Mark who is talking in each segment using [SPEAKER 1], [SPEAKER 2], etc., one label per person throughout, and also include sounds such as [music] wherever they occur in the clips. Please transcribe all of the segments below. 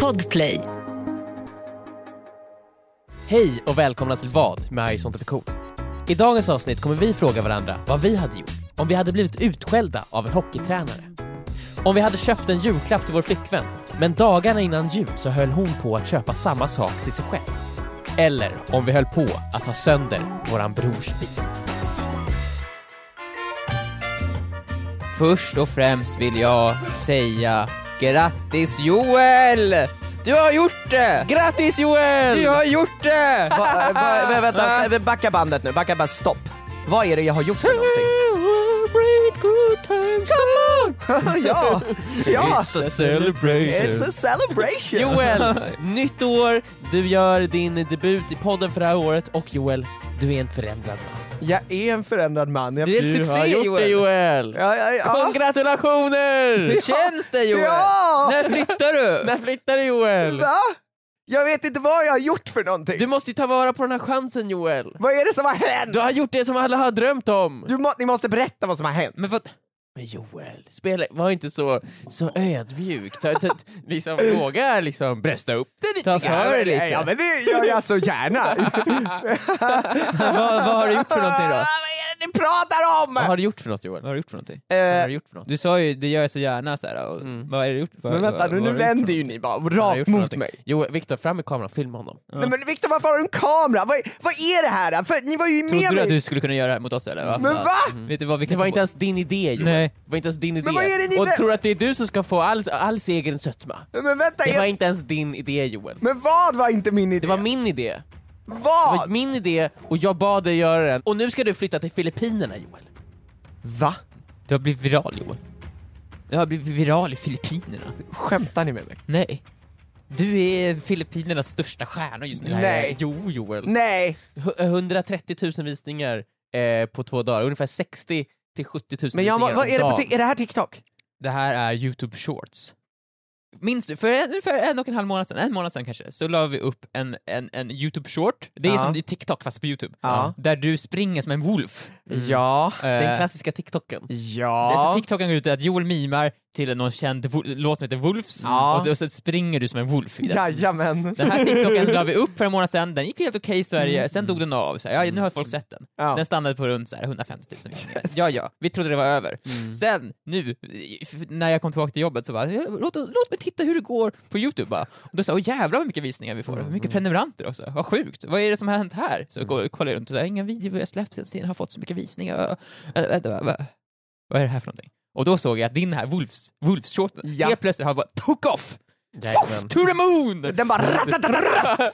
[SPEAKER 1] Podplay.
[SPEAKER 2] Hej och välkomna till Vad med Harry Sonte Cool. I dagens avsnitt kommer vi fråga varandra vad vi hade gjort om vi hade blivit utskällda av en hockeytränare. Om vi hade köpt en julklapp till vår flickvän, men dagarna innan jul så höll hon på att köpa samma sak till sig själv. Eller om vi höll på att ha sönder våran brors bil.
[SPEAKER 3] Först och främst vill jag säga grattis Joel! Du har gjort det!
[SPEAKER 2] Grattis Joel!
[SPEAKER 3] Du har gjort det!
[SPEAKER 4] Va, va,
[SPEAKER 3] [laughs]
[SPEAKER 4] va, vänta, va? backa bandet nu, backa bandet, stopp. Vad är det jag har gjort för
[SPEAKER 3] [laughs]
[SPEAKER 4] någonting?
[SPEAKER 2] Celebrate good times, come on!
[SPEAKER 4] ja, ja!
[SPEAKER 2] It's a celebration.
[SPEAKER 4] It's a celebration!
[SPEAKER 2] Joel, nytt år, du gör din debut i podden för det här året och Joel, du är en förändrad man.
[SPEAKER 4] Jag är en förändrad man. Jag,
[SPEAKER 3] Du är en
[SPEAKER 2] Du har
[SPEAKER 3] succé
[SPEAKER 2] gjort det
[SPEAKER 3] Joel!
[SPEAKER 2] Joel!
[SPEAKER 4] ja, ja, ja.
[SPEAKER 2] Gratulationer!
[SPEAKER 3] Hur känns det Joel?
[SPEAKER 4] Ja!
[SPEAKER 3] När flyttar du?
[SPEAKER 2] När flyttar du Joel?
[SPEAKER 4] Va? Jag vet inte vad jag har gjort för någonting.
[SPEAKER 2] Du måste ju ta vara på den här chansen Joel.
[SPEAKER 4] Vad är det som har hänt?
[SPEAKER 2] Du har gjort det som alla har drömt om.
[SPEAKER 4] Du må, ni måste berätta vad som har hänt.
[SPEAKER 3] Men för att,
[SPEAKER 2] Men Joel, spela, var inte så, så ödmjuk. Ta, ta, liksom, våga liksom brösta upp det lite
[SPEAKER 3] Ta för dig lite.
[SPEAKER 4] Ja
[SPEAKER 2] [laughs]
[SPEAKER 4] men det gör jag så gärna.
[SPEAKER 3] vad, vad [laughs] har du gjort för någonting då?
[SPEAKER 4] [laughs] Vad är det ni pratar om?
[SPEAKER 2] Vad har du gjort för något Joel?
[SPEAKER 3] Vad har du gjort för någonting?
[SPEAKER 2] Vad har
[SPEAKER 4] Eh,
[SPEAKER 2] du gjort för något? Mm.
[SPEAKER 3] Du sa ju det gör jag så gärna så här, och, vad är det du gjort? Vad,
[SPEAKER 4] men vänta
[SPEAKER 3] vad,
[SPEAKER 4] nu,
[SPEAKER 3] vad
[SPEAKER 4] nu
[SPEAKER 3] har du gjort?
[SPEAKER 4] vänder ju ni bara
[SPEAKER 2] Vad har du
[SPEAKER 4] rakt
[SPEAKER 2] gjort för
[SPEAKER 4] mot
[SPEAKER 2] någonting?
[SPEAKER 4] mig.
[SPEAKER 2] Jo, Viktor, fram med kameran, filma honom.
[SPEAKER 4] Nej men Viktor varför har du en kamera? Vad, vad är det här? För, ni var ju med
[SPEAKER 3] Trodde du
[SPEAKER 4] mig.
[SPEAKER 3] att du skulle kunna göra det här mot oss eller?
[SPEAKER 4] Men va?
[SPEAKER 3] Vet du vad vi
[SPEAKER 2] Det
[SPEAKER 3] kan
[SPEAKER 2] var
[SPEAKER 3] ta
[SPEAKER 2] inte
[SPEAKER 3] bort?
[SPEAKER 2] ens din idé Joel.
[SPEAKER 3] Nej.
[SPEAKER 2] Det var inte ens din idé.
[SPEAKER 4] vad är det ni
[SPEAKER 2] och
[SPEAKER 4] vä-
[SPEAKER 2] tror att det är du som ska få all, all segerns sötma.
[SPEAKER 4] Men vänta,
[SPEAKER 2] Det
[SPEAKER 4] jag-
[SPEAKER 2] var inte ens din idé Joel.
[SPEAKER 4] men vad var inte min idé?
[SPEAKER 2] Det var min idé. Det var
[SPEAKER 4] Vad?
[SPEAKER 2] min idé och jag bad dig göra den. Och nu ska du flytta till Filippinerna Joel.
[SPEAKER 4] Va?
[SPEAKER 3] Du har blivit viral Joel. Du har blivit viral i Filippinerna.
[SPEAKER 4] Skämtar ni med mig?
[SPEAKER 3] Nej. Du är Filippinernas största stjärna just nu.
[SPEAKER 4] Nej.
[SPEAKER 2] Jo Joel.
[SPEAKER 4] Nej,
[SPEAKER 2] Hu- 130 000 visningar eh, på två dagar. Ungefär 60 till 70 000
[SPEAKER 4] men jag,
[SPEAKER 2] visningar
[SPEAKER 4] vad vad
[SPEAKER 2] om
[SPEAKER 4] är, det på,
[SPEAKER 2] dagen.
[SPEAKER 4] Tik- är det här TikTok?
[SPEAKER 3] Det här är Youtube Shorts. Minns du? För en, för en och en halv månad sedan, en månad sedan kanske, så la vi upp en, en, en Youtube Short. Det är
[SPEAKER 4] Ja.
[SPEAKER 3] som TikTok fast på Youtube.
[SPEAKER 4] Ja.
[SPEAKER 3] Där du springer som en wolf. Eh,
[SPEAKER 4] Ja.
[SPEAKER 2] Den klassiska TikToken.
[SPEAKER 4] Ja.
[SPEAKER 3] TikToken går ut till att Joel mimar till någon känd wo- låt som heter Wolves,
[SPEAKER 4] Ja.
[SPEAKER 3] och, så, och så springer du som en wolf i den.
[SPEAKER 4] Jajamän.
[SPEAKER 3] Den här TikToken la vi upp för en månad sedan, den gick helt okej i Sverige, sen dog den av. Så här, ja, nu har folk sett den.
[SPEAKER 4] [laughs] Ja.
[SPEAKER 3] Den stannade på runt så här, 150 000 visningar. Ja, ja, vi trodde det var över. Sen, nu, f- när jag kom tillbaka till jobbet så bara, låt, låt mig titta hur det går på Youtube bara. Och då sa jag, "Åh, jävlar vad mycket visningar vi får, hur mycket prenumeranter också, vad sjukt, vad är det som har hänt här? Så går, kollar jag runt och så här, inga videor har släppts senaste tiden, har fått så mycket visningar. Äh, äh, äh, vad- Vad är det här för någonting? Och då såg jag att din här Wolfs, Wolfs-shorten
[SPEAKER 4] Ja.
[SPEAKER 3] helt plötsligt har bara took off!
[SPEAKER 2] Jajamän.
[SPEAKER 3] To the moon!
[SPEAKER 4] Den bara... ratatatata.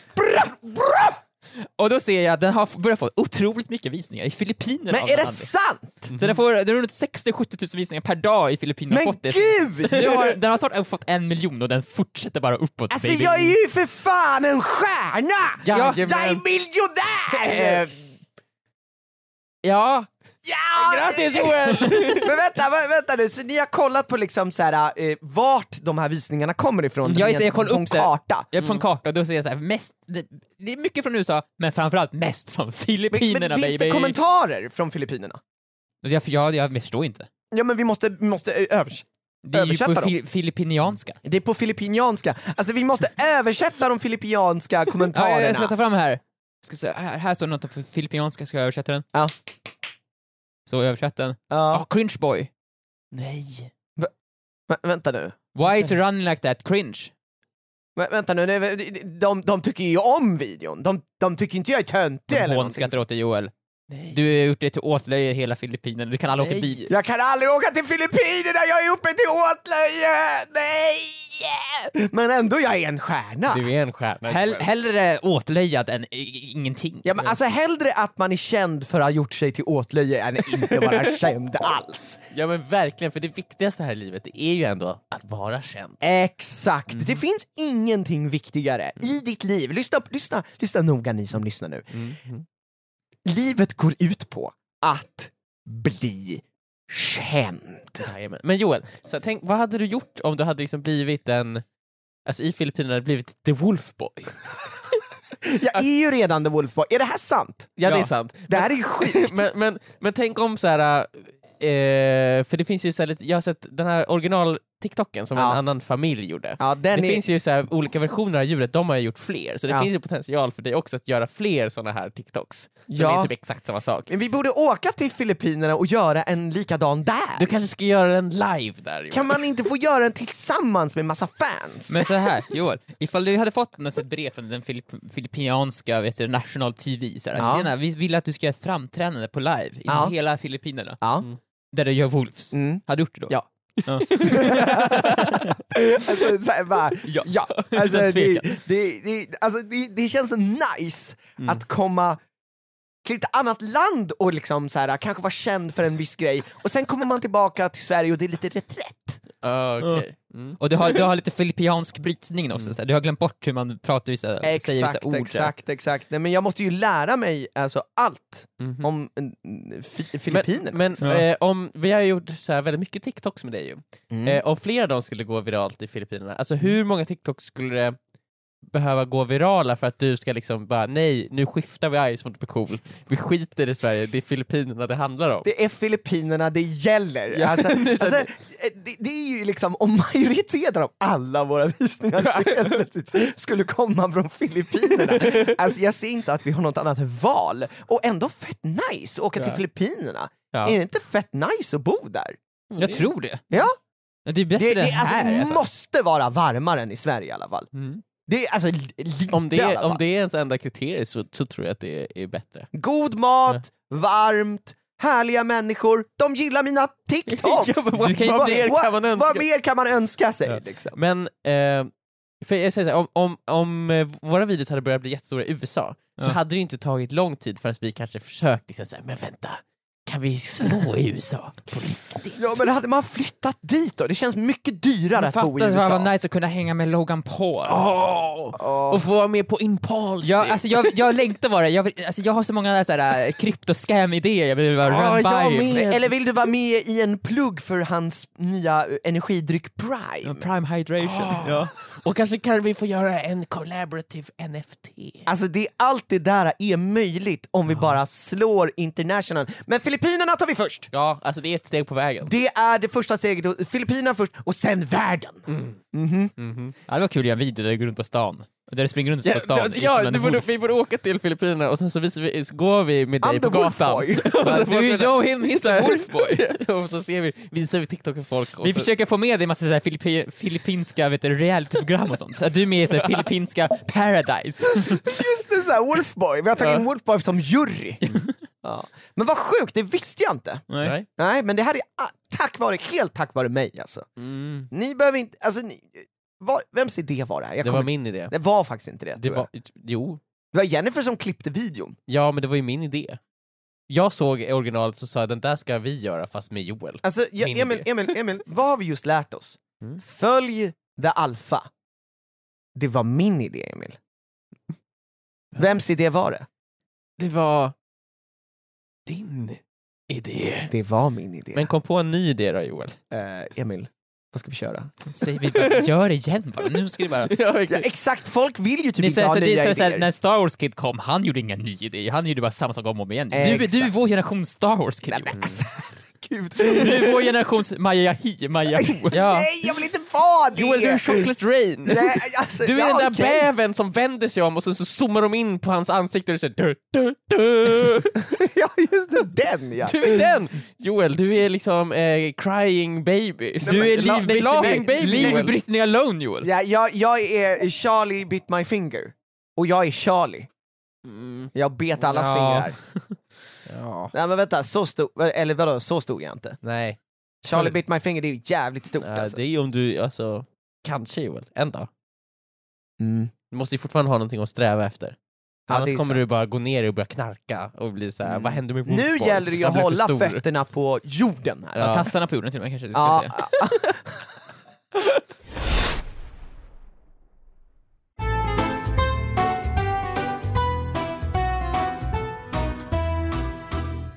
[SPEAKER 3] Och då ser jag att den har f- börjat få otroligt mycket visningar i Filippinerna
[SPEAKER 4] Men
[SPEAKER 3] av
[SPEAKER 4] är det
[SPEAKER 3] någon anledning.
[SPEAKER 4] sant?
[SPEAKER 3] Mhm. Så den får den har runt 60-70 000 visningar per dag i Filippinerna.
[SPEAKER 4] Men
[SPEAKER 3] har fått det.
[SPEAKER 4] gud!
[SPEAKER 3] Nu har, den har snart fått en miljon och den fortsätter bara uppåt
[SPEAKER 4] Alltså
[SPEAKER 3] baby.
[SPEAKER 4] jag är ju för fan en stjärna!
[SPEAKER 2] Ja,
[SPEAKER 4] jag är
[SPEAKER 2] jajamän.
[SPEAKER 4] miljonär!
[SPEAKER 2] Ja,
[SPEAKER 4] Ja!
[SPEAKER 2] grattis Joel!
[SPEAKER 4] Men vänta, vä- vänta nu, så ni har kollat på liksom så här, eh, vart de här visningarna kommer ifrån?
[SPEAKER 3] Jag- jag
[SPEAKER 4] Rent-
[SPEAKER 3] kollar
[SPEAKER 4] på
[SPEAKER 3] upp
[SPEAKER 4] en
[SPEAKER 3] det.
[SPEAKER 4] karta.
[SPEAKER 3] Jag är på en karta och då ser jag så här, mest, det, det är mycket från USA, men framförallt mest från
[SPEAKER 4] Men,
[SPEAKER 3] Filippinerna
[SPEAKER 4] men finns
[SPEAKER 3] baby.
[SPEAKER 4] det kommentarer från Filippinerna?
[SPEAKER 3] jag, jag, jag förstår inte.
[SPEAKER 4] Ja men vi måste, vi måste eh, översätta.
[SPEAKER 3] Det är ju
[SPEAKER 4] Översätta
[SPEAKER 3] på
[SPEAKER 4] dem.
[SPEAKER 3] fi, filippinianska.
[SPEAKER 4] Det är på filippinianska. Alltså vi
[SPEAKER 3] [laughs]
[SPEAKER 4] måste översätta de filippinska
[SPEAKER 3] Ja,
[SPEAKER 4] kommentarerna.
[SPEAKER 3] jag, jag ska ta fram här. Ska se, här. Här står något på filippinianska, ska jag översätta den?
[SPEAKER 4] Ja.
[SPEAKER 3] Så översätt den. Ah,
[SPEAKER 4] ja.
[SPEAKER 3] cringe boy.
[SPEAKER 2] Nej.
[SPEAKER 4] Vä- vänta nu.
[SPEAKER 3] Why is you running like that? Cringe.
[SPEAKER 4] Vä- vänta nu, det- de, de, de tycker ju om videon. De, de tycker inte jag är töntig eller
[SPEAKER 3] Hon
[SPEAKER 4] någonting.
[SPEAKER 3] skrattar åt dig Joel.
[SPEAKER 2] Nej.
[SPEAKER 3] Du har gjort dig till åtlöje i hela Filippinerna, du kan aldrig åka
[SPEAKER 2] Nej.
[SPEAKER 3] bil.
[SPEAKER 4] Jag kan aldrig åka till Filippinerna, jag är uppe till åtlöje! Nej! Men ändå, jag är en stjärna.
[SPEAKER 2] Du är en stjärna
[SPEAKER 3] Hell,
[SPEAKER 2] Joel.
[SPEAKER 3] hellre åtlöjad än i- ingenting.
[SPEAKER 4] Ja, men alltså hellre att man är känd för att ha gjort sig till åtlöje än inte
[SPEAKER 2] [laughs]
[SPEAKER 4] vara känd alls.
[SPEAKER 2] Ja men verkligen, för det viktigaste här i livet det är ju ändå att vara känd.
[SPEAKER 4] Exakt!
[SPEAKER 2] Mm.
[SPEAKER 4] Det finns ingenting viktigare i ditt liv. Lyssna, lyssna, lyssna noga ni som lyssnar nu. Livet går ut på att bli känd.
[SPEAKER 2] Jajamän. Men Joel, så här, tänk, vad hade du gjort om du hade liksom blivit en, alltså i Filippinerna blivit the wolf boy?
[SPEAKER 4] Jag är ju redan the Wolfboy. Är det här sant?
[SPEAKER 2] Ja, det är
[SPEAKER 3] Ja.
[SPEAKER 2] sant.
[SPEAKER 4] Det här är
[SPEAKER 2] [laughs]
[SPEAKER 4] ju sjukt.
[SPEAKER 2] Men, men, men tänk om så här, eh, för det finns ju så här lite, jag har sett den här original TikToken som
[SPEAKER 4] Ja.
[SPEAKER 2] en annan familj gjorde.
[SPEAKER 4] Ja, den
[SPEAKER 2] det
[SPEAKER 4] är...
[SPEAKER 2] finns ju så här, olika versioner av djuret, de har ju gjort fler, så det
[SPEAKER 4] Ja.
[SPEAKER 2] finns ju potential för dig också att göra fler såna här TikToks. Som
[SPEAKER 4] Ja.
[SPEAKER 2] är typ exakt samma sak.
[SPEAKER 4] Men vi borde åka till Filippinerna och göra en likadan där!
[SPEAKER 2] Du kanske ska göra en live där Joel.
[SPEAKER 4] Kan man inte få göra den tillsammans med massa fans?
[SPEAKER 3] Men så här, Joel, ifall du hade fått något sånt brev från den filipp- filippinska vet du, National TV, så här,
[SPEAKER 4] Ja.
[SPEAKER 3] "Tjena, vi vill att du ska göra ett framträdande på live i
[SPEAKER 4] Ja.
[SPEAKER 3] hela Filippinerna,
[SPEAKER 4] Ja.
[SPEAKER 3] där du gör Wolves.
[SPEAKER 4] Mm.
[SPEAKER 3] Hade du gjort det då?
[SPEAKER 4] Ja. [laughs] alltså, så här, bara, ja. Alltså,
[SPEAKER 3] Utan
[SPEAKER 4] det,
[SPEAKER 3] tvekan. Mm.
[SPEAKER 4] det, det, alltså, det, det känns så nice att komma till ett annat land och liksom så här, kanske vara känd för en viss grej och sen kommer man tillbaka till Sverige och det är lite reträtt.
[SPEAKER 2] Ah, okej.
[SPEAKER 3] Och du har, du
[SPEAKER 2] [laughs]
[SPEAKER 3] har lite filippiansk brytning
[SPEAKER 2] Mm.
[SPEAKER 3] också, så här. du har glömt bort hur man pratar vissa, säger vissa ord.
[SPEAKER 4] exakt, exakt. Nej, men jag måste ju lära mig alltså, allt
[SPEAKER 2] Mhm.
[SPEAKER 4] om mm, fi- Filippinerna.
[SPEAKER 2] Men, men
[SPEAKER 3] Ja.
[SPEAKER 2] eh, om, vi har ju gjort så här väldigt mycket TikToks med dig ju.
[SPEAKER 4] Mm.
[SPEAKER 2] Eh, om flera av dem skulle gå viralt i Filippinerna, alltså hur många TikToks skulle det behöva gå virala för att du ska liksom bara nej, nu skiftar vi Ice mot blir cool. Vi skiter i Sverige, det är Filippinerna det handlar om.
[SPEAKER 4] Det är Filippinerna det gäller. Alltså,
[SPEAKER 2] [laughs] nu
[SPEAKER 4] alltså,
[SPEAKER 2] känner-
[SPEAKER 4] eh, det, det är ju liksom om majoriteten av alla våra visningar skulle helt [laughs] plötsligt skulle komma
[SPEAKER 2] [laughs]
[SPEAKER 4] från Filippinerna. Alltså jag ser inte att vi har något annat val. Och ändå fett nice att åka till
[SPEAKER 2] Ja.
[SPEAKER 4] Filippinerna.
[SPEAKER 2] Ja.
[SPEAKER 4] Är det inte fett nice att bo där?
[SPEAKER 3] Jag tror det.
[SPEAKER 4] Ja.
[SPEAKER 3] Ja, Det är
[SPEAKER 4] Det,
[SPEAKER 3] bättre
[SPEAKER 4] det,
[SPEAKER 3] än
[SPEAKER 4] alltså,
[SPEAKER 3] här. i alla
[SPEAKER 4] det
[SPEAKER 3] fall.
[SPEAKER 4] måste vara varmare än i Sverige i alla fall.
[SPEAKER 2] Mm.
[SPEAKER 4] Det är alltså li- lite
[SPEAKER 2] Om, det
[SPEAKER 4] i alla
[SPEAKER 2] är,
[SPEAKER 4] fall.
[SPEAKER 2] om det är ens enda kriterie så, så tror jag att det är, är bättre.
[SPEAKER 4] God mat, varmt, härliga människor, de
[SPEAKER 2] [laughs]
[SPEAKER 4] gillar mina TikToks!
[SPEAKER 2] Ja, men vad-
[SPEAKER 3] Du kan ju-
[SPEAKER 2] vad mer kan
[SPEAKER 4] Vad-
[SPEAKER 2] man önska?
[SPEAKER 4] Vad mer kan man önska sig?
[SPEAKER 2] Ja.
[SPEAKER 4] Liksom?
[SPEAKER 2] Men, eh, för jag säger så här, om, om, om eh, våra videos hade börjat bli jättestora i USA så
[SPEAKER 3] Ja.
[SPEAKER 2] hade det ju inte tagit lång tid förrän vi kanske försökt liksom så här, men vänta, kan vi slå i USA?
[SPEAKER 4] Ja men hade man flyttat dit då? Det känns mycket dyrare
[SPEAKER 3] Men
[SPEAKER 4] att bo i
[SPEAKER 3] Fatta vad
[SPEAKER 4] USA.
[SPEAKER 3] nice att kunna hänga med Logan Paul.
[SPEAKER 4] Åh.
[SPEAKER 2] Och få vara med på Impulse!
[SPEAKER 3] Ja, alltså jag, jag längtar bara, jag, vill- alltså jag har så många så här, äh, kryptoscam-idéer jag vill bara
[SPEAKER 2] Ja,
[SPEAKER 3] run
[SPEAKER 2] jag
[SPEAKER 3] by.
[SPEAKER 2] med.
[SPEAKER 4] Eller vill du vara med i en plugg för hans nya eh, energidryck
[SPEAKER 3] Ja,
[SPEAKER 4] Prime?
[SPEAKER 3] Prime hydration.
[SPEAKER 2] Ah.
[SPEAKER 3] Ja.
[SPEAKER 2] Och kanske kan vi få göra en collaborative NFT?
[SPEAKER 4] Alltså det, allt det där är möjligt om vi bara slår international. Men Filippinerna tar vi först!
[SPEAKER 2] Ja, alltså det är ett steg på vägen.
[SPEAKER 4] Det är det första steget, och- Filippinerna först och sen världen!
[SPEAKER 3] Ja, det var kul att göra en video där du går runt på stan. Och Där du springer runt på stan. i som
[SPEAKER 2] ja
[SPEAKER 3] en
[SPEAKER 2] du borde,
[SPEAKER 3] wolf.
[SPEAKER 2] vi borde åka till Filippinerna och sen så, visar vi, så går vi med dig
[SPEAKER 4] I'm
[SPEAKER 2] på
[SPEAKER 4] the wolf
[SPEAKER 2] gatan. [laughs]
[SPEAKER 4] boy. [laughs]
[SPEAKER 3] Bara,
[SPEAKER 2] får vi-
[SPEAKER 3] Du, jag och him, he's the wolf.
[SPEAKER 2] och så ser vi, visar vi TikTok för folk. Och
[SPEAKER 3] Vi
[SPEAKER 2] så,
[SPEAKER 3] försöker få med dig en massa så här filippi- filippinska vet du, realityprogram och sånt. Så att du är med i så här filippinska paradise.
[SPEAKER 4] Just det, så här, Wolfboy. Vi har tagit in Wolfboy som jury. Ja. Men vad sjukt, det visste jag inte.
[SPEAKER 2] Nej.
[SPEAKER 4] Nej, men det här är a- tack vare, helt tack vare mig alltså.
[SPEAKER 2] Mm.
[SPEAKER 4] Ni behöver inte, alltså ni, var, vems idé var det här? Jag
[SPEAKER 2] Det var
[SPEAKER 4] kommer-
[SPEAKER 2] min idé.
[SPEAKER 4] det var faktiskt inte det,
[SPEAKER 2] Det
[SPEAKER 4] tror jag.
[SPEAKER 2] var, jo,
[SPEAKER 4] Det var Jennifer som klippte videon.
[SPEAKER 2] ja men det var ju min idé. Jag såg originalet så sa jag den där ska vi göra fast med Joel.
[SPEAKER 4] Alltså, jag,
[SPEAKER 2] Min
[SPEAKER 4] Emil,
[SPEAKER 2] idé.
[SPEAKER 4] Emil, Emil, vad har vi just lärt oss?
[SPEAKER 2] Mm.
[SPEAKER 4] Följ the alfa. Det var min idé, Emil. Vems idé var det?
[SPEAKER 2] Det var din idé.
[SPEAKER 4] Det var min idé.
[SPEAKER 2] Men kom på en ny idé då [laughs] Joel.
[SPEAKER 4] Eh, Emil, vad ska vi köra?
[SPEAKER 3] Säger vi bara, gör det igen bara. Nu ska det bara...
[SPEAKER 2] Typ
[SPEAKER 4] Ja, exakt, folk vill ju typ
[SPEAKER 3] Ni
[SPEAKER 4] inte
[SPEAKER 3] säger
[SPEAKER 4] ha
[SPEAKER 3] så, det
[SPEAKER 4] nya
[SPEAKER 3] är så här,
[SPEAKER 4] idéer.
[SPEAKER 3] när Star Wars Kid kom, han gjorde inga nya idéer, han gjorde bara samma sak om och om igen. Du,
[SPEAKER 4] Exakt.
[SPEAKER 3] du är vår generation Star Wars Kid.
[SPEAKER 4] Nej,
[SPEAKER 3] Johan.
[SPEAKER 4] men alltså, herregud.
[SPEAKER 3] Du är vår generations Maja Hi, Maja
[SPEAKER 4] [laughs]
[SPEAKER 3] Ho.
[SPEAKER 2] [laughs] Ja.
[SPEAKER 4] Nej, jag vill inte vara det!
[SPEAKER 2] Joel du är Chocolate Rain!
[SPEAKER 4] Nej, alltså,
[SPEAKER 2] Du är
[SPEAKER 4] ja,
[SPEAKER 2] den där
[SPEAKER 4] okej.
[SPEAKER 2] bävern som vänder sig om och sen så zoomar de in på hans ansikte och säger du, du, du.
[SPEAKER 4] [laughs] Ja, just det, den ja!
[SPEAKER 2] du är den! Joel, du är liksom eh, crying baby.
[SPEAKER 3] Du är
[SPEAKER 2] La- nej, laughing
[SPEAKER 3] Liv-
[SPEAKER 2] baby
[SPEAKER 3] Liv
[SPEAKER 2] Joel.
[SPEAKER 3] Britney Alone Joel.
[SPEAKER 4] ja jag, jag är Charlie bit my finger. Och jag är Charlie.
[SPEAKER 2] Mm.
[SPEAKER 4] Jag bet allas
[SPEAKER 2] Ja.
[SPEAKER 4] fingrar.
[SPEAKER 2] Ja.
[SPEAKER 4] Nej men vänta, så stor, eller vadå, så stor är jag inte.
[SPEAKER 2] Nej,
[SPEAKER 4] Charlie bit my finger, det är ju jävligt stort
[SPEAKER 2] Ja,
[SPEAKER 4] alltså.
[SPEAKER 2] det är ju om du, alltså, kanske Joel, en dag.
[SPEAKER 4] Mm.
[SPEAKER 2] Du måste ju fortfarande ha någonting att sträva efter.
[SPEAKER 4] Ja, det
[SPEAKER 2] Annars
[SPEAKER 4] är
[SPEAKER 2] kommer
[SPEAKER 4] sant. Mm.
[SPEAKER 2] du bara gå ner och börja knarka och bli så här, vad händer med
[SPEAKER 4] Nu
[SPEAKER 2] fotboll?
[SPEAKER 4] gäller det ju
[SPEAKER 2] Jag
[SPEAKER 4] att
[SPEAKER 2] blir för
[SPEAKER 4] hålla
[SPEAKER 2] stor.
[SPEAKER 4] fötterna på jorden här.
[SPEAKER 2] Ja.
[SPEAKER 3] Tassarna på jorden till och med kanske du ska
[SPEAKER 4] Ja,
[SPEAKER 3] säga.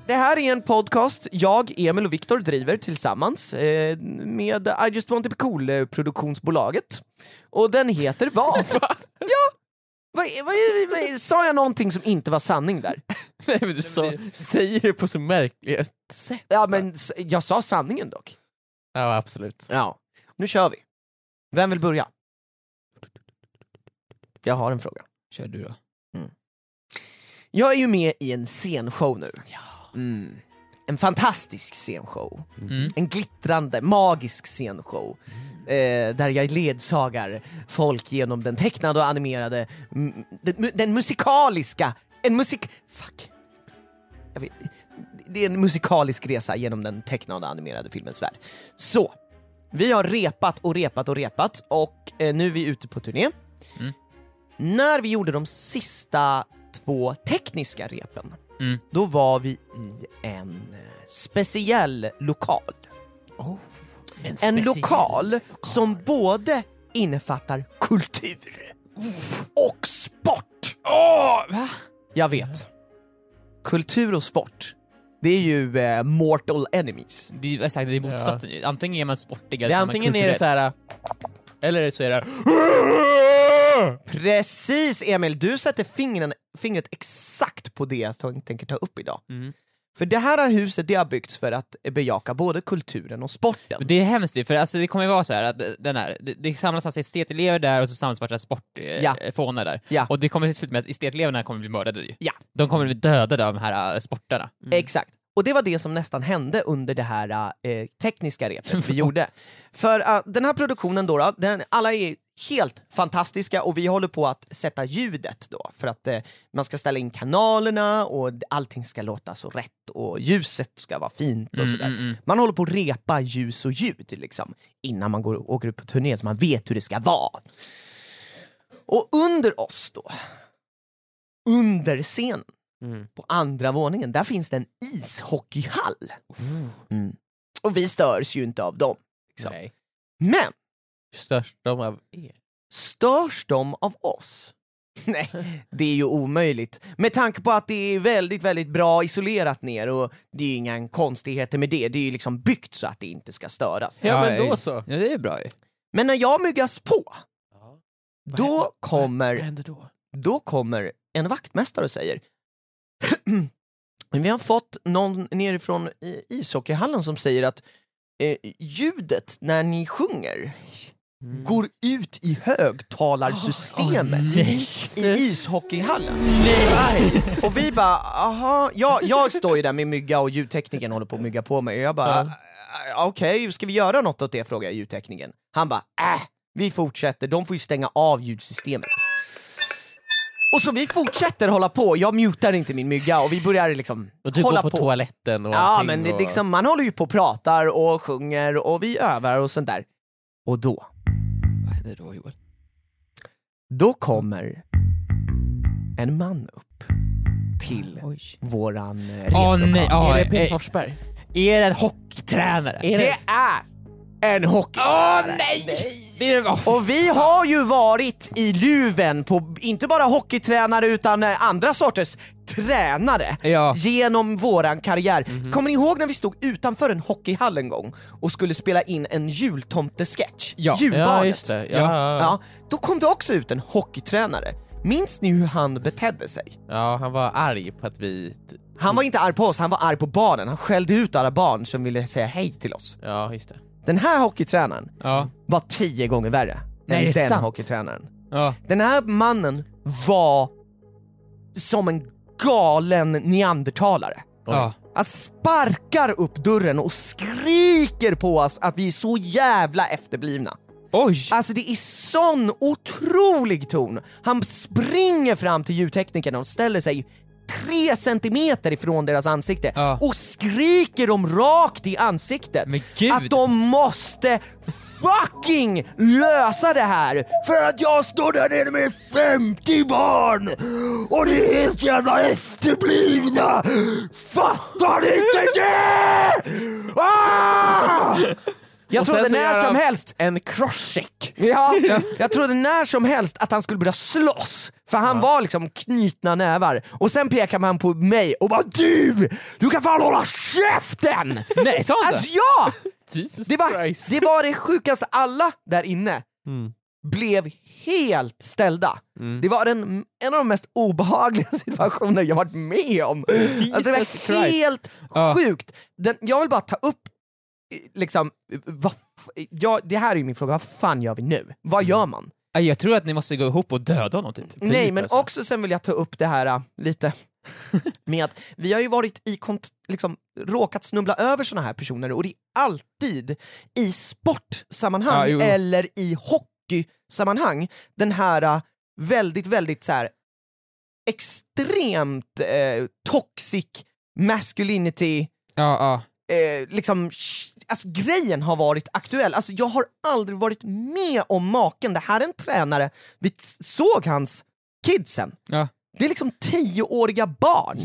[SPEAKER 4] Det här är en podcast jag, Emil och Viktor driver tillsammans eh, med I just want to be cool eh, produktionsbolaget. Och den heter
[SPEAKER 3] [laughs]
[SPEAKER 4] vad? ja, vad, är- vad, är- vad, är- sa jag någonting som inte var sanning där?
[SPEAKER 2] [laughs] Nej, men du sa, säger det på så märkligt sätt.
[SPEAKER 4] Ja men s- jag sa sanningen dock.
[SPEAKER 2] Ja, absolut.
[SPEAKER 4] Ja. Nu kör vi. Vem vill börja? Jag har en fråga. Mm.
[SPEAKER 3] Kör du då.
[SPEAKER 4] Jag är ju med i en scenshow nu. Mm. En fantastisk scenshow.
[SPEAKER 3] Mm.
[SPEAKER 4] En glittrande, magisk scenshow. Eh, där jag ledsagar folk genom den tecknade och animerade, mm, den, mu- den musikaliska, en musik... Fuck. Jag vet, det är en musikalisk resa genom den tecknade och animerade filmens värld. Så, vi har repat och repat och repat och eh, nu är vi ute på turné.
[SPEAKER 3] Mm.
[SPEAKER 4] När vi gjorde de sista två tekniska repen,
[SPEAKER 3] Mm.
[SPEAKER 4] då var vi i en eh, speciell lokal.
[SPEAKER 2] En,
[SPEAKER 4] En
[SPEAKER 2] speciell-
[SPEAKER 4] lokal som både innefattar kultur och sport.
[SPEAKER 3] va?
[SPEAKER 4] Jag vet. Kultur och sport, det är ju eh, mortal enemies.
[SPEAKER 3] [laughs] Det är, exakt, det är motsatsen. Antingen är man sportig
[SPEAKER 2] Det
[SPEAKER 3] eller
[SPEAKER 2] är
[SPEAKER 3] så man
[SPEAKER 2] antingen är det
[SPEAKER 3] kulturell.
[SPEAKER 2] så här. Eller så är det...
[SPEAKER 4] Precis Emil, du sätter fingren, fingret exakt på det jag t- tänker ta upp idag.
[SPEAKER 2] Mm.
[SPEAKER 4] För det här huset det har byggts för att bejaka både kulturen och sporten.
[SPEAKER 3] Det är hemskt ju, för alltså, det kommer ju vara så här att den här, det, det samlas massa estetelever där och så samlas massa
[SPEAKER 4] Ja.
[SPEAKER 3] sportfånar eh, fånar där.
[SPEAKER 4] Ja.
[SPEAKER 3] Och det kommer till slut med att esteteleverna kommer bli mördade ju.
[SPEAKER 4] Ja. Mm.
[SPEAKER 3] De kommer bli dödade av de här eh, sportarna.
[SPEAKER 4] Exakt. Och det var det som nästan hände under det här eh, tekniska repet vi gjorde. För eh, den här produktionen då, då den, alla är helt fantastiska och vi håller på att sätta ljudet då för att eh, man ska ställa in kanalerna och allting ska låta så rätt och ljuset ska vara fint och
[SPEAKER 3] Mm,
[SPEAKER 4] sådär.
[SPEAKER 3] mm, mm.
[SPEAKER 4] Man håller på att repa ljus och ljud liksom, innan man går, åker ut på turné så man vet hur det ska vara. Och under oss då, under scenen,
[SPEAKER 2] Mm.
[SPEAKER 4] på andra våningen, där finns det en ishockeyhall. Mm. Och vi störs ju inte av dem. Liksom.
[SPEAKER 2] Nej.
[SPEAKER 4] Men
[SPEAKER 2] Störst de av er.
[SPEAKER 4] störs de av oss? [laughs] Nej, det är ju omöjligt. Med tanke på att det är väldigt, väldigt bra isolerat ner och det är ju inga konstigheter med det. Det är ju liksom byggt så att det inte ska störas.
[SPEAKER 2] Ja, men
[SPEAKER 3] Ja,
[SPEAKER 2] då
[SPEAKER 3] eh,
[SPEAKER 2] så.
[SPEAKER 3] Ja, det är bra ju.
[SPEAKER 4] Men när jag myggas på,
[SPEAKER 2] Vad händer-
[SPEAKER 4] då
[SPEAKER 2] Vad
[SPEAKER 4] kommer,
[SPEAKER 2] händer då?
[SPEAKER 4] då kommer en vaktmästare och säger [clears throat] Vi har fått någon nerifrån i- ishockeyhallen som säger att eh, ljudet när ni sjunger
[SPEAKER 2] Mm.
[SPEAKER 4] går ut i högtalarsystemet i ishockeyhallen. Och vi bara, aha, jag, jag står ju där med mygga och ljudtekniken håller på att mygga på mig och jag bara, "Ah, okej, ska vi göra något åt det? frågar jag ljudtekniken. Han bara, äh, vi fortsätter, de får ju stänga av ljudsystemet. Och så vi fortsätter hålla på, jag mutar inte min mygga och vi börjar liksom
[SPEAKER 2] Och du
[SPEAKER 4] hålla
[SPEAKER 2] går på, toaletten och
[SPEAKER 4] Ja
[SPEAKER 2] allting
[SPEAKER 4] men det,
[SPEAKER 2] och...
[SPEAKER 4] liksom, man håller ju på och pratar och sjunger och vi övar och sånt där. Och då,
[SPEAKER 3] Vad händer då Joel?
[SPEAKER 4] då kommer en man upp till
[SPEAKER 3] Oj.
[SPEAKER 4] våran eh,
[SPEAKER 3] Åh
[SPEAKER 4] replokal.
[SPEAKER 3] nej, åh,
[SPEAKER 2] Är det Peter
[SPEAKER 3] eh,
[SPEAKER 2] Forsberg?
[SPEAKER 3] är det en hockeytränare?
[SPEAKER 2] Är det...
[SPEAKER 4] är en hockey.
[SPEAKER 3] Åh nej! Det är, åh,
[SPEAKER 4] Och vi har ju varit i luven på inte bara hockeytränare utan eh, andra sorters tränare
[SPEAKER 3] Ja. Mhm.
[SPEAKER 4] genom våran karriär. Kommer ni ihåg när vi stod utanför en hockeyhall en gång och skulle spela in en jultomtesketch?
[SPEAKER 3] Ja.
[SPEAKER 2] Ja
[SPEAKER 4] Julbarnet.
[SPEAKER 2] just det, ja.
[SPEAKER 3] Ja.
[SPEAKER 2] Ja,
[SPEAKER 4] Ja, då kom det också ut en hockeytränare. Minns ni hur han betedde sig?
[SPEAKER 2] han var arg på att vi...
[SPEAKER 4] Han var inte arg på oss, han var arg på barnen. Han skällde ut alla barn som ville säga hej till oss.
[SPEAKER 2] Ja just det.
[SPEAKER 4] Den här hockeytränaren
[SPEAKER 3] ja.
[SPEAKER 4] var tio gånger värre
[SPEAKER 3] Nej,
[SPEAKER 4] än
[SPEAKER 3] det är
[SPEAKER 4] den
[SPEAKER 3] sant.
[SPEAKER 4] hockeytränaren.
[SPEAKER 3] Ja.
[SPEAKER 4] Den här mannen var som en galen neandertalare.
[SPEAKER 3] Ja.
[SPEAKER 4] Han sparkar upp dörren och skriker på oss att vi är så jävla efterblivna.
[SPEAKER 3] Oj!
[SPEAKER 4] Alltså det är sån otrolig ton. Han springer fram till ljudteknikerna och ställer sig tre centimeter ifrån deras ansikte
[SPEAKER 3] Ja.
[SPEAKER 4] och skriker dem rakt i ansiktet
[SPEAKER 3] Men gud.
[SPEAKER 4] att de måste fucking lösa det här för att jag står där nere med 50 barn och ni är helt jävla efterblivna! Fattar ni inte det? Ah! Jag
[SPEAKER 2] Och sen
[SPEAKER 4] trodde
[SPEAKER 2] så gör
[SPEAKER 4] när
[SPEAKER 2] han-
[SPEAKER 4] som helst
[SPEAKER 2] En crosscheck!
[SPEAKER 4] Ja, jag trodde när som helst att han skulle börja slåss, för han var liksom knutna nävar. Och sen pekade han på mig och bara DU! Du kan fan hålla käften!
[SPEAKER 3] Nej, sa han
[SPEAKER 4] Alltså
[SPEAKER 3] så?
[SPEAKER 4] ja!
[SPEAKER 2] Jesus
[SPEAKER 4] Det var, det var det sjukaste, alla där inne
[SPEAKER 2] Mm.
[SPEAKER 4] blev helt ställda. Det var den, en av de mest obehagliga [laughs] situationer jag varit med om. Alltså, det var
[SPEAKER 3] Jesus Christ.
[SPEAKER 4] helt
[SPEAKER 3] Ja.
[SPEAKER 4] sjukt. Den, jag vill bara ta upp eh, liksom, eh, vad f- ja, det här är ju min fråga, vad fan gör vi nu? Vad gör man?
[SPEAKER 3] Aj, Jag tror att ni måste gå ihop och döda honom typ.
[SPEAKER 4] Nej, men
[SPEAKER 3] alltså.
[SPEAKER 4] också sen vill jag ta upp det här äh,
[SPEAKER 3] [laughs]
[SPEAKER 4] lite med att vi har ju varit i kont- liksom, råkat snubbla över såna här personer och det är alltid i
[SPEAKER 3] Ja,
[SPEAKER 4] sportsammanhang
[SPEAKER 3] jo.
[SPEAKER 4] eller i hockeysammanhang den här äh, väldigt, väldigt så här extremt eh, toxic masculinity
[SPEAKER 3] Ja, ja.
[SPEAKER 4] eh, liksom, sh- alltså, grejen har varit aktuell. Alltså, jag har aldrig varit med om maken. Det här är en tränare, vi t- såg hans kidsen.
[SPEAKER 3] Ja.
[SPEAKER 4] Det är liksom tioåriga barn.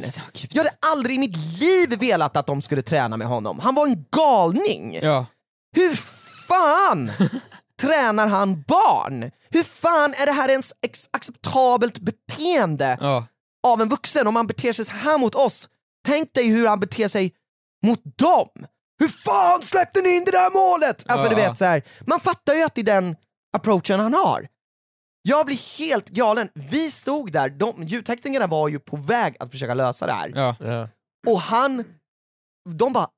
[SPEAKER 4] Jag hade aldrig i mitt liv velat att de skulle träna med honom. Han var en galning.
[SPEAKER 3] Ja.
[SPEAKER 4] Hur
[SPEAKER 3] [laughs]
[SPEAKER 4] fan tränar han barn? Hur fan är det här ens ex- acceptabelt beteende?
[SPEAKER 3] Ja.
[SPEAKER 4] av en vuxen om han beter sig så här mot oss. Tänk dig hur han beter sig mot dem! Hur fan släppte ni in det där målet? Alltså
[SPEAKER 3] Ja.
[SPEAKER 4] du vet så här. man fattar ju att det är den approachen han har. Jag blir helt galen. Vi stod där, de, ljudteknikerna var ju på väg att försöka lösa det här.
[SPEAKER 3] Ja.
[SPEAKER 2] Ja.
[SPEAKER 4] Och han, de bara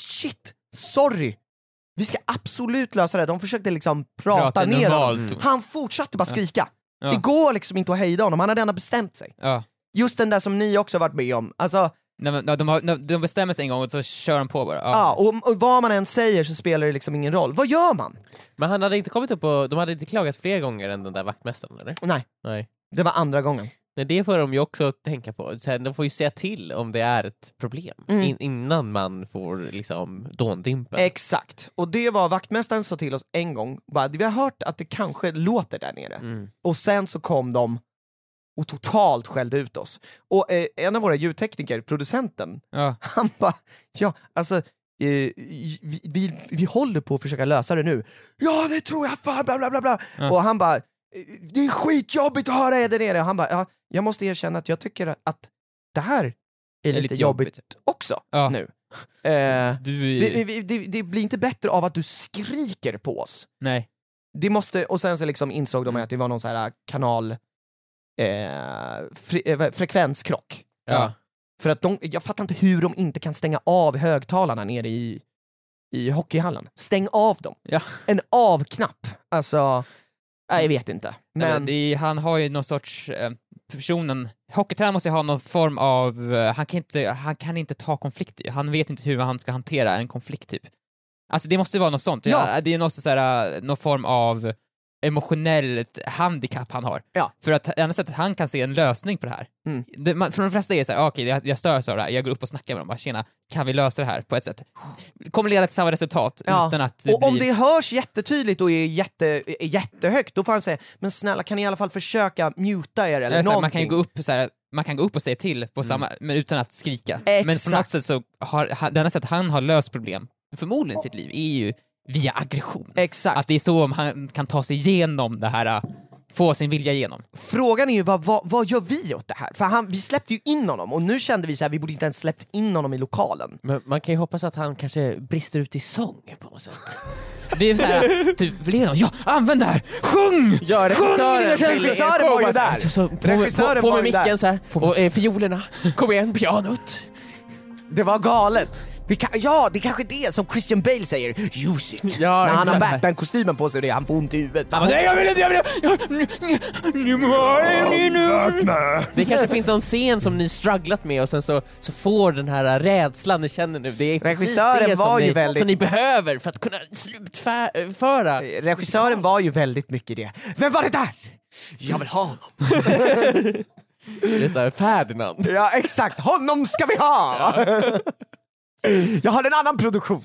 [SPEAKER 4] shit, sorry. Vi ska absolut lösa det. De försökte liksom prata,
[SPEAKER 3] Prata
[SPEAKER 4] ner honom.
[SPEAKER 3] normalt.
[SPEAKER 4] Han fortsatte bara skrika.
[SPEAKER 3] Mm. Ja.
[SPEAKER 4] Det går liksom inte att hejda honom, han hade ändå bestämt sig
[SPEAKER 3] ja.
[SPEAKER 4] just den där som ni också varit med om. Alltså, ja.
[SPEAKER 3] Nej, men, ja, de, har, de- de bestämmer sig en gång och så kör de på bara. Ja.
[SPEAKER 4] och, och vad man än säger så spelar det liksom ingen roll. Vad gör man?
[SPEAKER 2] Men han hade inte kommit upp och, de hade inte klagat fler gånger än den där vaktmästaren eller?
[SPEAKER 4] Nej,
[SPEAKER 2] Nej.
[SPEAKER 4] det var andra gången.
[SPEAKER 2] Nej, det får de ju också tänka på. Så här, De får ju säga till om det är ett problem
[SPEAKER 4] Mm.
[SPEAKER 2] in, innan man får liksom dåndimpen.
[SPEAKER 4] Exakt. Och det var vaktmästaren sa till oss en gång, bara, vi har hört att det kanske låter där nere.
[SPEAKER 2] Mm.
[SPEAKER 4] Och sen så kom de och totalt skällde ut oss. Och eh, en av våra ljudtekniker, producenten,
[SPEAKER 3] Ja.
[SPEAKER 4] [laughs] han bara, ja alltså eh, vi, vi, vi håller på att försöka lösa det nu. Ja det tror jag fan, bla bla bla. bla.
[SPEAKER 3] Ja.
[SPEAKER 4] Och han bara, eh, det är skitjobbigt att höra er där nere. Och han bara, ja, jag måste erkänna att jag tycker att det här är, lite, jobbigt, också
[SPEAKER 3] Ja.
[SPEAKER 4] nu. Eh,
[SPEAKER 3] Du...
[SPEAKER 4] vi, vi, vi, det, det blir inte bättre av att du skriker på oss.
[SPEAKER 3] Nej.
[SPEAKER 4] Det måste, och sen så liksom insåg de att det var någon så här äh, kanal... Eh, fre, eh, vad- frekvenskrock.
[SPEAKER 3] Ja.
[SPEAKER 2] Ja.
[SPEAKER 4] För att de, jag fattar inte hur de inte kan stänga av högtalarna nere i, i hockeyhallen. Stäng av dem!
[SPEAKER 3] Ja.
[SPEAKER 4] En avknapp! Alltså, nej, jag vet inte.
[SPEAKER 3] Eller,
[SPEAKER 4] Men,
[SPEAKER 3] det är, han har ju någon sorts... Eh, personen... Hockeytränaren måste ju ha någon form av... Eh, han, kan inte, han kan inte ta konflikter. ju. Han vet inte hur han ska hantera en konflikt typ. Alltså det måste ju vara något sånt.
[SPEAKER 4] Ja.
[SPEAKER 3] det är något så här, eh, någon form av emotionellt handikapp han har.
[SPEAKER 4] Ja.
[SPEAKER 3] För att annars sätt att han kan se en lösning på det här.
[SPEAKER 4] Mm.
[SPEAKER 3] Det, man, för de flesta är det så här, "Ah, okej jag, jag störs av det här, jag går upp och snackar med dem, bara tjena, kan vi lösa det här på ett sätt? Det kommer leda till samma resultat
[SPEAKER 4] Ja.
[SPEAKER 3] utan att
[SPEAKER 4] och om
[SPEAKER 3] blir-
[SPEAKER 4] det hörs jättetydligt och är, jätte, är jättehögt, då får han säga men snälla kan ni i alla fall försöka muta er eller
[SPEAKER 3] Eller Eh, så här,
[SPEAKER 4] någonting.
[SPEAKER 3] man, kan ju gå upp, så här, man kan gå upp och säga till på samma, men utan att skrika. Men på något
[SPEAKER 4] Exakt.
[SPEAKER 3] sätt så har han, det enda sättet han har löst problem, förmodligen i sitt liv, är ju via aggression.
[SPEAKER 4] Exakt.
[SPEAKER 3] Att det är så om han kan ta sig igenom det här, äh, få sin vilja igenom.
[SPEAKER 4] frågan är ju vad, vad, vad gör vi åt det här? För han, vi släppte ju in honom och nu kände vi så här, vi borde inte ens släppt in honom i lokalen.
[SPEAKER 2] Men man kan ju hoppas att han kanske brister ut i sång på något sätt.
[SPEAKER 3] Det är så här, typ, Leon, ja, använd det här! Sjung!
[SPEAKER 4] Ja,
[SPEAKER 3] Sjung dina känslor!
[SPEAKER 4] regissören var ju där!
[SPEAKER 2] Så, så, på,
[SPEAKER 4] Regissören
[SPEAKER 2] på, på
[SPEAKER 4] var
[SPEAKER 2] med
[SPEAKER 4] ju där.
[SPEAKER 2] micken så här. och eh, fiolerna, kom igen, pianot.
[SPEAKER 4] Det var galet! Vi kan, ja, det är kanske är det som Christian Bale säger, use it!
[SPEAKER 3] Ja,
[SPEAKER 4] När han har
[SPEAKER 3] exakt.
[SPEAKER 4] Batman-kostymen på sig och det, han får ont i huvudet.
[SPEAKER 3] Han bara, Nej, jag vill inte, jag vill inte! Jag-
[SPEAKER 2] Det kanske finns någon scen som ni strugglat med och sen så, så får den här rädslan ni känner nu, det är precis
[SPEAKER 4] Regissören
[SPEAKER 2] det som,
[SPEAKER 4] var ju
[SPEAKER 2] ni,
[SPEAKER 4] väldigt-
[SPEAKER 2] som ni behöver för att kunna slutföra.
[SPEAKER 4] Eh, Regissören var ju väldigt mycket det. Vem var det där? Jag vill ha honom!
[SPEAKER 2] Det är så här, Ferdinand.
[SPEAKER 4] Ja, exakt, honom ska vi ha! [laughs] Jag har en annan produktion,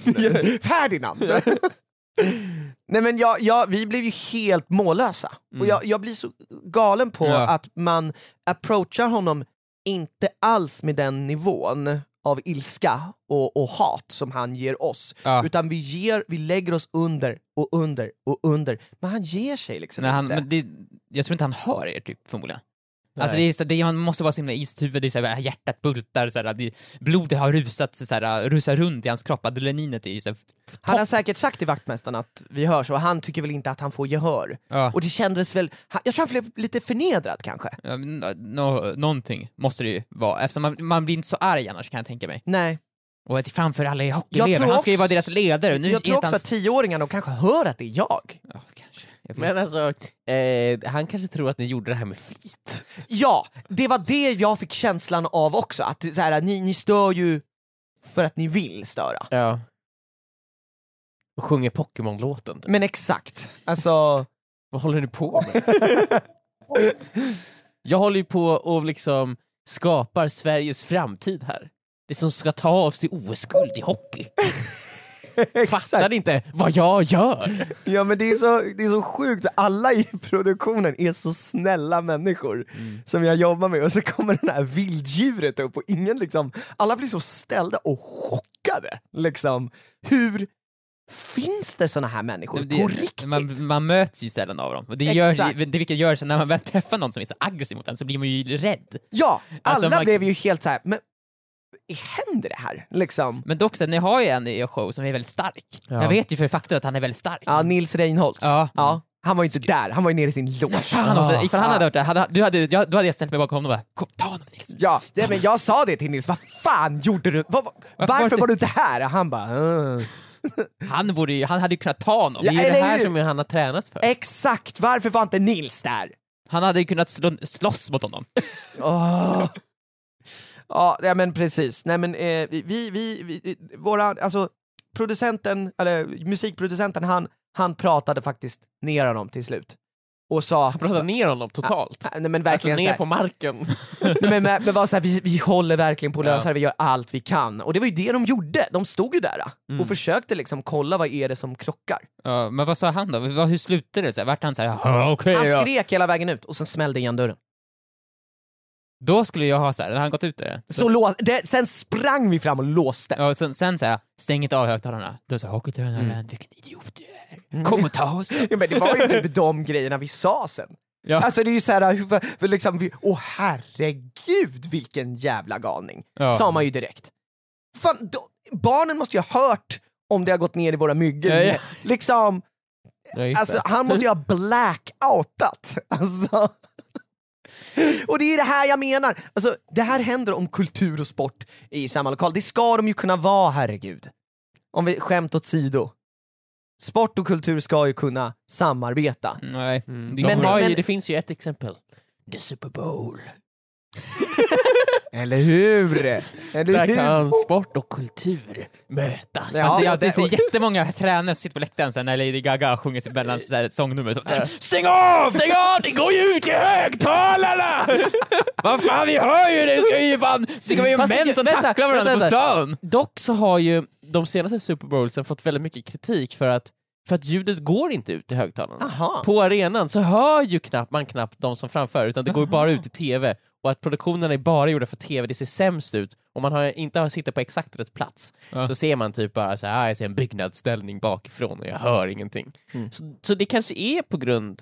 [SPEAKER 4] Ferdinand! Nej men jag, jag, vi blev ju helt mållösa, och jag, jag blir så galen på
[SPEAKER 3] Mm. Ja.
[SPEAKER 4] att man approachar honom inte alls med den nivån av ilska och, och hat som han ger oss,
[SPEAKER 3] Ja.
[SPEAKER 4] utan vi, ger, vi lägger oss under och under och under, men han ger sig liksom
[SPEAKER 3] Nej, han,
[SPEAKER 4] inte.
[SPEAKER 3] men det, jag tror inte han hör er typ, förmodligen. Alltså det,
[SPEAKER 2] Nej.
[SPEAKER 3] är så, det han måste vara så himla is i huvudet, det är så här, hjärtat bultar, så här, det, blodet har rusat, så här, rusar runt i hans kropp, adrenalinet är ju så här,
[SPEAKER 4] Han har säkert sagt till vaktmästaren att vi hörs och han tycker väl inte att han får gehör.
[SPEAKER 3] Ja.
[SPEAKER 4] Och det kändes väl, han- jag tror han blev lite förnedrad kanske.
[SPEAKER 3] ja, men, nå- någonting måste det ju vara, eftersom man, man blir inte så arg annars kan jag tänka mig.
[SPEAKER 4] Nej.
[SPEAKER 3] Och att framför alla är
[SPEAKER 4] Jag
[SPEAKER 3] hockeyelever,
[SPEAKER 4] tror
[SPEAKER 3] han ska ju
[SPEAKER 4] också-
[SPEAKER 3] vara deras ledare. Nu
[SPEAKER 4] jag tror
[SPEAKER 3] är
[SPEAKER 4] också
[SPEAKER 3] inte han...
[SPEAKER 4] att tioåringarna de kanske hör att det är jag.
[SPEAKER 3] Ja, kanske. Jag vet
[SPEAKER 2] Men alltså, eh, han kanske tror att ni gjorde det här med flit.
[SPEAKER 4] Ja, det var det jag fick känslan av också, att så här, ni, ni stör ju för att ni vill störa.
[SPEAKER 2] Ja. Och sjunger Pokémon-låten. typ.
[SPEAKER 4] Men exakt, alltså...
[SPEAKER 2] Vad håller ni på med? [laughs] Jag håller ju på och liksom skapar Sveriges framtid här. Det som ska ta oss till OS-guld i hockey. Fattar
[SPEAKER 4] exakt.
[SPEAKER 2] ni inte vad jag gör?
[SPEAKER 4] Ja men det är, så, det är så sjukt, alla i produktionen är så snälla människor
[SPEAKER 3] Mm.
[SPEAKER 4] som jag jobbar med och så kommer det här vilddjuret upp och ingen liksom, alla blir så ställda och chockade. Liksom, hur finns det såna här människor
[SPEAKER 3] Det-
[SPEAKER 4] på
[SPEAKER 3] det-
[SPEAKER 4] riktigt?
[SPEAKER 3] Man, man möts ju sällan av dem. Och det,
[SPEAKER 4] Exakt.
[SPEAKER 3] gör, det vilket gör så när man väl träffar någon som är så aggressiv mot en så blir man ju rädd.
[SPEAKER 4] Ja, alla
[SPEAKER 3] Alltså, man-
[SPEAKER 4] blev ju helt så här. men händer det här? Liksom.
[SPEAKER 3] Men dock så, ni har ju en i er show som är väldigt stark.
[SPEAKER 2] Ja.
[SPEAKER 3] Jag vet ju för faktum att han är väldigt stark.
[SPEAKER 4] Ja, Nils Reinholdt.
[SPEAKER 3] Ja.
[SPEAKER 4] han var ju inte där, han var ju nere i sin lås.
[SPEAKER 3] Fan också,
[SPEAKER 2] Ah.
[SPEAKER 3] ifall han hade hört det, hade, du hade, jag, då hade jag ställt mig bakom honom och bara Kom, ta honom Nils.
[SPEAKER 4] Ja, nej, men jag sa det till Nils, vad fan gjorde du? Vad- vad- varför
[SPEAKER 3] var det-
[SPEAKER 4] var du inte här? Och han bara... "Mm."
[SPEAKER 3] Han, borde, ju- han hade ju kunnat ta honom.
[SPEAKER 2] Det är ju det
[SPEAKER 4] eller
[SPEAKER 2] här
[SPEAKER 4] hur?
[SPEAKER 2] som han har tränat för.
[SPEAKER 4] Exakt, varför var inte Nils där?
[SPEAKER 3] Han hade ju kunnat slå, slåss mot honom.
[SPEAKER 4] Åh. Ja, nej, men precis. Nej, men, eh, vi, vi, vi, vi, våra, alltså, producenten, eller musikproducenten, han, han pratade faktiskt ner honom till slut. Och sa...
[SPEAKER 2] Han pratar ner honom totalt.
[SPEAKER 4] Nej, men verkligen
[SPEAKER 2] Alltså
[SPEAKER 4] så
[SPEAKER 2] ner
[SPEAKER 4] här-
[SPEAKER 2] på marken.
[SPEAKER 4] Nej, men, men, men var så här, vi, vi håller verkligen på att lösa
[SPEAKER 2] Ja.
[SPEAKER 4] det, vi gör allt vi kan. Och det var ju det de gjorde, de stod ju där
[SPEAKER 2] Mm.
[SPEAKER 4] och försökte liksom kolla vad är det som krockar.
[SPEAKER 3] Ja, men vad sa han då? Vad- Hur slutade det? Så här, vart han såhär ja okej
[SPEAKER 4] Han
[SPEAKER 3] ja.
[SPEAKER 4] skrek hela vägen ut och sen smällde igen dörren.
[SPEAKER 3] Då skulle jag ha såhär, när han gått ut där.
[SPEAKER 4] Så lå- det, sen sprang vi fram och låste.
[SPEAKER 3] Ja, och sen, sen såhär, stäng inte av högtalarna. Då sa hockeytränaren, vilken idiot du är.
[SPEAKER 4] Mm.
[SPEAKER 3] Kom och ta oss då.
[SPEAKER 4] [laughs] Ja, men det var ju typ de grejerna vi sa sen.
[SPEAKER 3] Ja.
[SPEAKER 4] Alltså det är ju såhär, hur- för, för liksom, vi, åh herregud vilken jävla galning.
[SPEAKER 3] Ja.
[SPEAKER 4] Sa man ju direkt. Fan, då, barnen måste ju ha hört om det har gått ner i våra myggor.
[SPEAKER 3] Ja, ja.
[SPEAKER 4] Liksom,
[SPEAKER 2] Ja, just
[SPEAKER 4] Alltså
[SPEAKER 2] det.
[SPEAKER 4] han måste ju ha blackoutat. [laughs] Alltså. Och det är det här jag menar. Alltså, det här händer om kultur och sport är i samma lokal. Det ska de ju kunna vara, herregud. Om vi skämt åt sido. Sport och kultur ska ju kunna samarbeta.
[SPEAKER 3] Nej.
[SPEAKER 2] Mm,
[SPEAKER 3] De
[SPEAKER 2] de
[SPEAKER 3] men,
[SPEAKER 2] har ju,
[SPEAKER 4] men-
[SPEAKER 2] det finns ju ett exempel. The Super Bowl.
[SPEAKER 4] Eller hur? Eller
[SPEAKER 2] Där
[SPEAKER 4] hur?
[SPEAKER 2] kan sport och kultur mötas.
[SPEAKER 4] Ja.
[SPEAKER 3] Alltså,
[SPEAKER 4] och
[SPEAKER 3] jag, det är
[SPEAKER 4] det-
[SPEAKER 3] så
[SPEAKER 4] och-
[SPEAKER 3] jättemånga tränare som sitter på läktaren sen när Lady Gaga sjunger sitt mellan så här, sångnummer. Så, stäng av! Stäng av! Det går ju ut i högtalarna! [laughs] Vad fan, vi hör ju det! Ska ju fan, det kan ju
[SPEAKER 2] Fast
[SPEAKER 3] män
[SPEAKER 2] ju-
[SPEAKER 3] som
[SPEAKER 2] vänta,
[SPEAKER 3] tacklar varandra
[SPEAKER 2] vänta, vänta.
[SPEAKER 3] på plan!
[SPEAKER 2] Dock så har ju de senaste Super Bowlsen fått väldigt mycket kritik för att, för att ljudet går inte ut i högtalarna.
[SPEAKER 4] Aha.
[SPEAKER 2] På arenan så hör ju knappt, man knappt de som framför utan det går ju bara ut i TV och att produktionerna är bara gjorda för TV, det ser sämst ut. Om man har, inte har sitter på exakt rätt plats
[SPEAKER 3] Ja.
[SPEAKER 2] så ser man typ bara så här, ah, jag ser en byggnadsställning bakifrån och jag hör ingenting.
[SPEAKER 4] Mm.
[SPEAKER 2] Så, så det kanske är på grund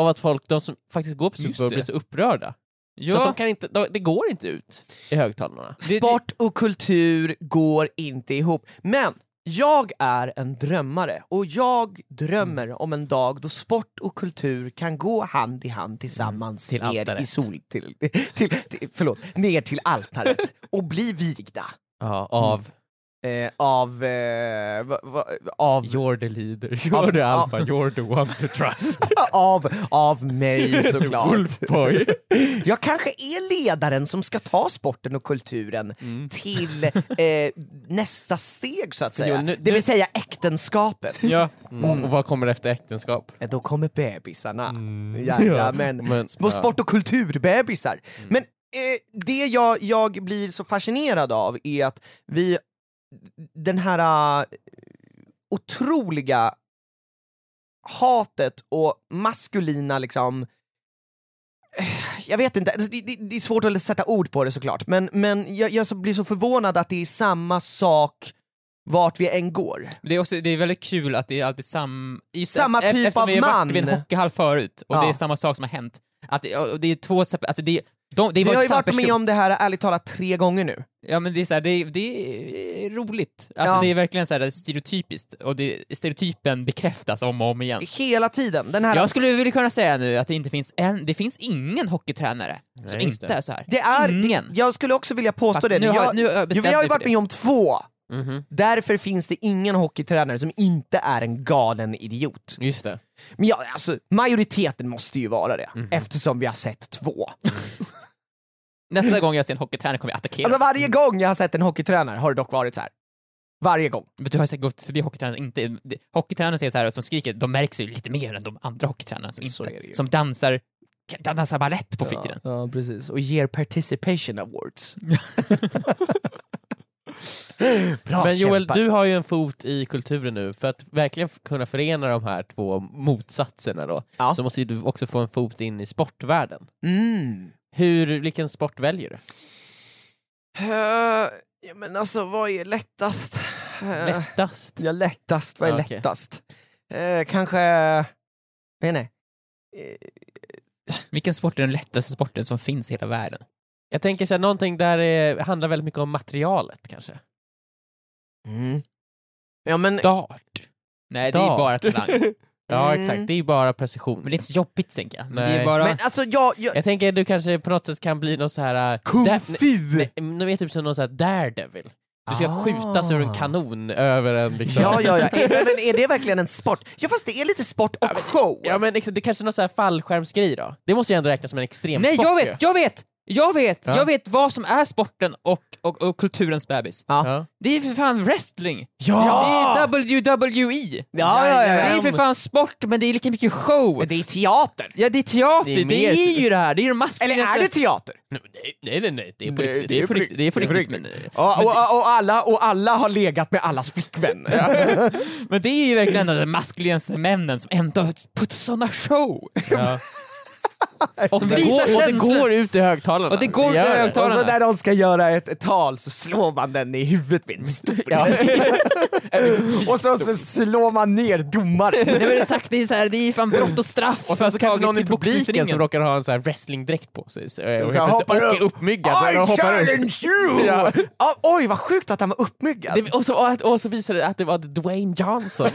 [SPEAKER 2] av att folk, de som faktiskt går på Super
[SPEAKER 3] Just
[SPEAKER 2] Bowl
[SPEAKER 3] det.
[SPEAKER 2] blir så upprörda. Så att de
[SPEAKER 3] Ja,
[SPEAKER 2] kan inte, de, det går inte ut i högtalarna.
[SPEAKER 3] det-
[SPEAKER 4] Sport och kultur går inte ihop. Men jag är en drömmare och jag drömmer om en dag då sport och kultur kan gå hand i hand tillsammans
[SPEAKER 2] Mm, till
[SPEAKER 4] ner i
[SPEAKER 2] altaret.
[SPEAKER 4] sol... Till, [laughs] till, till, förlåt, ner till altaret och bli vigda
[SPEAKER 2] Ja, av
[SPEAKER 3] Mm.
[SPEAKER 4] eh, av... Eh, va, va, av
[SPEAKER 2] You're the leader,
[SPEAKER 4] Av-
[SPEAKER 3] Alltså,
[SPEAKER 2] you're the
[SPEAKER 4] av-
[SPEAKER 2] alpha, you're the one to
[SPEAKER 3] [laughs]
[SPEAKER 2] trust.
[SPEAKER 4] [laughs] av, av mig
[SPEAKER 2] The [laughs]
[SPEAKER 4] såklart.
[SPEAKER 2] wolf boy.
[SPEAKER 4] Jag kanske är ledaren som ska ta sporten och kulturen
[SPEAKER 2] Mm.
[SPEAKER 4] till eh, nästa steg så att säga.
[SPEAKER 2] nu-
[SPEAKER 4] det vill säga äktenskapet. [laughs]
[SPEAKER 3] ja.
[SPEAKER 4] Mm.
[SPEAKER 2] Och vad kommer efter äktenskap?
[SPEAKER 4] Eh, Då kommer bebisarna.
[SPEAKER 2] Mm.
[SPEAKER 4] Jajamän.
[SPEAKER 2] Ja, men-
[SPEAKER 4] Små
[SPEAKER 2] ja.
[SPEAKER 4] sport och kulturbebisar.
[SPEAKER 3] Mm.
[SPEAKER 4] Men eh, det jag, jag blir så fascinerad av är att vi, den här eh, otroliga hatet och maskulina liksom eh, jag vet inte, alltså, det, det, det är svårt att sätta ord på det såklart, men, men jag, jag så blir så förvånad att det är samma sak vart vi än går.
[SPEAKER 3] Det är, också, det är väldigt kul att det är alltid sam, just
[SPEAKER 4] Samma
[SPEAKER 3] efter-
[SPEAKER 4] typ
[SPEAKER 3] eftersom
[SPEAKER 4] av
[SPEAKER 3] vi har varit
[SPEAKER 4] man.
[SPEAKER 3] vid en hockeyhall förut och
[SPEAKER 4] Ja.
[SPEAKER 3] det är samma sak som har hänt. Att det, och det är två separ- alltså det, är- De, det
[SPEAKER 4] Vi
[SPEAKER 3] var
[SPEAKER 4] har ju
[SPEAKER 3] ett sant
[SPEAKER 4] varit med
[SPEAKER 3] person-
[SPEAKER 4] om det här ärligt talat tre gånger nu.
[SPEAKER 3] Ja men det är, så här, det är, det är roligt. Alltså
[SPEAKER 4] Ja.
[SPEAKER 3] det är verkligen så här stereotypiskt och det, stereotypen bekräftas om och om igen.
[SPEAKER 4] Hela tiden. Den här
[SPEAKER 3] Jag skulle vilja kunna säga nu att det inte finns en, det finns ingen hockeytränare som
[SPEAKER 2] just
[SPEAKER 3] inte
[SPEAKER 2] det.
[SPEAKER 3] är så här.
[SPEAKER 4] Det är,
[SPEAKER 3] Ingen.
[SPEAKER 4] Mm. Jag skulle också vilja påstå
[SPEAKER 3] Fast
[SPEAKER 4] det.
[SPEAKER 3] nu
[SPEAKER 4] jag,
[SPEAKER 3] har, nu har jag
[SPEAKER 4] jo,
[SPEAKER 3] bestämt
[SPEAKER 4] vi har
[SPEAKER 3] mig
[SPEAKER 4] ju
[SPEAKER 3] för
[SPEAKER 4] varit
[SPEAKER 3] det.
[SPEAKER 4] med om två.
[SPEAKER 2] Mhm.
[SPEAKER 4] Därför finns det ingen hockeytränare som inte är en galen idiot.
[SPEAKER 2] Just det.
[SPEAKER 4] Men ja, alltså, majoriteten måste ju vara det,
[SPEAKER 3] Mhm.
[SPEAKER 4] eftersom vi har sett två.
[SPEAKER 3] Nästa gång jag ser en hockeytränare kommer jag attackera.
[SPEAKER 4] Alltså varje gång jag har sett en hockeytränare har det dock varit så här. Varje gång.
[SPEAKER 3] Men du har ju säkert gått förbi hockeytränare som inte... det- Hockeytränare som är så här, som skriker, de märks ju lite mer än de andra hockeytränarna som,
[SPEAKER 4] Så är det ju.
[SPEAKER 3] inte, som dansar, kan- dansar ballett på fritiden.
[SPEAKER 4] Ja, ja, precis. Och ger participation
[SPEAKER 3] [laughs]
[SPEAKER 4] awards. Bra
[SPEAKER 2] Men Joel,
[SPEAKER 4] kämpat.
[SPEAKER 2] du har ju en fot i kulturen nu. För att verkligen f- kunna förena de här två motsatserna då,
[SPEAKER 4] Ja.
[SPEAKER 2] så måste ju du också få en fot in i sportvärlden.
[SPEAKER 4] Mm.
[SPEAKER 2] Hur, vilken sport väljer du?
[SPEAKER 4] Eh, ja, men alltså vad är lättast? Eh,
[SPEAKER 2] Lättast?
[SPEAKER 4] Ja, lättast. Vad är
[SPEAKER 2] Ja, okej.
[SPEAKER 4] lättast? Eh, kanske... Jag vet inte. Eh,
[SPEAKER 3] Vilken sport är den lättaste sporten som finns i hela världen?
[SPEAKER 2] Jag tänker såhär, någonting där det handlar väldigt mycket om materialet kanske.
[SPEAKER 4] Mm. Ja, men...
[SPEAKER 2] Dart.
[SPEAKER 3] Nej, det är
[SPEAKER 2] Dart.
[SPEAKER 3] bara talang.
[SPEAKER 2] Ja
[SPEAKER 4] Mm.
[SPEAKER 2] exakt, det är ju bara precision.
[SPEAKER 3] Men det är inte så jobbigt tänker jag. Det är
[SPEAKER 2] Nej.
[SPEAKER 3] bara...
[SPEAKER 4] Men alltså jag... jag
[SPEAKER 2] Jag tänker du kanske på något sätt kan bli någon så här... äh,
[SPEAKER 4] kung
[SPEAKER 2] där-
[SPEAKER 4] fu!
[SPEAKER 2] nej, nej, Du vet typ som någon så här daredevil. Du ska skjutas ur en
[SPEAKER 4] Ah.
[SPEAKER 2] kanon över en liksom...
[SPEAKER 4] Ja,
[SPEAKER 2] [laughs]
[SPEAKER 4] ja, ja. Är, men är det verkligen en sport? Ja, fast det är lite sport och show.
[SPEAKER 2] Ja men exakt, det kanske är någon så här fallskärmsgrej då? Det måste ju ändå räknas som en extrem
[SPEAKER 3] Nej,
[SPEAKER 2] sport
[SPEAKER 3] jag
[SPEAKER 2] ju.
[SPEAKER 3] vet! Jag vet! Jag vet!
[SPEAKER 2] Ja.
[SPEAKER 3] Jag vet vad som är sporten och, och, och kulturens bebis.
[SPEAKER 2] Ja.
[SPEAKER 3] Det är för fan wrestling!
[SPEAKER 4] Ja!
[SPEAKER 3] Det är WWE!
[SPEAKER 4] Ja, ja, ja.
[SPEAKER 3] Det är för fan sport, men det är lika mycket show!
[SPEAKER 4] Men det är teater.
[SPEAKER 3] Ja, det är teater,
[SPEAKER 2] Det
[SPEAKER 3] det
[SPEAKER 2] är
[SPEAKER 3] är,
[SPEAKER 2] mer-
[SPEAKER 3] ju det här, det är den maskulina...
[SPEAKER 4] Eller är det teater?
[SPEAKER 2] Nej, nej, nej, nej, det är på
[SPEAKER 4] Nej,
[SPEAKER 2] riktigt.
[SPEAKER 4] det är på
[SPEAKER 3] riktigt, det är på
[SPEAKER 4] det är på
[SPEAKER 3] riktigt. Men,
[SPEAKER 4] Ja, och, och, och, alla, och alla har legat med allas flickvän.
[SPEAKER 3] men det är ju verkligen den maskulinaste männen som ändå puts såna show!
[SPEAKER 2] Ja. och,
[SPEAKER 3] Som
[SPEAKER 2] det
[SPEAKER 3] visar
[SPEAKER 2] går, och det
[SPEAKER 3] känslor.
[SPEAKER 2] går ut i högtalarna.
[SPEAKER 3] Och det går ut i
[SPEAKER 2] gör
[SPEAKER 3] högtalarna.
[SPEAKER 4] Och så när de ska göra ett, ett tal så slår man den i huvudet med en stol.
[SPEAKER 2] Ja.
[SPEAKER 4] [laughs] Och så, så slår man ner
[SPEAKER 3] [laughs]
[SPEAKER 4] domaren.
[SPEAKER 3] Nej, men [laughs] det, är sagt, det, är så här, det är fan brott och straff
[SPEAKER 2] [laughs] Och sen så kanske
[SPEAKER 3] taget
[SPEAKER 2] någon i
[SPEAKER 3] till
[SPEAKER 2] publiken
[SPEAKER 3] boxningsringen.
[SPEAKER 2] som råkar ha en sån här wrestlingdräkt på sig så, eh, och helt
[SPEAKER 4] här
[SPEAKER 2] plötsligt
[SPEAKER 4] hoppar
[SPEAKER 2] och är
[SPEAKER 4] upp.
[SPEAKER 2] uppmyggad. så de
[SPEAKER 4] I
[SPEAKER 2] hoppar upp.
[SPEAKER 4] challenge you!
[SPEAKER 2] Ja.
[SPEAKER 4] Ja, oj, vad sjukt att han var uppmyggad.
[SPEAKER 2] Det, och, så, och så visade det att det var Dwayne Johnson.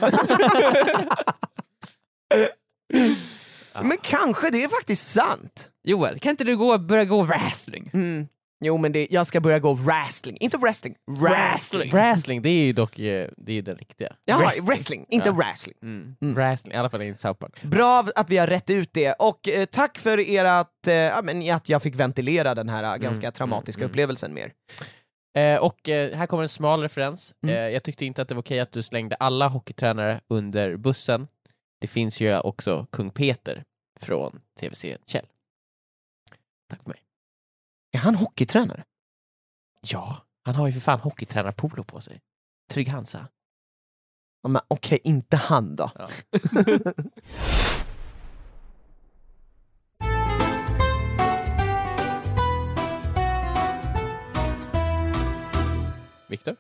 [SPEAKER 4] Men kanske, det är faktiskt sant.
[SPEAKER 3] [laughs]
[SPEAKER 4] Mm.
[SPEAKER 3] Joel, kan inte du gå, börja gå wrestling?
[SPEAKER 4] Jo, men det, jag ska börja gå wrestling. Inte wrestling, wrestling.
[SPEAKER 2] Wrestling, det är ju dock eh, det är ju den riktiga.
[SPEAKER 4] Jaha,
[SPEAKER 2] Wrestling.
[SPEAKER 4] wrestling, inte
[SPEAKER 2] Ja.
[SPEAKER 4] wrestling.
[SPEAKER 2] Mm. Wrestling, i alla fall enligt South Park.
[SPEAKER 4] Bra att vi har rätt ut det och eh, tack för erat, eh, ja, men, att jag fick ventilera den här eh, ganska traumatiska upplevelsen mer.
[SPEAKER 2] Eh, och eh, här kommer en smal referens.
[SPEAKER 3] Mm.
[SPEAKER 2] Eh, jag tyckte inte att det var okej att du slängde alla hockeytränare under bussen. Det finns ju också kung Peter från tv-serien Kjell. Tack för mig.
[SPEAKER 4] Är han hockeytränare?
[SPEAKER 2] Ja, han har ju för fan hockeytränarpolo på sig. Trygg Hansa.
[SPEAKER 4] Ja, men Okej, inte han då.
[SPEAKER 2] Ja. Viktor?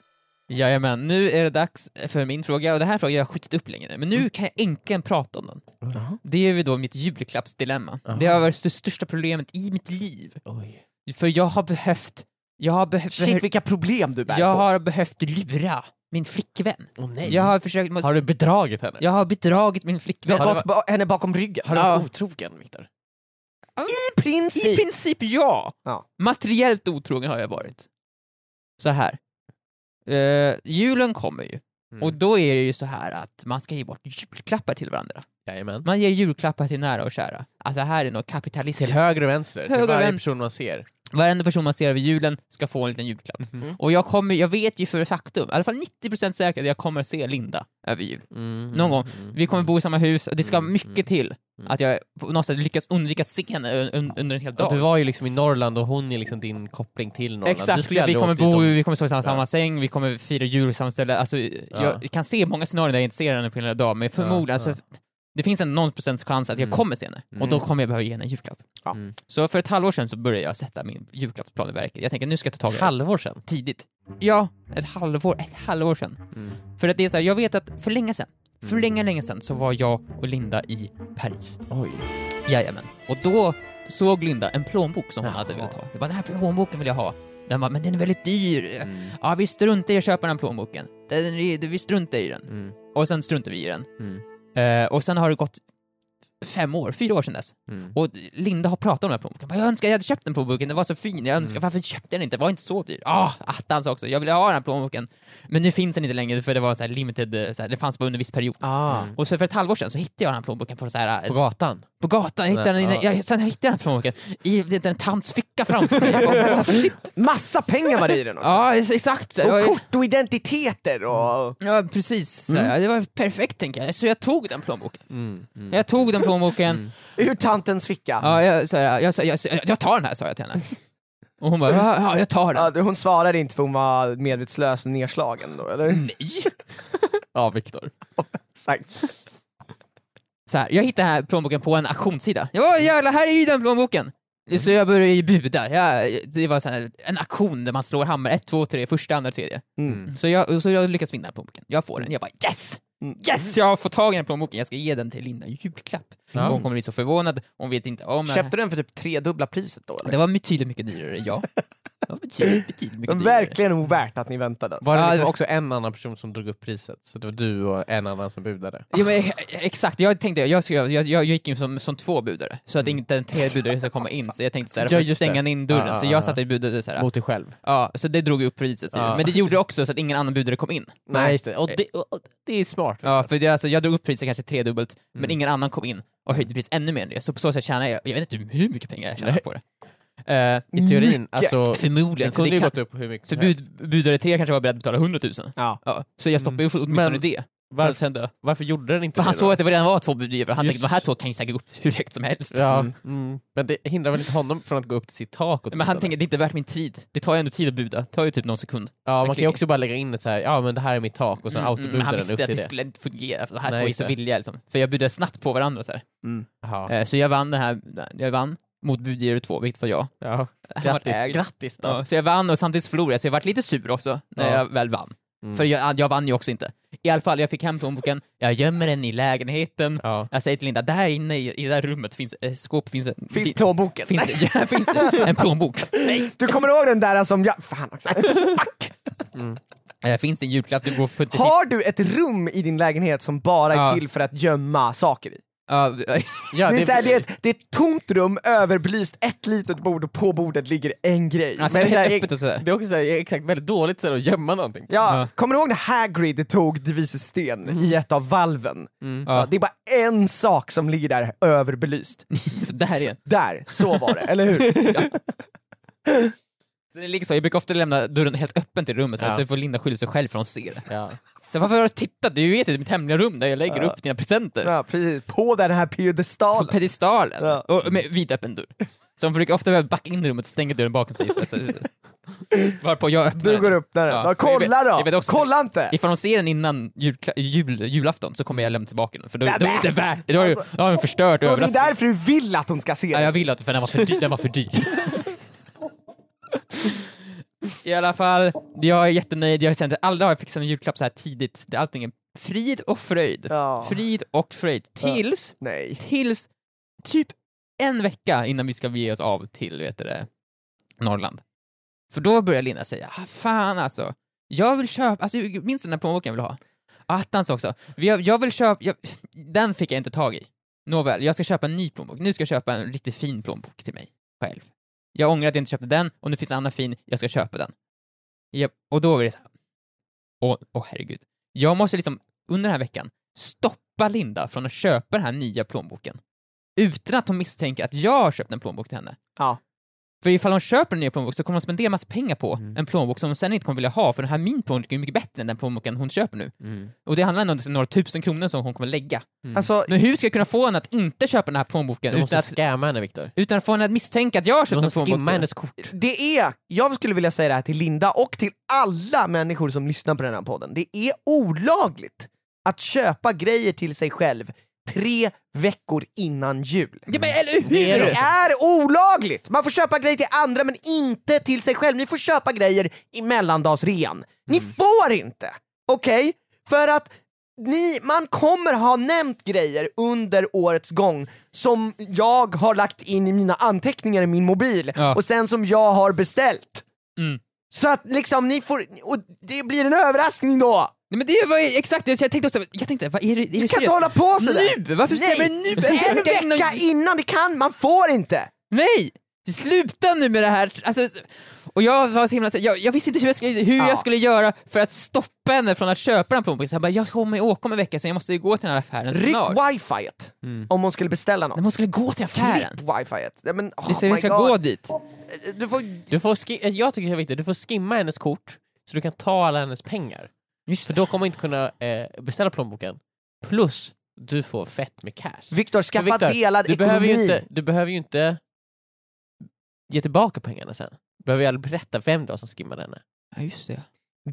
[SPEAKER 3] Jajamän, nu är det dags för min fråga, och det här frågan jag har skjutit upp länge nu, men nu kan jag äntligen prata om den.
[SPEAKER 4] Jaha.
[SPEAKER 3] Det är ju då mitt julklappsdilemma.
[SPEAKER 2] Jaha.
[SPEAKER 3] Det har varit det största problemet i mitt liv.
[SPEAKER 2] Oj.
[SPEAKER 3] För jag har behövt, jag har behövt,
[SPEAKER 4] Shit vilka problem du bär
[SPEAKER 3] jag
[SPEAKER 4] på.
[SPEAKER 3] har behövt lura min flickvän.
[SPEAKER 2] Oh, nej.
[SPEAKER 3] Jag har försökt,
[SPEAKER 2] Har du bedragit henne?
[SPEAKER 3] jag har bedragit min
[SPEAKER 4] Du
[SPEAKER 3] flickvän.
[SPEAKER 4] har gått ba- henne bakom ryggen.
[SPEAKER 2] Har du varit
[SPEAKER 3] Ja.
[SPEAKER 2] otrogen, Viktor?
[SPEAKER 4] I princip!
[SPEAKER 3] I princip ja.
[SPEAKER 4] Ja.
[SPEAKER 3] Materiellt otrogen har jag varit. Så här. Eh, julen kommer ju.
[SPEAKER 2] Mm.
[SPEAKER 3] Och då är det ju så här att man ska ge bort julklappar till varandra.
[SPEAKER 2] Jajamän.
[SPEAKER 3] Man ger julklappar till nära och kära. Alltså här är något kapitalistiskt.
[SPEAKER 2] Till höger och vänster, till
[SPEAKER 3] Höger och Mm.
[SPEAKER 2] varje
[SPEAKER 3] vän-
[SPEAKER 2] person man ser.
[SPEAKER 3] Varenda person man ser över julen ska få en liten julklapp.
[SPEAKER 2] Mhm.
[SPEAKER 3] Och jag, kommer, jag vet ju för faktum, i alla fall 90% säkert, att jag kommer se Linda över jul. Någon gång. Vi kommer bo i samma hus, och det ska
[SPEAKER 2] Mm, mm,
[SPEAKER 3] mycket till
[SPEAKER 2] mm.
[SPEAKER 3] att jag på något sätt lyckas undvika att se henne un- un- under en hel
[SPEAKER 2] Ja,
[SPEAKER 3] dag.
[SPEAKER 2] du var ju liksom i Norrland och hon är liksom din koppling till Norrland. du
[SPEAKER 3] Exakt,
[SPEAKER 2] skulle
[SPEAKER 3] vi
[SPEAKER 2] aldrig
[SPEAKER 3] kommer
[SPEAKER 2] åkt dit
[SPEAKER 3] bo,
[SPEAKER 2] om-
[SPEAKER 3] vi kommer sova i samma, samma säng, vi kommer fira jul i samma ställe. Alltså, Jag kan se många scenarier där jag inte ser henne på en hel dag, men förmodligen,
[SPEAKER 2] Ja,
[SPEAKER 3] alltså, det finns en någon procents chans att jag
[SPEAKER 2] Mm.
[SPEAKER 3] kommer se henne, och då kommer jag behöva ge henne en julklapp.
[SPEAKER 4] Ja.
[SPEAKER 2] Mm.
[SPEAKER 3] Så för ett halvår sedan så började jag sätta min julklappsplan i verket. Jag tänker nu ska jag ta tag i
[SPEAKER 2] Ett
[SPEAKER 3] det
[SPEAKER 2] halvår sedan.
[SPEAKER 3] tidigt. Ja, ett halvår, ett halvår sedan.
[SPEAKER 2] Mm.
[SPEAKER 3] För att det är så här, jag vet att för länge sedan,
[SPEAKER 4] Mm.
[SPEAKER 3] för länge, länge sedan så var jag och Linda i Paris.
[SPEAKER 2] Oj.
[SPEAKER 3] Jajamän. Och då såg Linda en plånbok som hon
[SPEAKER 4] Jaha.
[SPEAKER 3] hade velat ha. Jag bara, den här plånboken vill jag ha. Den bara, men den är väldigt dyr.
[SPEAKER 4] Mm.
[SPEAKER 3] Ja, vi struntar i att köpa den här plånboken. Den, är- vi struntar i den.
[SPEAKER 4] Mm.
[SPEAKER 3] Och sen struntar vi i den.
[SPEAKER 4] Mm.
[SPEAKER 3] Eh, och sen har det gått fem år, fyra år sedan dess.
[SPEAKER 4] Mm.
[SPEAKER 3] Och Linda har pratat om den här plånboken. Bara, Jag önskar jag hade köpt den plånboken, den var så fin. Jag
[SPEAKER 2] Mm.
[SPEAKER 3] önskar, varför köpte jag den inte? Den var inte så dyr. Ah, attans också. Jag ville ha den här plånboken. Men nu finns den inte längre för det var så här limited, eh, så här, det fanns bara under en viss period.
[SPEAKER 4] Ah.
[SPEAKER 3] Och så för ett halvår sedan så hittade jag den här plånboken på, så här, eh,
[SPEAKER 2] På gatan?
[SPEAKER 3] på gatan. Jag hittade
[SPEAKER 2] Nej,
[SPEAKER 3] den,
[SPEAKER 2] ja.
[SPEAKER 3] jag, sen hittade jag den här plånboken i en tants
[SPEAKER 2] [laughs]
[SPEAKER 3] ficka framför mig. Jag bara, "Åh, shit."
[SPEAKER 4] Massa pengar var det i den också.
[SPEAKER 3] Ja, exakt. Så
[SPEAKER 4] Och
[SPEAKER 3] jag-
[SPEAKER 4] kort och identiteter och...
[SPEAKER 3] Ja, precis. Så
[SPEAKER 2] Mm.
[SPEAKER 3] här, Det var perfekt tänker jag. Så jag tog den plånboken.
[SPEAKER 4] Mm.
[SPEAKER 3] Jag tog den plånboken.
[SPEAKER 2] Mm.
[SPEAKER 4] Ur tantens ficka.
[SPEAKER 3] Ja, jag, så här, jag, sa- jag, jag, jag tar den här sa jag till
[SPEAKER 2] [laughs]
[SPEAKER 3] henne. Och hon bara, ja, ja jag tar den.
[SPEAKER 4] Ja, du- hon svarade inte för hon var medvetslös och nedslagen då, eller?
[SPEAKER 3] Nej!
[SPEAKER 2] Ja, Viktor.
[SPEAKER 4] Exakt.
[SPEAKER 3] Så här, jag hittade den här plånboken på en auktionssida. Ja jävlar, här är ju den plånboken! Så jag började ju buda. Jag, det var så här, en auktion där man slår hammare, ett, två, tre, första, andra, tredje.
[SPEAKER 4] Mm.
[SPEAKER 3] Så jag, så jag lyckas vinna den här plånboken. Jag får den. Jag bara yes! Yes! Jag har fått tag i den här plånboken, jag ska ge den till Linda i julklapp.
[SPEAKER 2] Ja.
[SPEAKER 3] Hon kommer bli så förvånad, hon vet inte om...
[SPEAKER 4] Köpte du den för typ tredubbla priset då eller?
[SPEAKER 3] Det var betydligt mycket dyrare, ja. Det var betydligt, betydligt mycket
[SPEAKER 4] Men
[SPEAKER 3] dyrare.
[SPEAKER 4] verkligen ovärt att ni väntade. Alltså.
[SPEAKER 2] Var det
[SPEAKER 3] Ja,
[SPEAKER 2] liksom
[SPEAKER 3] det-
[SPEAKER 2] också en annan person som drog upp priset? Så det var du och en annan som budade?
[SPEAKER 3] Ja, men, eh, exakt, jag tänkte, jag, skulle- jag, jag, jag gick in som, som två budare, så att inte en tredje budare ska komma in, så jag tänkte såhär,
[SPEAKER 2] Ja,
[SPEAKER 3] ja,
[SPEAKER 2] just
[SPEAKER 3] stänga
[SPEAKER 2] det.
[SPEAKER 3] in dörren,
[SPEAKER 2] Ja,
[SPEAKER 3] så
[SPEAKER 2] ja,
[SPEAKER 3] jag
[SPEAKER 2] ja.
[SPEAKER 3] satt och budade såhär.
[SPEAKER 2] Mot dig själv?
[SPEAKER 3] Ja, så det drog upp priset, så-
[SPEAKER 2] Ja.
[SPEAKER 3] men det gjorde också så att ingen annan budare kom in.
[SPEAKER 2] Nej, just det. Och det, och och det är smart.
[SPEAKER 3] Ja, för det, alltså, jag drog upp priset kanske tredubbelt,
[SPEAKER 2] Mm.
[SPEAKER 3] men ingen annan kom in och höjde priset ännu mer än det, så på så sätt tjänade jag, jag vet inte hur mycket pengar jag tjänade på det. Eh,
[SPEAKER 2] I teorin, alltså... Det
[SPEAKER 3] förmodligen, för,
[SPEAKER 2] kunde
[SPEAKER 3] det
[SPEAKER 2] ju
[SPEAKER 3] kan,
[SPEAKER 2] gått upp hur mycket
[SPEAKER 3] för
[SPEAKER 2] som helst.
[SPEAKER 3] bud, budare tre kanske var beredd att betala 100 000.
[SPEAKER 4] Ja.
[SPEAKER 3] Ja, så jag stoppade ju åtminstone
[SPEAKER 2] Mm. Men-
[SPEAKER 3] det. För, att
[SPEAKER 2] Varför,
[SPEAKER 3] sen dö.
[SPEAKER 2] varför gjorde den inte
[SPEAKER 3] för han
[SPEAKER 2] det
[SPEAKER 3] såg
[SPEAKER 2] då?
[SPEAKER 3] att det redan var två budgivare, han
[SPEAKER 2] Just.
[SPEAKER 3] tänkte de här två kan ju säkert gå upp hur högt som helst.
[SPEAKER 2] Ja, mm. Men det hindrar väl inte honom från att gå upp till sitt tak?
[SPEAKER 3] Men han
[SPEAKER 2] åtminstone?
[SPEAKER 3] tänker, det är inte värt min tid. Det tar ju ändå tid att buda. Det tar ju typ någon sekund.
[SPEAKER 2] ja, man kan ju
[SPEAKER 3] klickar.
[SPEAKER 2] också bara lägga in ett så här, ja men det här är mitt tak och sen
[SPEAKER 3] Mm. men
[SPEAKER 2] autobudar
[SPEAKER 3] han
[SPEAKER 2] den
[SPEAKER 3] visste
[SPEAKER 2] upp
[SPEAKER 3] att det
[SPEAKER 2] till det.
[SPEAKER 3] skulle inte fungera, för de här
[SPEAKER 2] Nej,
[SPEAKER 3] två är
[SPEAKER 2] just
[SPEAKER 3] så
[SPEAKER 2] det.
[SPEAKER 3] billiga liksom. För jag budade snabbt på varandra så här.
[SPEAKER 2] Jaha.
[SPEAKER 3] Eh, Så jag vann det här, jag vann mot budgivare två, vilket var jag.
[SPEAKER 2] Ja.
[SPEAKER 3] Han var
[SPEAKER 2] Grattis.
[SPEAKER 3] ägd.
[SPEAKER 2] Grattis då.
[SPEAKER 3] Ja, så jag vann och samtidigt förlorade jag, så jag vart lite sur också när
[SPEAKER 2] Ja.
[SPEAKER 3] jag väl vann.
[SPEAKER 2] Mm.
[SPEAKER 3] För jag, jag vann ju också inte. I alla fall, jag fick hem plånboken, jag gömmer den i lägenheten.
[SPEAKER 2] Ja.
[SPEAKER 3] Jag säger till Linda, där inne i, i det där rummet finns eh, skåp, finns, en-
[SPEAKER 4] Finns
[SPEAKER 3] fin-
[SPEAKER 4] plånboken?
[SPEAKER 3] finns, [laughs] ja, finns en plånbok. Nej,
[SPEAKER 4] [laughs] Du kommer ihåg den där som jag... Fan också.
[SPEAKER 3] fuck! Eh, Finns det en julklapp du går för
[SPEAKER 4] [laughs] Har du ett rum i din lägenhet som bara är
[SPEAKER 3] Ja.
[SPEAKER 4] till för att gömma saker i?
[SPEAKER 3] Ja,
[SPEAKER 2] Ja,
[SPEAKER 4] Det är,
[SPEAKER 2] det-
[SPEAKER 4] så här, det, är ett, det är ett tomt rum, överbelyst, ett litet bord och på bordet ligger en grej.
[SPEAKER 3] alltså,
[SPEAKER 4] Men
[SPEAKER 3] helt
[SPEAKER 4] så här,
[SPEAKER 3] öppet och sådär.
[SPEAKER 2] Det är också så här, exakt väldigt dåligt så här, att gömma någonting.
[SPEAKER 4] Ja,
[SPEAKER 3] Ja. Mm.
[SPEAKER 4] kommer du ihåg när Hagrid tog Devises sten i ett av valven? Ja,
[SPEAKER 3] Ja.
[SPEAKER 4] det är bara en sak som ligger där överbelyst. [laughs]
[SPEAKER 3] Så där igen.
[SPEAKER 4] Där, så var det, eller hur?
[SPEAKER 3] [laughs] Så det ligger så. Jag brukar ofta lämna dörren helt öppen till rummet så, här,
[SPEAKER 2] Ja.
[SPEAKER 3] så får Linda skylla sig själv för hon ser det.
[SPEAKER 2] Ja.
[SPEAKER 3] Så varför har du tittat? Du vet ju det är mitt hemliga rum där jag lägger upp dina presenter.
[SPEAKER 4] Ja, precis. På den här
[SPEAKER 3] På
[SPEAKER 4] piedestalen.
[SPEAKER 3] pedestalen.
[SPEAKER 4] Ja.
[SPEAKER 3] Och med vidöppen dörr. Så hon brukar ofta backa in i rummet och stänga dörren
[SPEAKER 4] [laughs]
[SPEAKER 3] bakom sig. Så, så, så. Varpå jag öppnar
[SPEAKER 4] Du
[SPEAKER 3] den.
[SPEAKER 4] går upp där.
[SPEAKER 3] Ja,
[SPEAKER 4] Ja,
[SPEAKER 3] så jag vet-
[SPEAKER 4] kolla
[SPEAKER 3] jag vet
[SPEAKER 4] då!
[SPEAKER 3] också-
[SPEAKER 4] Kolla inte!
[SPEAKER 3] Ifall hon ser den innan julkla- jul, julafton så kommer jag lämna tillbaka den, för då, då
[SPEAKER 4] Nej,
[SPEAKER 3] är det
[SPEAKER 4] men!
[SPEAKER 3] inte värt det. Då har jag då har jag den förstört och
[SPEAKER 4] Och det är
[SPEAKER 3] överraskat.
[SPEAKER 4] därför du vill att hon ska se
[SPEAKER 3] Ja, jag
[SPEAKER 4] det.
[SPEAKER 3] vill att för den var för dyr. Den var för dyr. [laughs] I alla fall, jag är jättenöjd. Jag kände aldrig har jag fixat en julklapp så här tidigt. Det är Allting är frid och fröjd.
[SPEAKER 4] Ja.
[SPEAKER 3] Frid och fröjd. Tills,
[SPEAKER 4] Nej.
[SPEAKER 3] tills typ en vecka innan vi ska ge oss av till, vet du det, Norrland. För då börjar Linda säga, ah, fan alltså, jag vill köpa, alltså minns du den här plånboken jag vill ha? Attans också. Jag, jag vill köpa, jag, den fick jag inte tag i. Nåväl, jag ska köpa en ny plånbok. Nu ska jag köpa en riktigt fin plånbok till mig själv. Jag ångrar att jag inte köpte den och nu finns en annan fin, jag ska köpa den. Japp, och då är det så här. Åh, åh herregud. Jag måste liksom under den här veckan stoppa Linda från att köpa den här nya plånboken. Utan att hon misstänker att jag har köpt en plånbok till henne.
[SPEAKER 4] Ja.
[SPEAKER 3] För ifall hon köper en ny plånbok så kommer hon spendera massa pengar på
[SPEAKER 2] Mm.
[SPEAKER 3] en plånbok som hon sen inte kommer vilja ha för den här min plånbok är mycket bättre än den plånboken hon köper nu.
[SPEAKER 2] Mm.
[SPEAKER 3] Och det handlar ändå om några tusen kronor som hon kommer lägga.
[SPEAKER 4] Alltså,
[SPEAKER 3] Men hur ska jag kunna få henne att inte köpa den här plånboken
[SPEAKER 2] Du måste
[SPEAKER 3] utan att,
[SPEAKER 2] scamma henne Viktor.
[SPEAKER 3] utan att få henne att misstänka att jag har
[SPEAKER 2] Du
[SPEAKER 3] köpt en
[SPEAKER 2] måste
[SPEAKER 3] plånbok till
[SPEAKER 2] skimma
[SPEAKER 3] henne?
[SPEAKER 2] hennes kort.
[SPEAKER 4] det är, jag skulle vilja säga det här till Linda och till alla människor som lyssnar på den här podden. Det är olagligt att köpa grejer till sig själv tre veckor innan jul.
[SPEAKER 3] Ja, men eller hur?
[SPEAKER 2] Det är
[SPEAKER 4] Det är olagligt! Man får köpa grejer till andra men inte till sig själv. Ni får
[SPEAKER 3] Mm.
[SPEAKER 4] köpa grejer i mellandagsrean. Ni får inte! Okej? För att ni, man kommer ha nämnt grejer under årets gång som jag har lagt in i mina anteckningar i min mobil
[SPEAKER 3] Ja.
[SPEAKER 4] och sen som jag har beställt.
[SPEAKER 3] Mm.
[SPEAKER 4] Så att liksom ni får, och det blir en överraskning då!
[SPEAKER 3] Nej, men det var ju exakt det jag tänkte också. Jag tänkte, vad är det? Är det
[SPEAKER 4] Du kan
[SPEAKER 3] seriöst?
[SPEAKER 4] inte hålla på sådär!
[SPEAKER 3] Nu! Varför säger
[SPEAKER 4] Nej,
[SPEAKER 3] man nu?
[SPEAKER 4] En vecka innan, det kan, man får inte!
[SPEAKER 3] Nej! Sluta nu med det här! Alltså, och jag var så himla jag, jag visste inte hur, jag skulle, hur
[SPEAKER 4] Ja.
[SPEAKER 3] jag skulle göra för att stoppa henne från att köpa den plånboken. Så jag bara, jag kommer åka om en vecka så jag måste ju gå till den här affären
[SPEAKER 4] Ryck
[SPEAKER 3] snart.
[SPEAKER 4] wifi om hon skulle beställa något.
[SPEAKER 3] Nej, man skulle gå till affären!
[SPEAKER 4] Klipp wifi. Nej, men, oh
[SPEAKER 3] Det säger
[SPEAKER 4] my
[SPEAKER 3] vi ska
[SPEAKER 4] God.
[SPEAKER 3] gå dit.
[SPEAKER 4] Du får,
[SPEAKER 2] Du får ski- eh, jag tycker det är viktigt, du får skimma hennes kort så du kan ta alla hennes pengar. För då kommer hon inte kunna eh, beställa plånboken. Plus, du får fett med cash.
[SPEAKER 4] Viktor, skaffa
[SPEAKER 2] Viktor,
[SPEAKER 4] delad
[SPEAKER 2] du
[SPEAKER 4] ekonomi.
[SPEAKER 2] behöver, ju inte, du behöver ju inte ge tillbaka pengarna sen. Du behöver ju aldrig berätta vem det var som skimmade henne.
[SPEAKER 3] Ja, just det.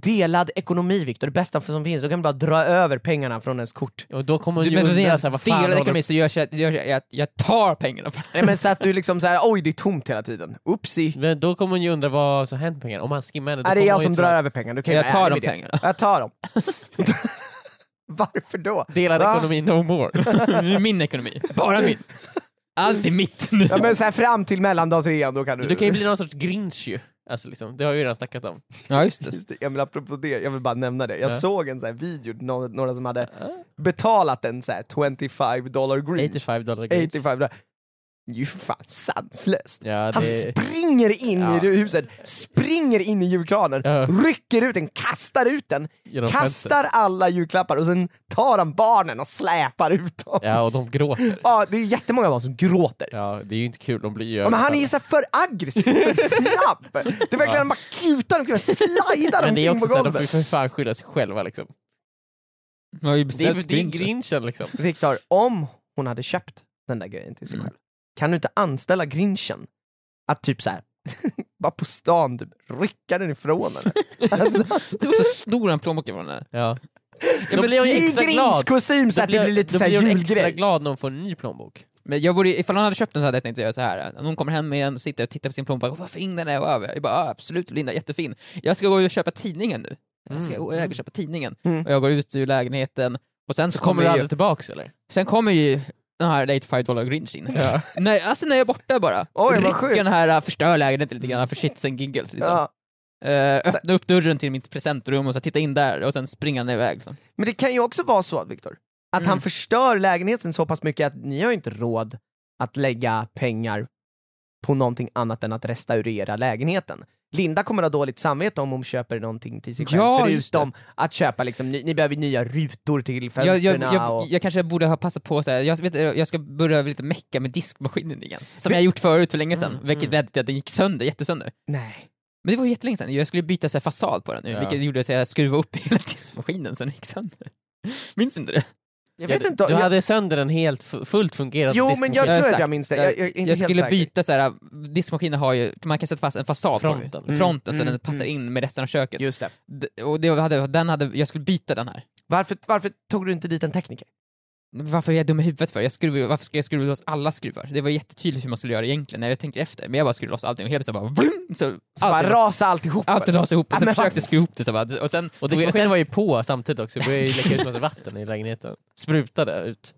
[SPEAKER 4] Delad ekonomi Viktor, det bästa som finns. Då kan du bara dra över pengarna från ens kort.
[SPEAKER 2] Och då kommer hon
[SPEAKER 3] Du,
[SPEAKER 2] ju
[SPEAKER 3] men
[SPEAKER 2] undra
[SPEAKER 3] redan
[SPEAKER 2] så här, vad fan
[SPEAKER 3] delad
[SPEAKER 2] håller-
[SPEAKER 3] ekonomi så gör jag, gör jag, jag, jag tar pengarna.
[SPEAKER 2] [laughs]
[SPEAKER 4] Nej, men så att du liksom så här, oj det är tomt hela tiden.
[SPEAKER 3] Mm,
[SPEAKER 4] Oopsie.
[SPEAKER 2] Men då kommer hon ju undra vad som hänt pengarna. Om han skimmar henne. då
[SPEAKER 4] Är det
[SPEAKER 2] kommer
[SPEAKER 4] jag
[SPEAKER 2] hon ju
[SPEAKER 4] som
[SPEAKER 2] tro
[SPEAKER 4] drar
[SPEAKER 2] att
[SPEAKER 4] över pengarna? Du kan ju
[SPEAKER 3] Jag
[SPEAKER 4] vara
[SPEAKER 3] tar
[SPEAKER 4] ärlig
[SPEAKER 3] de
[SPEAKER 4] med det.
[SPEAKER 3] pengarna.
[SPEAKER 4] Jag tar
[SPEAKER 3] [laughs]
[SPEAKER 4] dem. [laughs] Varför då?
[SPEAKER 2] Delad
[SPEAKER 4] Va?
[SPEAKER 2] ekonomi no
[SPEAKER 4] [laughs]
[SPEAKER 2] more.
[SPEAKER 3] min ekonomi. Bara min. Allt är mitt nu.
[SPEAKER 4] Ja, men så här, fram till mellandagsrean då kan du...
[SPEAKER 2] Du kan ju bli någon sorts grinch ju. Alltså, liksom, det har jag ju redan snackat om.
[SPEAKER 3] Ja, just det.
[SPEAKER 4] Just det, Emil, apropå det, jag vill bara nämna det. Jag
[SPEAKER 2] Ja.
[SPEAKER 4] såg en så här video, nå- några som hade betalat en så här 25 dollar green.
[SPEAKER 2] 85 dollar grinch.
[SPEAKER 4] 85 dollar. Det är ju för fan sanslöst.
[SPEAKER 2] Ja,
[SPEAKER 4] Han
[SPEAKER 2] det...
[SPEAKER 4] springer in
[SPEAKER 2] Ja.
[SPEAKER 4] i huset, springer in i julkranen,
[SPEAKER 2] Ja.
[SPEAKER 4] rycker ut den, kastar ut den,
[SPEAKER 2] genom fönstret.
[SPEAKER 4] kastar alla julklappar och sen tar han barnen och släpar ut dem. Ja.
[SPEAKER 2] Ja, och de gråter.
[SPEAKER 4] det är jättemånga barn som gråter.
[SPEAKER 2] Ja, det är ju inte kul, de blir ju
[SPEAKER 4] Ja, men han är ju
[SPEAKER 2] överfallna.
[SPEAKER 4] så här för aggressiv,
[SPEAKER 2] [laughs]
[SPEAKER 4] för snabb! Det är verkligen han bara kutar omkring, slajdar
[SPEAKER 2] Men det är
[SPEAKER 4] omkring på
[SPEAKER 2] också såhär, de får ju
[SPEAKER 4] golvet.
[SPEAKER 2] för fan skylla sig själva liksom.
[SPEAKER 3] Jag har
[SPEAKER 2] Det
[SPEAKER 3] ju
[SPEAKER 2] är,
[SPEAKER 3] beställt
[SPEAKER 2] det är
[SPEAKER 3] Grinch.
[SPEAKER 2] grinchen liksom.
[SPEAKER 4] Viktor, om hon hade köpt den där grejen till sig
[SPEAKER 3] Mm.
[SPEAKER 4] själv, kan du inte anställa grinchen att typ så här [laughs] bara på stan typ, rycka den ifrån
[SPEAKER 2] [laughs]
[SPEAKER 4] henne? Alltså,
[SPEAKER 3] Du var så snor han plånboken från henne.
[SPEAKER 2] Ja. Då blir hon ju
[SPEAKER 4] I
[SPEAKER 2] extra glad.
[SPEAKER 4] Grinch-kostym så
[SPEAKER 2] Då
[SPEAKER 4] att det blir lite
[SPEAKER 2] då
[SPEAKER 4] så här
[SPEAKER 2] blir hon extra
[SPEAKER 4] julgrej.
[SPEAKER 2] glad när hon får en ny plånbok.
[SPEAKER 3] Men jag borde, ifall hon hade köpt den så hade jag tänkt göra så här. Om hon kommer hem med den och sitter och tittar på sin plånbok och vad fin den är. Wow. Jag bara ah, absolut Linda, jättefin. Jag ska gå och köpa tidningen nu. Jag ska
[SPEAKER 2] Mm.
[SPEAKER 3] gå iväg och köpa tidningen.
[SPEAKER 4] Mm.
[SPEAKER 3] Och jag går ut ur lägenheten och sen så
[SPEAKER 2] Så kommer
[SPEAKER 3] kommer
[SPEAKER 2] du
[SPEAKER 3] ju,
[SPEAKER 2] aldrig tillbaks eller?
[SPEAKER 3] sen kommer ju den här 85 dollar grinch in.
[SPEAKER 2] Ja.
[SPEAKER 3] [laughs] Nej, alltså när jag är borta bara.
[SPEAKER 4] vad
[SPEAKER 3] Rycker
[SPEAKER 4] sjukt.
[SPEAKER 3] den här, äh, förstör lägenheten lite grann för shits and giggles liksom.
[SPEAKER 4] Ja.
[SPEAKER 3] Eh, öppnar upp dörren till mitt presentrum och så titta in där och sen springer han iväg. liksom. Så.
[SPEAKER 4] Men det kan ju också vara så, Viktor, att
[SPEAKER 3] Mm.
[SPEAKER 4] han förstör lägenheten så pass mycket att ni har ju inte råd att lägga pengar på någonting annat än att restaurera lägenheten. Linda kommer ha dåligt samvete om hon köper någonting till sig själv,
[SPEAKER 3] Ja, just det.
[SPEAKER 4] förutom att köpa liksom, ni, ni behöver nya rutor till
[SPEAKER 3] Jag,
[SPEAKER 4] fönstren
[SPEAKER 3] jag, jag,
[SPEAKER 4] och...
[SPEAKER 3] jag kanske borde ha passat på så här. Jag, vet, jag ska börja lite mecka med diskmaskinen igen. Som jag gjort förut för länge sedan,
[SPEAKER 2] Mm,
[SPEAKER 3] vilket ledde till att den gick sönder, jättesönder.
[SPEAKER 4] Nej.
[SPEAKER 3] Men det var ju jättelänge sedan, jag skulle byta så här fasad på den nu,
[SPEAKER 2] Ja.
[SPEAKER 3] vilket gjorde så att jag skruvade upp hela diskmaskinen så den gick sönder. [laughs] Minns inte det?
[SPEAKER 4] Jag
[SPEAKER 2] Ja,
[SPEAKER 4] vet
[SPEAKER 2] du-
[SPEAKER 4] inte,
[SPEAKER 2] Du
[SPEAKER 4] jag,
[SPEAKER 2] hade sönder en helt fu- fullt fungerande
[SPEAKER 4] jo men
[SPEAKER 2] diskmaskin.
[SPEAKER 4] jag tror att jag
[SPEAKER 3] exakt.
[SPEAKER 4] minns det, jag, jag är inte
[SPEAKER 3] jag
[SPEAKER 4] helt
[SPEAKER 3] skulle
[SPEAKER 4] säker.
[SPEAKER 3] byta så här, diskmaskinen har ju, man kan sätta fast en fasad på
[SPEAKER 2] Fronten.
[SPEAKER 3] den.
[SPEAKER 2] Mm,
[SPEAKER 3] fronten så
[SPEAKER 4] mm,
[SPEAKER 3] den passar
[SPEAKER 4] mm.
[SPEAKER 3] in med resten av köket.
[SPEAKER 4] Just det.
[SPEAKER 3] D- Och det hade, den hade, jag skulle byta den här.
[SPEAKER 4] Varför, varför tog du inte dit en tekniker?
[SPEAKER 3] Varför är jag dum i huvudet för? Jag skruvar, varför ska jag skruva loss alla skruvar? Det var jättetydligt hur man skulle göra egentligen när jag tänkte efter, men jag bara skruvade loss allting och helt plötsligt bara vroom, så,
[SPEAKER 4] Så bara rasa alltihop?
[SPEAKER 3] allt rasade ihop och
[SPEAKER 4] Ja,
[SPEAKER 3] sen
[SPEAKER 4] men vad-
[SPEAKER 3] försökte jag skruva ihop det så bara, och sen...
[SPEAKER 2] Och diskmaskinen var ju på samtidigt också, det började ju läcka ut massa vatten i lägenheten. Sprutade ut.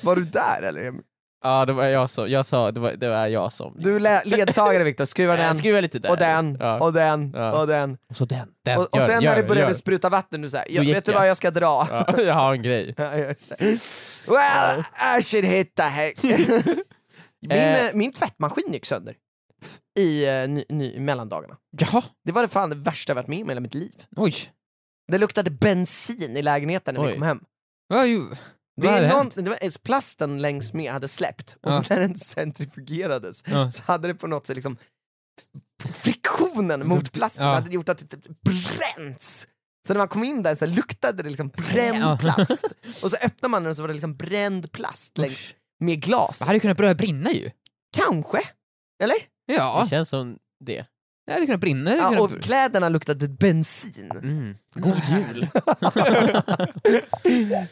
[SPEAKER 4] Var du där eller? Emil?
[SPEAKER 2] Ja, det var jag som, jag sa, det var, det var jag som...
[SPEAKER 4] Du le- ledsagare Viktor, skruva den.
[SPEAKER 2] Jag skruvar lite där.
[SPEAKER 4] och den,
[SPEAKER 2] Ja.
[SPEAKER 4] och den,
[SPEAKER 2] Ja.
[SPEAKER 4] och den.
[SPEAKER 2] Och så den. den.
[SPEAKER 4] Och, och
[SPEAKER 2] Gör
[SPEAKER 4] sen
[SPEAKER 2] gör
[SPEAKER 4] när det började
[SPEAKER 2] gör.
[SPEAKER 4] spruta vatten, du såhär, jag,
[SPEAKER 2] gick
[SPEAKER 4] vet du
[SPEAKER 2] jag.
[SPEAKER 4] vad jag ska dra?
[SPEAKER 2] Ja, [laughs] jag har en grej.
[SPEAKER 4] [laughs] Ja, just det. well, I should hit
[SPEAKER 2] [laughs]
[SPEAKER 4] the heck. min,
[SPEAKER 2] Eh.
[SPEAKER 4] eh, min tvättmaskin gick sönder i eh, ny, ny, mellandagarna.
[SPEAKER 3] Jaha,
[SPEAKER 4] Det var det fan det värsta jag varit med om i hela mitt liv.
[SPEAKER 3] oj.
[SPEAKER 4] Det luktade bensin i lägenheten när vi
[SPEAKER 2] Oj.
[SPEAKER 4] kom hem.
[SPEAKER 3] Vad ju...
[SPEAKER 4] Det
[SPEAKER 3] hade
[SPEAKER 4] är
[SPEAKER 3] hänt?
[SPEAKER 4] någon, det var, eh, plasten längs med hade släppt och
[SPEAKER 3] Ja.
[SPEAKER 4] när den centrifugerades [laughs]
[SPEAKER 3] Ja.
[SPEAKER 4] så hade det på något sätt liksom friktionen mot plasten
[SPEAKER 3] Ja.
[SPEAKER 4] hade gjort att det typ bränns. Så när man kom in där så luktade det liksom bränd
[SPEAKER 3] Ja.
[SPEAKER 4] plast. Och så öppnade man den och så var det liksom bränd plast längs med glas.
[SPEAKER 3] Det hade ju kunnat börja brinna ju.
[SPEAKER 4] Kanske? Eller?
[SPEAKER 3] Ja.
[SPEAKER 2] Det känns som det.
[SPEAKER 3] Jag hade kunnat brinna. Jag hade
[SPEAKER 4] Ja,
[SPEAKER 3] kunnat...
[SPEAKER 4] och kläderna luktade bensin.
[SPEAKER 3] [laughs]
[SPEAKER 2] Mm. God jul!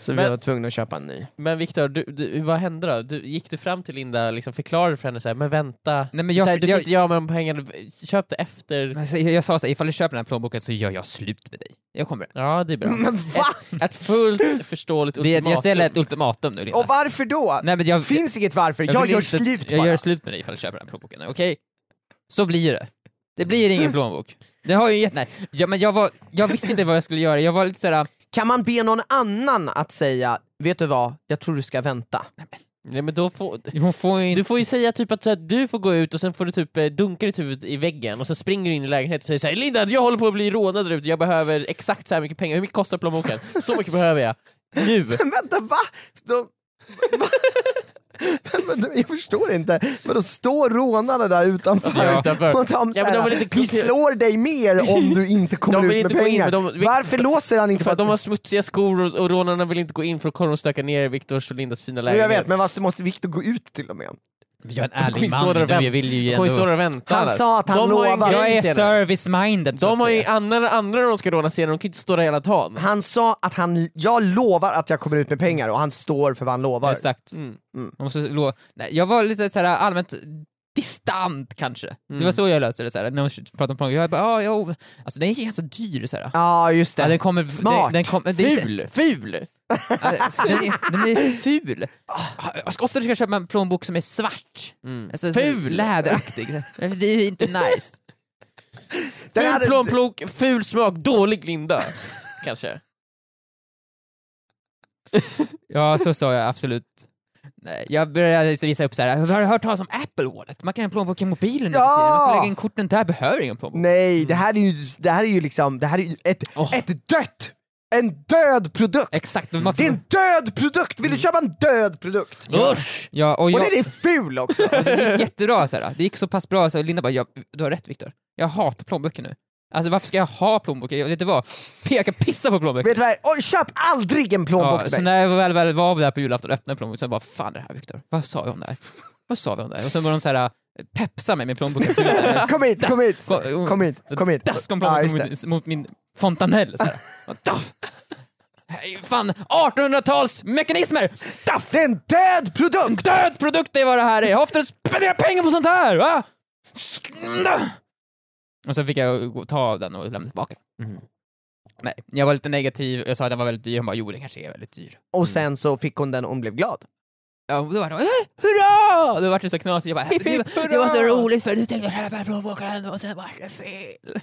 [SPEAKER 4] Så vi
[SPEAKER 2] Men-
[SPEAKER 4] var tvungna att köpa en ny.
[SPEAKER 2] Men Viktor, du, du, vad hände då? Du, gick du fram till Linda och liksom förklarade för henne så här, men vänta,
[SPEAKER 3] Nej, men
[SPEAKER 2] jag, så här,
[SPEAKER 3] jag,
[SPEAKER 2] du kan
[SPEAKER 3] jag,
[SPEAKER 2] inte göra med de pengarna, köp det efter.
[SPEAKER 3] Alltså, jag, jag sa såhär, ifall du köper den här plånboken så gör jag slut med dig. Jag kommer.
[SPEAKER 2] Ja, det är bra.
[SPEAKER 4] [laughs] [laughs] Men va?
[SPEAKER 2] Ett fullt förståeligt
[SPEAKER 3] Det,
[SPEAKER 2] ultimatum.
[SPEAKER 3] jag ställer ett ultimatum nu Linda.
[SPEAKER 4] Och varför då?
[SPEAKER 3] Nej, men alltså- jag,
[SPEAKER 4] Finns inget varför, jag,
[SPEAKER 3] vill
[SPEAKER 4] gör
[SPEAKER 3] inte-
[SPEAKER 4] slut bara.
[SPEAKER 3] Jag gör slut med dig ifall du köper den här plånboken, okej? Så blir det. Det blir
[SPEAKER 2] Mm.
[SPEAKER 3] ingen plånbok. Det har ju gett, nej. Ja, men jag, var, jag visste inte vad jag skulle göra, jag var lite såhär,
[SPEAKER 4] Kan man be någon annan att säga, vet du vad, jag tror du ska vänta.
[SPEAKER 2] Nej, men då får,
[SPEAKER 3] hon får ju inte...
[SPEAKER 2] du får ju säga typ att så här, du får gå ut och sen får du typ eh, dunka ditt huvud i väggen och sen springer du in i lägenheten och säger såhär Linda, jag håller på att bli rånad där ute, jag behöver exakt så här mycket pengar, hur mycket kostar plånboken? Så mycket behöver jag. Nu!
[SPEAKER 4] vänta, va? De... va? Men, men, jag förstår inte, för då står rånarna där utanför
[SPEAKER 2] Ja, utanför.
[SPEAKER 4] och de,
[SPEAKER 2] Ja, men de
[SPEAKER 4] såhär,
[SPEAKER 2] vill inte-
[SPEAKER 4] vi slår dig mer om du inte kommer
[SPEAKER 2] De vill
[SPEAKER 4] ut
[SPEAKER 2] inte
[SPEAKER 4] med
[SPEAKER 2] gå in,
[SPEAKER 4] pengar.
[SPEAKER 2] men de- vi-
[SPEAKER 4] Varför låser han inte?
[SPEAKER 2] För att de
[SPEAKER 4] att-
[SPEAKER 2] har smutsiga skor och, och rånarna vill inte gå in för då kommer de stöka ner Viktors och Lindas fina
[SPEAKER 4] Jo,
[SPEAKER 2] lägenhet.
[SPEAKER 4] jag vet, men varför måste Viktor gå ut till och med?
[SPEAKER 3] Jag är en
[SPEAKER 2] Hon
[SPEAKER 3] ärlig
[SPEAKER 2] står där
[SPEAKER 3] man,
[SPEAKER 2] och vänt-
[SPEAKER 3] jag vill ju
[SPEAKER 2] De kommer ju stå
[SPEAKER 3] ändå...
[SPEAKER 2] där och vänta.
[SPEAKER 4] Han
[SPEAKER 2] där.
[SPEAKER 4] sa att han
[SPEAKER 2] de har ju en
[SPEAKER 4] lovade.
[SPEAKER 2] grej
[SPEAKER 3] Jag är
[SPEAKER 2] senare.
[SPEAKER 3] service-minded så att
[SPEAKER 2] De har ju
[SPEAKER 3] säga.
[SPEAKER 2] andra, andra de ska råna senare, de kan ju inte stå där hela dagen.
[SPEAKER 4] Han sa att han, jag lovar att jag kommer ut med pengar och han står för vad han lovar.
[SPEAKER 3] Exakt.
[SPEAKER 2] Mm.
[SPEAKER 3] Man måste lo- Nej, jag var lite såhär allmänt distant kanske. Det
[SPEAKER 2] Mm.
[SPEAKER 3] var så jag löste det, såhär. när hon pratade om plånboken. Jag bara, ah, jo. Alltså den är ganska dyr såhär.
[SPEAKER 4] Ja just det.
[SPEAKER 3] Ja, den kommer,
[SPEAKER 4] Smart.
[SPEAKER 3] Den, den kommer, det är-
[SPEAKER 2] Ful! Ful!
[SPEAKER 3] Ja, den, är, den är ful. Jag ska ofta försöka köpa en plånbok som är svart.
[SPEAKER 2] Mm.
[SPEAKER 3] Alltså,
[SPEAKER 2] Ful.
[SPEAKER 3] Så läderaktig. Det är inte nice.
[SPEAKER 4] Den
[SPEAKER 2] Ful
[SPEAKER 4] hade-
[SPEAKER 2] plånbok, ful smak, dålig
[SPEAKER 4] [laughs]
[SPEAKER 2] Linda. Kanske.
[SPEAKER 3] Ja, så sa jag absolut. Nej, Jag började visa upp så här. har du hört talas om Apple Wallet? Man kan ha en plånbok i mobilen.
[SPEAKER 4] Ja!
[SPEAKER 3] Man kan lägga in korten där, behöver ingen plånbok.
[SPEAKER 4] Nej, det här är ju, det här är ju liksom, det här är ju ett,
[SPEAKER 3] Åh.
[SPEAKER 4] ett dött! En död produkt!
[SPEAKER 3] Exakt. Man
[SPEAKER 4] Det är en död produkt! Vill du köpa en död produkt?
[SPEAKER 2] Usch!
[SPEAKER 3] ja, och
[SPEAKER 4] Och
[SPEAKER 3] jag,
[SPEAKER 4] den är ful också!
[SPEAKER 3] det gick jättebra. Så här. Det gick så pass bra så Linda bara, ja, du har rätt Viktor. Jag hatar plånböcker nu. Alltså varför ska jag ha plånböcker? Jag vet inte vad. Jag kan pissa på plånböcker.
[SPEAKER 4] [laughs] Vet du vad, oj, köp aldrig en plånbok
[SPEAKER 3] Ja,
[SPEAKER 4] till
[SPEAKER 3] så
[SPEAKER 4] mig!
[SPEAKER 3] när jag väl, väl var där på julafton och öppnade plånboken så jag bara fan det här Viktor, vad sa vi om det här? Vad sa vi om det här? Och sen började hon så här äh, pepsa mig med
[SPEAKER 4] [laughs]
[SPEAKER 3] plånboken. Så här,
[SPEAKER 4] Kom hit, kom hit,
[SPEAKER 3] Kom- hon-
[SPEAKER 4] kom hit, kom hit!
[SPEAKER 3] Dask om
[SPEAKER 4] Ja,
[SPEAKER 3] plånboken
[SPEAKER 4] just det.
[SPEAKER 3] mot, mot min fontanell. Så här. Och Daff! Hej, Fan, 1800-talsmekanismer!
[SPEAKER 4] Daff, Det är en död
[SPEAKER 3] En
[SPEAKER 4] produkt!
[SPEAKER 3] död produkt är vad det här är! Jag har ofta spenderat pengar på sånt här! Va? Och så fick jag gå- ta av den och lämna tillbaka den.
[SPEAKER 4] Mm.
[SPEAKER 2] Mhm.
[SPEAKER 3] Nej, jag var lite negativ, jag sa att den var väldigt dyr, hon bara jo den kanske är väldigt dyr.
[SPEAKER 4] Och sen så fick hon den och hon blev glad.
[SPEAKER 3] Ja, och då var det "Eh, hurra! Då var det så knasigt, jag bara
[SPEAKER 4] Hipp, hipp,
[SPEAKER 3] det, det
[SPEAKER 4] hurra!"
[SPEAKER 3] var så roligt för nu tänkte jag köpa plånboken och sen var
[SPEAKER 2] [laughs]
[SPEAKER 3] det fel.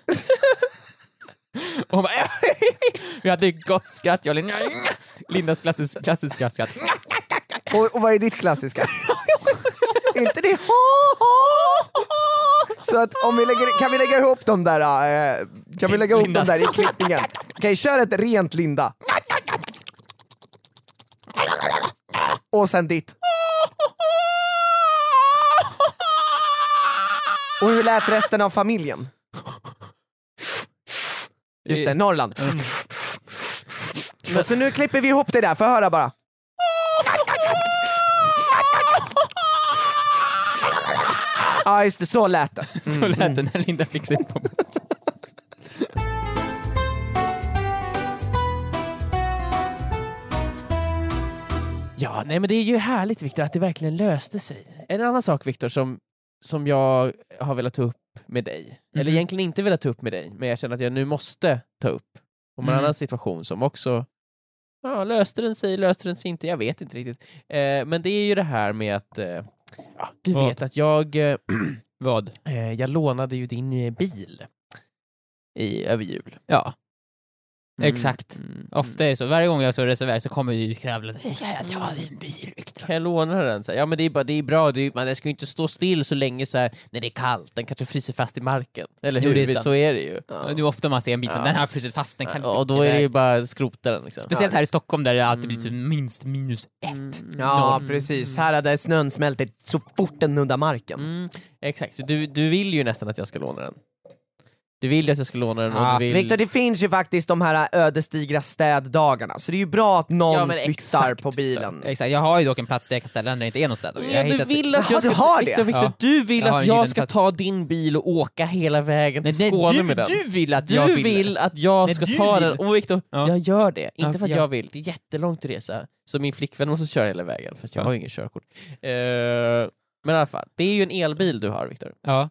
[SPEAKER 3] och hon bara "Eh, Vi hade gott skratt, jag och Linda. Lindas klassiska, klassiska skratt.
[SPEAKER 4] Och, och vad är ditt klassiska? [laughs] inte det [laughs] Så att om vi lägger, kan vi lägga ihop dem där, eh, kan vi lägga ihop dem
[SPEAKER 3] Lindas.
[SPEAKER 4] där i klippningen? Okej, kör ett rent Linda. Och sen ditt. Och hur lät resten av familjen? Just det, Norrland. Men, så nu klipper vi ihop det där, få höra bara. Ja just det, så lät det.
[SPEAKER 3] Så lät det när Linda fick sin plånbok.
[SPEAKER 2] Ja, nej men det är ju härligt Viktor att det verkligen löste sig. En annan sak Viktor som, som jag har velat ta upp med dig, eller
[SPEAKER 3] Mhm.
[SPEAKER 2] egentligen inte velat ta upp med dig, men jag känner att jag nu måste ta upp om en
[SPEAKER 3] Mm.
[SPEAKER 2] annan situation som också ja, löste den sig, löste den sig inte, jag vet inte riktigt. Eh, men det är ju det här med att eh, ja, du
[SPEAKER 3] Vad?
[SPEAKER 2] vet att jag, eh,
[SPEAKER 3] Vad?
[SPEAKER 2] eh, jag lånade ju din eh, bil i, över jul.
[SPEAKER 3] Ja. Exakt.
[SPEAKER 2] Mm.
[SPEAKER 3] Ofta är det så. Varje gång jag så reserverar så kommer ju kravlen. Jag tar din bil Viktor.
[SPEAKER 2] Kan jag låna den? Så här, ja men det är, bara, det är bra, det är, man den ska ju inte stå still så länge så här, när det är kallt, den kanske fryser fast i marken. Eller
[SPEAKER 3] Jo,
[SPEAKER 2] hur?
[SPEAKER 3] det är sant.
[SPEAKER 2] så är det ju.
[SPEAKER 3] Det är ofta man ser en bil som
[SPEAKER 2] Ja.
[SPEAKER 3] den här har frusit fast, den kan inte
[SPEAKER 2] Ja, och då
[SPEAKER 3] åka
[SPEAKER 2] är det
[SPEAKER 3] iväg."
[SPEAKER 2] ju bara skrota den liksom.
[SPEAKER 3] Speciellt här i Stockholm där det alltid
[SPEAKER 2] Mm.
[SPEAKER 3] blir typ minst minus ett.
[SPEAKER 4] Ja precis, här hade snön
[SPEAKER 2] liksom.
[SPEAKER 4] smältit så fort den nuddar marken.
[SPEAKER 2] Mm, exakt, Så du, du vill ju nästan att jag ska låna den. Du vill ju att jag ska låna den och
[SPEAKER 3] Ja,
[SPEAKER 2] du vill...
[SPEAKER 4] Viktor, det finns ju faktiskt de här ödesdigra städdagarna, så det är ju bra att någon
[SPEAKER 2] Ja, men
[SPEAKER 4] flyttar
[SPEAKER 2] exakt.
[SPEAKER 4] på bilen.
[SPEAKER 3] Exakt, jag har ju dock en plats där jag kan ställa den där det inte är någon städdag. Jag
[SPEAKER 2] Ja,
[SPEAKER 3] har
[SPEAKER 2] du
[SPEAKER 3] hittat-
[SPEAKER 2] vill att
[SPEAKER 4] Jaha,
[SPEAKER 2] jag ska...
[SPEAKER 4] du har det.
[SPEAKER 2] Viktor, Viktor,
[SPEAKER 3] Ja.
[SPEAKER 2] du vill
[SPEAKER 3] Jag har
[SPEAKER 2] att
[SPEAKER 3] en
[SPEAKER 2] jag
[SPEAKER 3] gyllene
[SPEAKER 2] ska
[SPEAKER 3] plats.
[SPEAKER 2] ta din bil och åka hela vägen till
[SPEAKER 3] Nej, nej,
[SPEAKER 2] Skåne
[SPEAKER 3] du,
[SPEAKER 2] med den.
[SPEAKER 3] du vill att
[SPEAKER 2] Du
[SPEAKER 3] jag
[SPEAKER 2] vill, att jag
[SPEAKER 3] Nej,
[SPEAKER 2] ska
[SPEAKER 3] du
[SPEAKER 2] ta
[SPEAKER 3] vill.
[SPEAKER 2] den, och Viktor,
[SPEAKER 3] Ja.
[SPEAKER 2] jag gör det. Inte
[SPEAKER 3] Ja,
[SPEAKER 2] för att
[SPEAKER 3] ja.
[SPEAKER 2] jag vill, det är jättelångt att resa. Så min flickvän måste köra hela vägen, för att jag
[SPEAKER 3] Ja.
[SPEAKER 2] har ju ingen körkort. Eh, men i alla fall, det är ju en elbil du har Viktor.
[SPEAKER 3] Ja.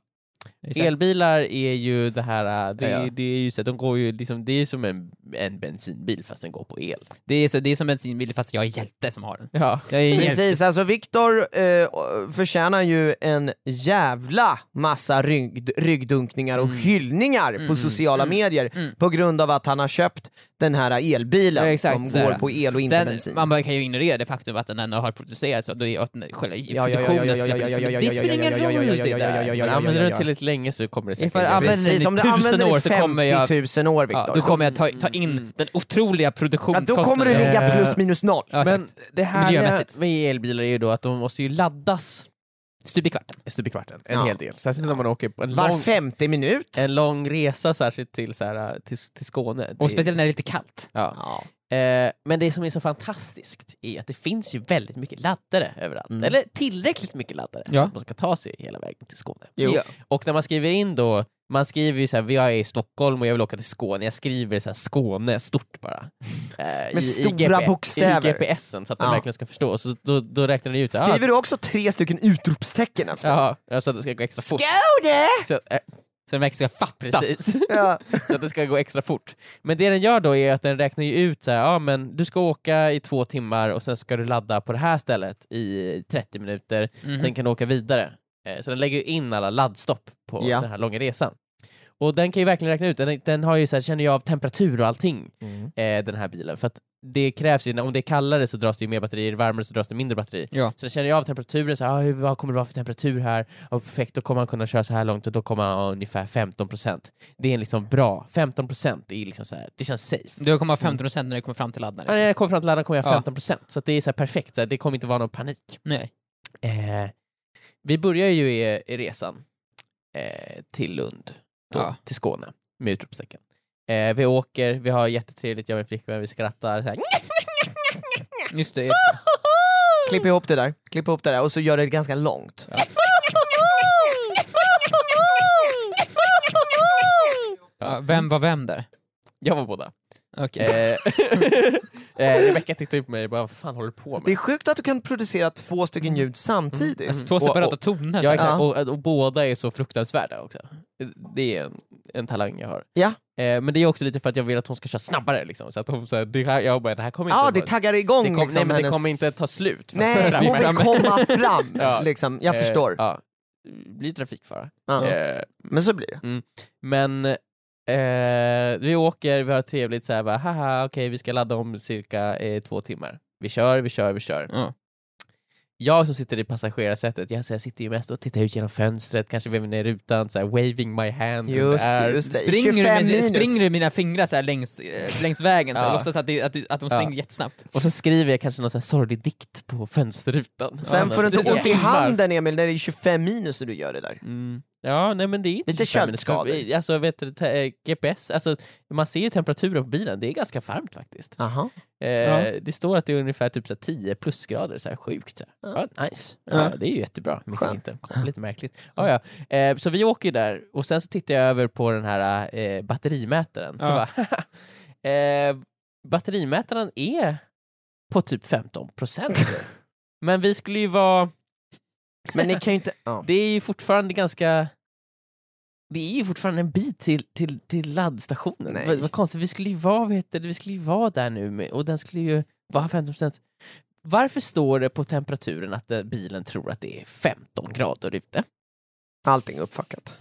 [SPEAKER 3] Exakt.
[SPEAKER 2] Elbilar är ju det här, eh, det,
[SPEAKER 3] Ja, ja.
[SPEAKER 2] det är ju så att de går ju liksom, det är som en, en bensinbil fast den går på el.
[SPEAKER 3] Det, är så, det är som bensinbil fast jag är hjälte som har den.
[SPEAKER 2] Ja.
[SPEAKER 3] Jag är hjälte.
[SPEAKER 4] Precis, alltså Viktor eh, förtjänar ju en jävla massa rygg, ryggdunkningar och
[SPEAKER 3] Mm.
[SPEAKER 4] hyllningar på sociala medier på grund av att han har köpt den här elbilen
[SPEAKER 3] Ja, exakt, så
[SPEAKER 4] som
[SPEAKER 3] är
[SPEAKER 4] går
[SPEAKER 3] det.
[SPEAKER 4] på el och inte bensin.
[SPEAKER 3] Sen, man bara kan ju ignorera det faktum att den ändå har producerats och då är att den- själva
[SPEAKER 4] ja, ja, ja,
[SPEAKER 3] produktionen
[SPEAKER 4] ja, ja,
[SPEAKER 3] släpper
[SPEAKER 4] ja, ja, ja,
[SPEAKER 3] ut. Det spelar ingen
[SPEAKER 4] ja, ja, ja,
[SPEAKER 3] roll
[SPEAKER 4] ja,
[SPEAKER 3] det
[SPEAKER 4] ja, ja, ja,
[SPEAKER 3] där.
[SPEAKER 4] ja.
[SPEAKER 2] Men använder du den tillriktigt länge så kommer det säkert...
[SPEAKER 3] Ifall- ja, men-
[SPEAKER 4] Precis, om du
[SPEAKER 3] tusen
[SPEAKER 4] använder den
[SPEAKER 3] år
[SPEAKER 4] i
[SPEAKER 3] så kommer jag-
[SPEAKER 4] 50 000 år
[SPEAKER 3] Ja,
[SPEAKER 4] Viktor.
[SPEAKER 3] Då kommer jag ta, ta in den otroliga
[SPEAKER 4] Ja,
[SPEAKER 3] produktionskostnaden.
[SPEAKER 4] då kommer du ligga
[SPEAKER 2] Eh,
[SPEAKER 4] plus minus noll.
[SPEAKER 3] Ja,
[SPEAKER 2] men
[SPEAKER 3] men
[SPEAKER 2] det här
[SPEAKER 3] Miljömässigt.
[SPEAKER 2] med elbilar är ju då att de måste ju laddas
[SPEAKER 3] stup i kvarten.
[SPEAKER 2] stup i kvarten, en
[SPEAKER 4] Ja.
[SPEAKER 2] hel del. Särskilt när man åker på en
[SPEAKER 4] Var
[SPEAKER 2] lång... Eh,
[SPEAKER 4] femte minut.
[SPEAKER 2] en lång resa särskilt till, så här, till, till Skåne. Det-
[SPEAKER 3] Och speciellt när det är lite kallt.
[SPEAKER 2] ja.
[SPEAKER 4] Ja.
[SPEAKER 2] eh, men det som är så fantastiskt är att det finns ju väldigt mycket laddare överallt. Eller tillräckligt mycket laddare
[SPEAKER 3] Ja.
[SPEAKER 2] för att man ska ta sig hela vägen till Skåne.
[SPEAKER 3] Jo.
[SPEAKER 2] Ja. Och när man skriver in då, man skriver ju så här, jag är i Stockholm och jag vill åka till Skåne, jag skriver så här, Skåne stort bara. Eh,
[SPEAKER 4] Med stora bokstäver.
[SPEAKER 2] I GPSen så att de
[SPEAKER 4] Ja.
[SPEAKER 2] verkligen ska förstå. Och Så då, då räknar den ut så här,
[SPEAKER 4] Skriver du också tre stycken utropstecken efter?
[SPEAKER 2] Ja, ja, så att det ska gå extra fort.
[SPEAKER 4] Skåne!
[SPEAKER 2] Så, eh,
[SPEAKER 3] Så den verkligen ska fatta.
[SPEAKER 2] precis.
[SPEAKER 4] Ja.
[SPEAKER 2] så att det ska gå extra fort. Men det den gör då är att den räknar ju ut så här, ja men du ska åka i två timmar och sen ska du ladda på det här stället i 30 minuter,
[SPEAKER 3] Mhm.
[SPEAKER 2] sen kan du åka vidare. Eh, Så den lägger ju in alla laddstopp på
[SPEAKER 4] Ja.
[SPEAKER 2] den här långa resan. Och den kan ju verkligen räkna ut, den, den har ju så här, känner ju av temperatur och allting, eh, den här bilen. För att det krävs ju, om det är kallare så dras det ju mer batterier, varmare så dras det mindre batteri.
[SPEAKER 3] Ja.
[SPEAKER 2] Så den känner ju av temperaturen, så här, ah, hur, vad kommer det vara för temperatur här? Ja, perfekt, då kommer han kunna köra så här långt och då kommer han ha ungefär 15%. Det är liksom bra, 15% är liksom så här, det känns safe.
[SPEAKER 3] Du kommer ha 15% när du kommer fram till laddaren.
[SPEAKER 2] Ja, När jag kommer fram till laddaren kommer jag ha
[SPEAKER 3] Ja.
[SPEAKER 2] 15%, så att det är så här perfekt, så här, det kommer inte vara någon panik.
[SPEAKER 3] Nej.
[SPEAKER 2] Eh, vi börjar ju i, i resan eh, till Lund, då,
[SPEAKER 3] Ja.
[SPEAKER 2] till Skåne, med utropstecken. Eh, vi åker, vi har jättetrevligt, jag och min flickvän, vi skrattar så här.
[SPEAKER 3] Just det.
[SPEAKER 4] Klipp ihop det där, klipp ihop det där och så gör det ganska långt.
[SPEAKER 3] Ja, vem var vem där?
[SPEAKER 2] Jag var båda.
[SPEAKER 3] Okej.
[SPEAKER 2] Eh, [laughs]
[SPEAKER 4] [laughs]
[SPEAKER 2] eh, Rebecka tittade på mig och bara, vad fan håller du på med?
[SPEAKER 4] Det är sjukt att du kan producera två stycken
[SPEAKER 2] Mm.
[SPEAKER 4] ljud samtidigt.
[SPEAKER 3] Alltså, två
[SPEAKER 2] och-
[SPEAKER 3] separata
[SPEAKER 2] och-
[SPEAKER 3] toner.
[SPEAKER 2] Ja,
[SPEAKER 3] så.
[SPEAKER 2] exakt.
[SPEAKER 4] Ja.
[SPEAKER 2] Och, och båda är så fruktansvärda också. Det är en, en talang jag har.
[SPEAKER 4] Ja.
[SPEAKER 2] Eh, men det är också lite för att jag vill att hon ska köra snabbare. Liksom. Så att hon, så här, det här, jag bara, det här kommer
[SPEAKER 4] Ja,
[SPEAKER 2] inte...
[SPEAKER 4] det taggar igång
[SPEAKER 2] Mm. det, kom,
[SPEAKER 4] liksom
[SPEAKER 2] nej, men det
[SPEAKER 4] hennes-
[SPEAKER 2] kommer inte ta slut. fast [laughs]
[SPEAKER 4] Nej,
[SPEAKER 2] det är
[SPEAKER 4] hon vill
[SPEAKER 2] framme.
[SPEAKER 4] komma fram
[SPEAKER 2] [laughs] Ja.
[SPEAKER 4] liksom, jag
[SPEAKER 2] Eh,
[SPEAKER 4] förstår.
[SPEAKER 2] Ja. Blir trafikfara.
[SPEAKER 4] Ja.
[SPEAKER 2] Eh,
[SPEAKER 4] Men så blir det.
[SPEAKER 2] men eh, vi åker, vi har trevligt, så här, bara, haha okej vi ska ladda om cirka eh, två timmar. Vi kör, vi kör, vi kör.
[SPEAKER 3] Ja.
[SPEAKER 2] Jag som sitter i passagerarsätet, jag, så jag sitter ju mest och tittar ut genom fönstret, kanske väver ner rutan, så här, waving my hand. in
[SPEAKER 4] Just
[SPEAKER 2] the air.
[SPEAKER 4] det, just det.
[SPEAKER 3] Springer du,
[SPEAKER 4] 25
[SPEAKER 3] med,
[SPEAKER 4] minus.
[SPEAKER 3] springer du mina fingrar så här längs, eh, längs vägen så här,
[SPEAKER 2] Ja.
[SPEAKER 3] låtsas att, det, att, du- att de
[SPEAKER 2] Ja.
[SPEAKER 3] springer jättesnabbt.
[SPEAKER 2] Och så skriver jag kanske någon så här sorglig dikt på fönsterrutan.
[SPEAKER 4] Sen
[SPEAKER 2] Ja,
[SPEAKER 4] får du
[SPEAKER 2] men-
[SPEAKER 4] inte
[SPEAKER 3] Precis.
[SPEAKER 4] ont i
[SPEAKER 2] Timmar.
[SPEAKER 4] handen Emil när det är 25 minus när du gör det där.
[SPEAKER 2] Mm. Ja, nej men det är inte
[SPEAKER 4] Lite
[SPEAKER 2] 25 minuters-
[SPEAKER 4] köldskador.
[SPEAKER 2] Alltså vet du, te- eh, GPS, alltså, man ser ju temperaturen på bilen, det är ganska varmt faktiskt.
[SPEAKER 4] Aha.
[SPEAKER 2] Eh,
[SPEAKER 3] Ja.
[SPEAKER 2] Det står att det är ungefär typ så här 10 plusgrader, så här sjukt. Så här. Ja, nice, ja.
[SPEAKER 3] Ja.
[SPEAKER 2] det är ju jättebra. Mycket
[SPEAKER 4] Skönt.
[SPEAKER 2] Inte. Kom, Lite märkligt. Ja, ja. Eh, så vi åker ju där och sen så tittar jag över på den här eh, batterimätaren. Så
[SPEAKER 3] Ja.
[SPEAKER 2] bara, [laughs] eh, batterimätaren är på typ 15 procent. [laughs] Men vi skulle ju vara,
[SPEAKER 4] Men ni kan ju inte... Ja.
[SPEAKER 2] det är ju fortfarande ganska det är ju fortfarande en bit till, till, till laddstationen.
[SPEAKER 4] Nej.
[SPEAKER 2] Vad, vad konstigt, vi skulle ju vara, vad heter det, vi skulle ju vara där nu med, och den skulle ju vara 15%. Varför står det på temperaturen att eh, bilen tror att det är 15 grader ute?
[SPEAKER 4] Allting är uppfuckat.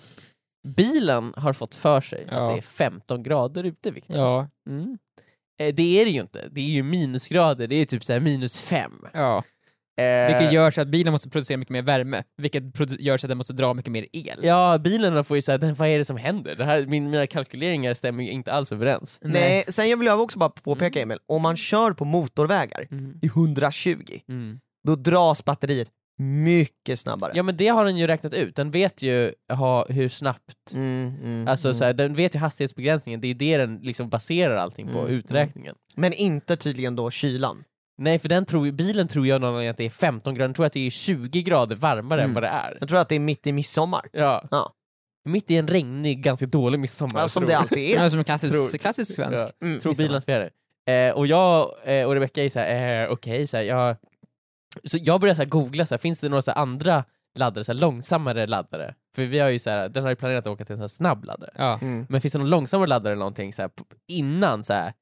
[SPEAKER 2] Bilen har fått för sig
[SPEAKER 3] Ja.
[SPEAKER 2] att det är 15 grader ute, Viktor.
[SPEAKER 3] Ja.
[SPEAKER 2] Mm. Eh, Det är det ju inte. Det är ju minusgrader, det är typ så här minus 5.
[SPEAKER 3] ja.
[SPEAKER 2] Eh.
[SPEAKER 3] Vilket gör så att bilen måste producera mycket mer värme, vilket produ- gör så att den måste dra mycket mer el.
[SPEAKER 2] Ja, bilen får ju säga, vad är det som händer? Det här, min, mina kalkyleringar stämmer ju inte alls överens.
[SPEAKER 4] Nej. sen jag vill jag också bara påpeka
[SPEAKER 2] Mm.
[SPEAKER 4] Mm. Emil, om man kör på motorvägar i 120, då dras batteriet mycket snabbare.
[SPEAKER 2] Ja men det har den ju räknat ut, den vet ju ha, hur snabbt,
[SPEAKER 4] Mm, mm,
[SPEAKER 2] alltså
[SPEAKER 4] mm.
[SPEAKER 2] så här, den vet ju hastighetsbegränsningen, det är ju det den liksom baserar allting på,
[SPEAKER 4] Mm,
[SPEAKER 2] uträkningen.
[SPEAKER 4] Men inte tydligen då kylan.
[SPEAKER 2] Nej för den tror, ju- bilen tror jag någon gång att det är 15 grader, den tror att det är 20 grader varmare
[SPEAKER 4] Mm.
[SPEAKER 2] än vad det är.
[SPEAKER 4] Jag tror att det är mitt i midsommar.
[SPEAKER 2] Ja.
[SPEAKER 4] Ja.
[SPEAKER 2] Mitt i en regnig, ganska dålig midsommar.
[SPEAKER 4] Ja, som
[SPEAKER 2] tror [laughs]
[SPEAKER 4] det
[SPEAKER 2] jag.
[SPEAKER 4] alltid är.
[SPEAKER 3] Ja, som en klassisk,
[SPEAKER 2] Tror-
[SPEAKER 3] klassisk svensk.
[SPEAKER 2] Ja.
[SPEAKER 4] Mm.
[SPEAKER 2] Tror bilen att vi är det. Eh, och jag eh, och Rebecca är såhär, eh, okej, så här, jag... Så jag börjar så här googla, så här, finns det några så här andra laddare, så här, långsammare laddare? För vi har ju så här, den har ju planerat att åka till en så här snabb laddare.
[SPEAKER 3] Ja.
[SPEAKER 4] Mm.
[SPEAKER 2] Men finns det någon långsammare laddare eller någonting så här, p- innan så här?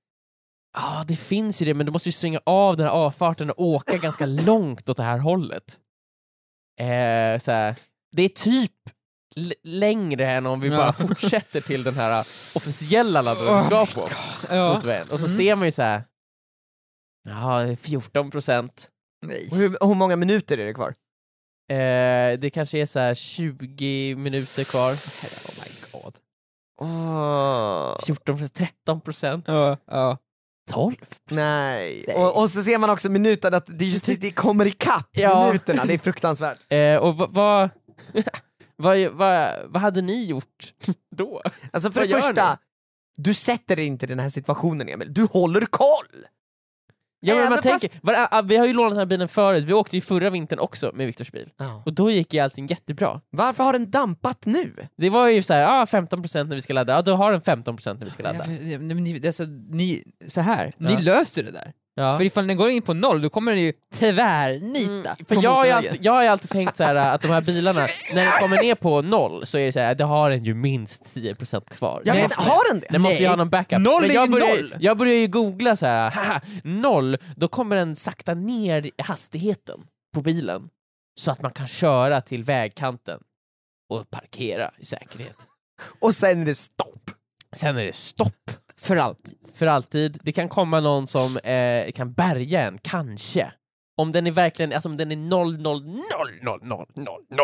[SPEAKER 2] Ja, ah, det finns ju det, men då måste vi svänga av den här avfarten och åka
[SPEAKER 3] [laughs]
[SPEAKER 2] ganska långt åt det här hållet. Eh, så här, det är typ l- längre än om vi
[SPEAKER 3] Ja.
[SPEAKER 2] bara fortsätter till den här eh, officiella laddaren vi
[SPEAKER 3] [laughs]
[SPEAKER 2] ska
[SPEAKER 3] Oh
[SPEAKER 2] på
[SPEAKER 3] Ja.
[SPEAKER 2] motorvägen. Och så
[SPEAKER 3] Mm.
[SPEAKER 2] ser man ju så här. Ja, 14 procent.
[SPEAKER 4] Och Hur, hur många minuter är det kvar?
[SPEAKER 2] Eh, det kanske är så här 20 minuter [laughs] kvar. Oh my god. 14 procent, 13 procent,
[SPEAKER 3] Ja, ja.
[SPEAKER 2] 12 procent.
[SPEAKER 4] Nej. Och, och så ser man också minuten att det, just, det, det kommer ikapp
[SPEAKER 2] Ja.
[SPEAKER 4] minuterna, det
[SPEAKER 2] [laughs]
[SPEAKER 4] är fruktansvärt.
[SPEAKER 2] Eh, och vad... vad [laughs] vad, vad, vad hade ni gjort [laughs] då?
[SPEAKER 4] Alltså för
[SPEAKER 2] Vad
[SPEAKER 4] det
[SPEAKER 2] gör
[SPEAKER 4] första, du sätter dig inte i den här situationen Emil, du håller koll!
[SPEAKER 2] Ja, men
[SPEAKER 4] Även
[SPEAKER 2] man
[SPEAKER 4] fast-
[SPEAKER 2] tänker, var, ah, vi har ju lånat den här bilen förut, vi åkte ju förra vintern också med Viktors bil. Och då gick ju allting jättebra.
[SPEAKER 4] Varför har den dampat nu?
[SPEAKER 2] Det var ju såhär, ah, 15% när vi ska ladda, ja då har den 15% när vi ska
[SPEAKER 3] Ja,
[SPEAKER 2] ladda.
[SPEAKER 3] för- nej, men ni, alltså, ni, så här,
[SPEAKER 2] Ja.
[SPEAKER 3] ni löser det där.
[SPEAKER 2] Ja.
[SPEAKER 3] För ifall den går in på noll, då kommer den ju tvärnita.
[SPEAKER 2] Mm,
[SPEAKER 3] på
[SPEAKER 2] för jag har, ju
[SPEAKER 3] motorvägen.
[SPEAKER 2] alltid, jag har ju alltid tänkt så här att de här
[SPEAKER 3] [laughs]
[SPEAKER 2] bilarna, när de kommer ner på noll så är det så här, det har den ju minst 10% kvar.
[SPEAKER 4] Ja,
[SPEAKER 2] Den
[SPEAKER 4] men,
[SPEAKER 2] måste-
[SPEAKER 4] har den det?
[SPEAKER 2] den måste ju
[SPEAKER 3] Nej.
[SPEAKER 2] ha någon backup.
[SPEAKER 3] Noll är ju
[SPEAKER 2] jag, börjar,
[SPEAKER 3] noll.
[SPEAKER 2] jag börjar ju googla så här, haha, noll, då kommer den sakta ner hastigheten på bilen så att man kan köra till vägkanten och parkera i säkerhet.
[SPEAKER 4] Och sen är det stopp.
[SPEAKER 2] Sen är det stopp
[SPEAKER 3] För alltid.
[SPEAKER 2] för alltid. Det kan komma någon som eh, kan bärga en, kanske. Om den är verkligen, alltså om den är 0, 0, 0, 0, 0, 0, 0.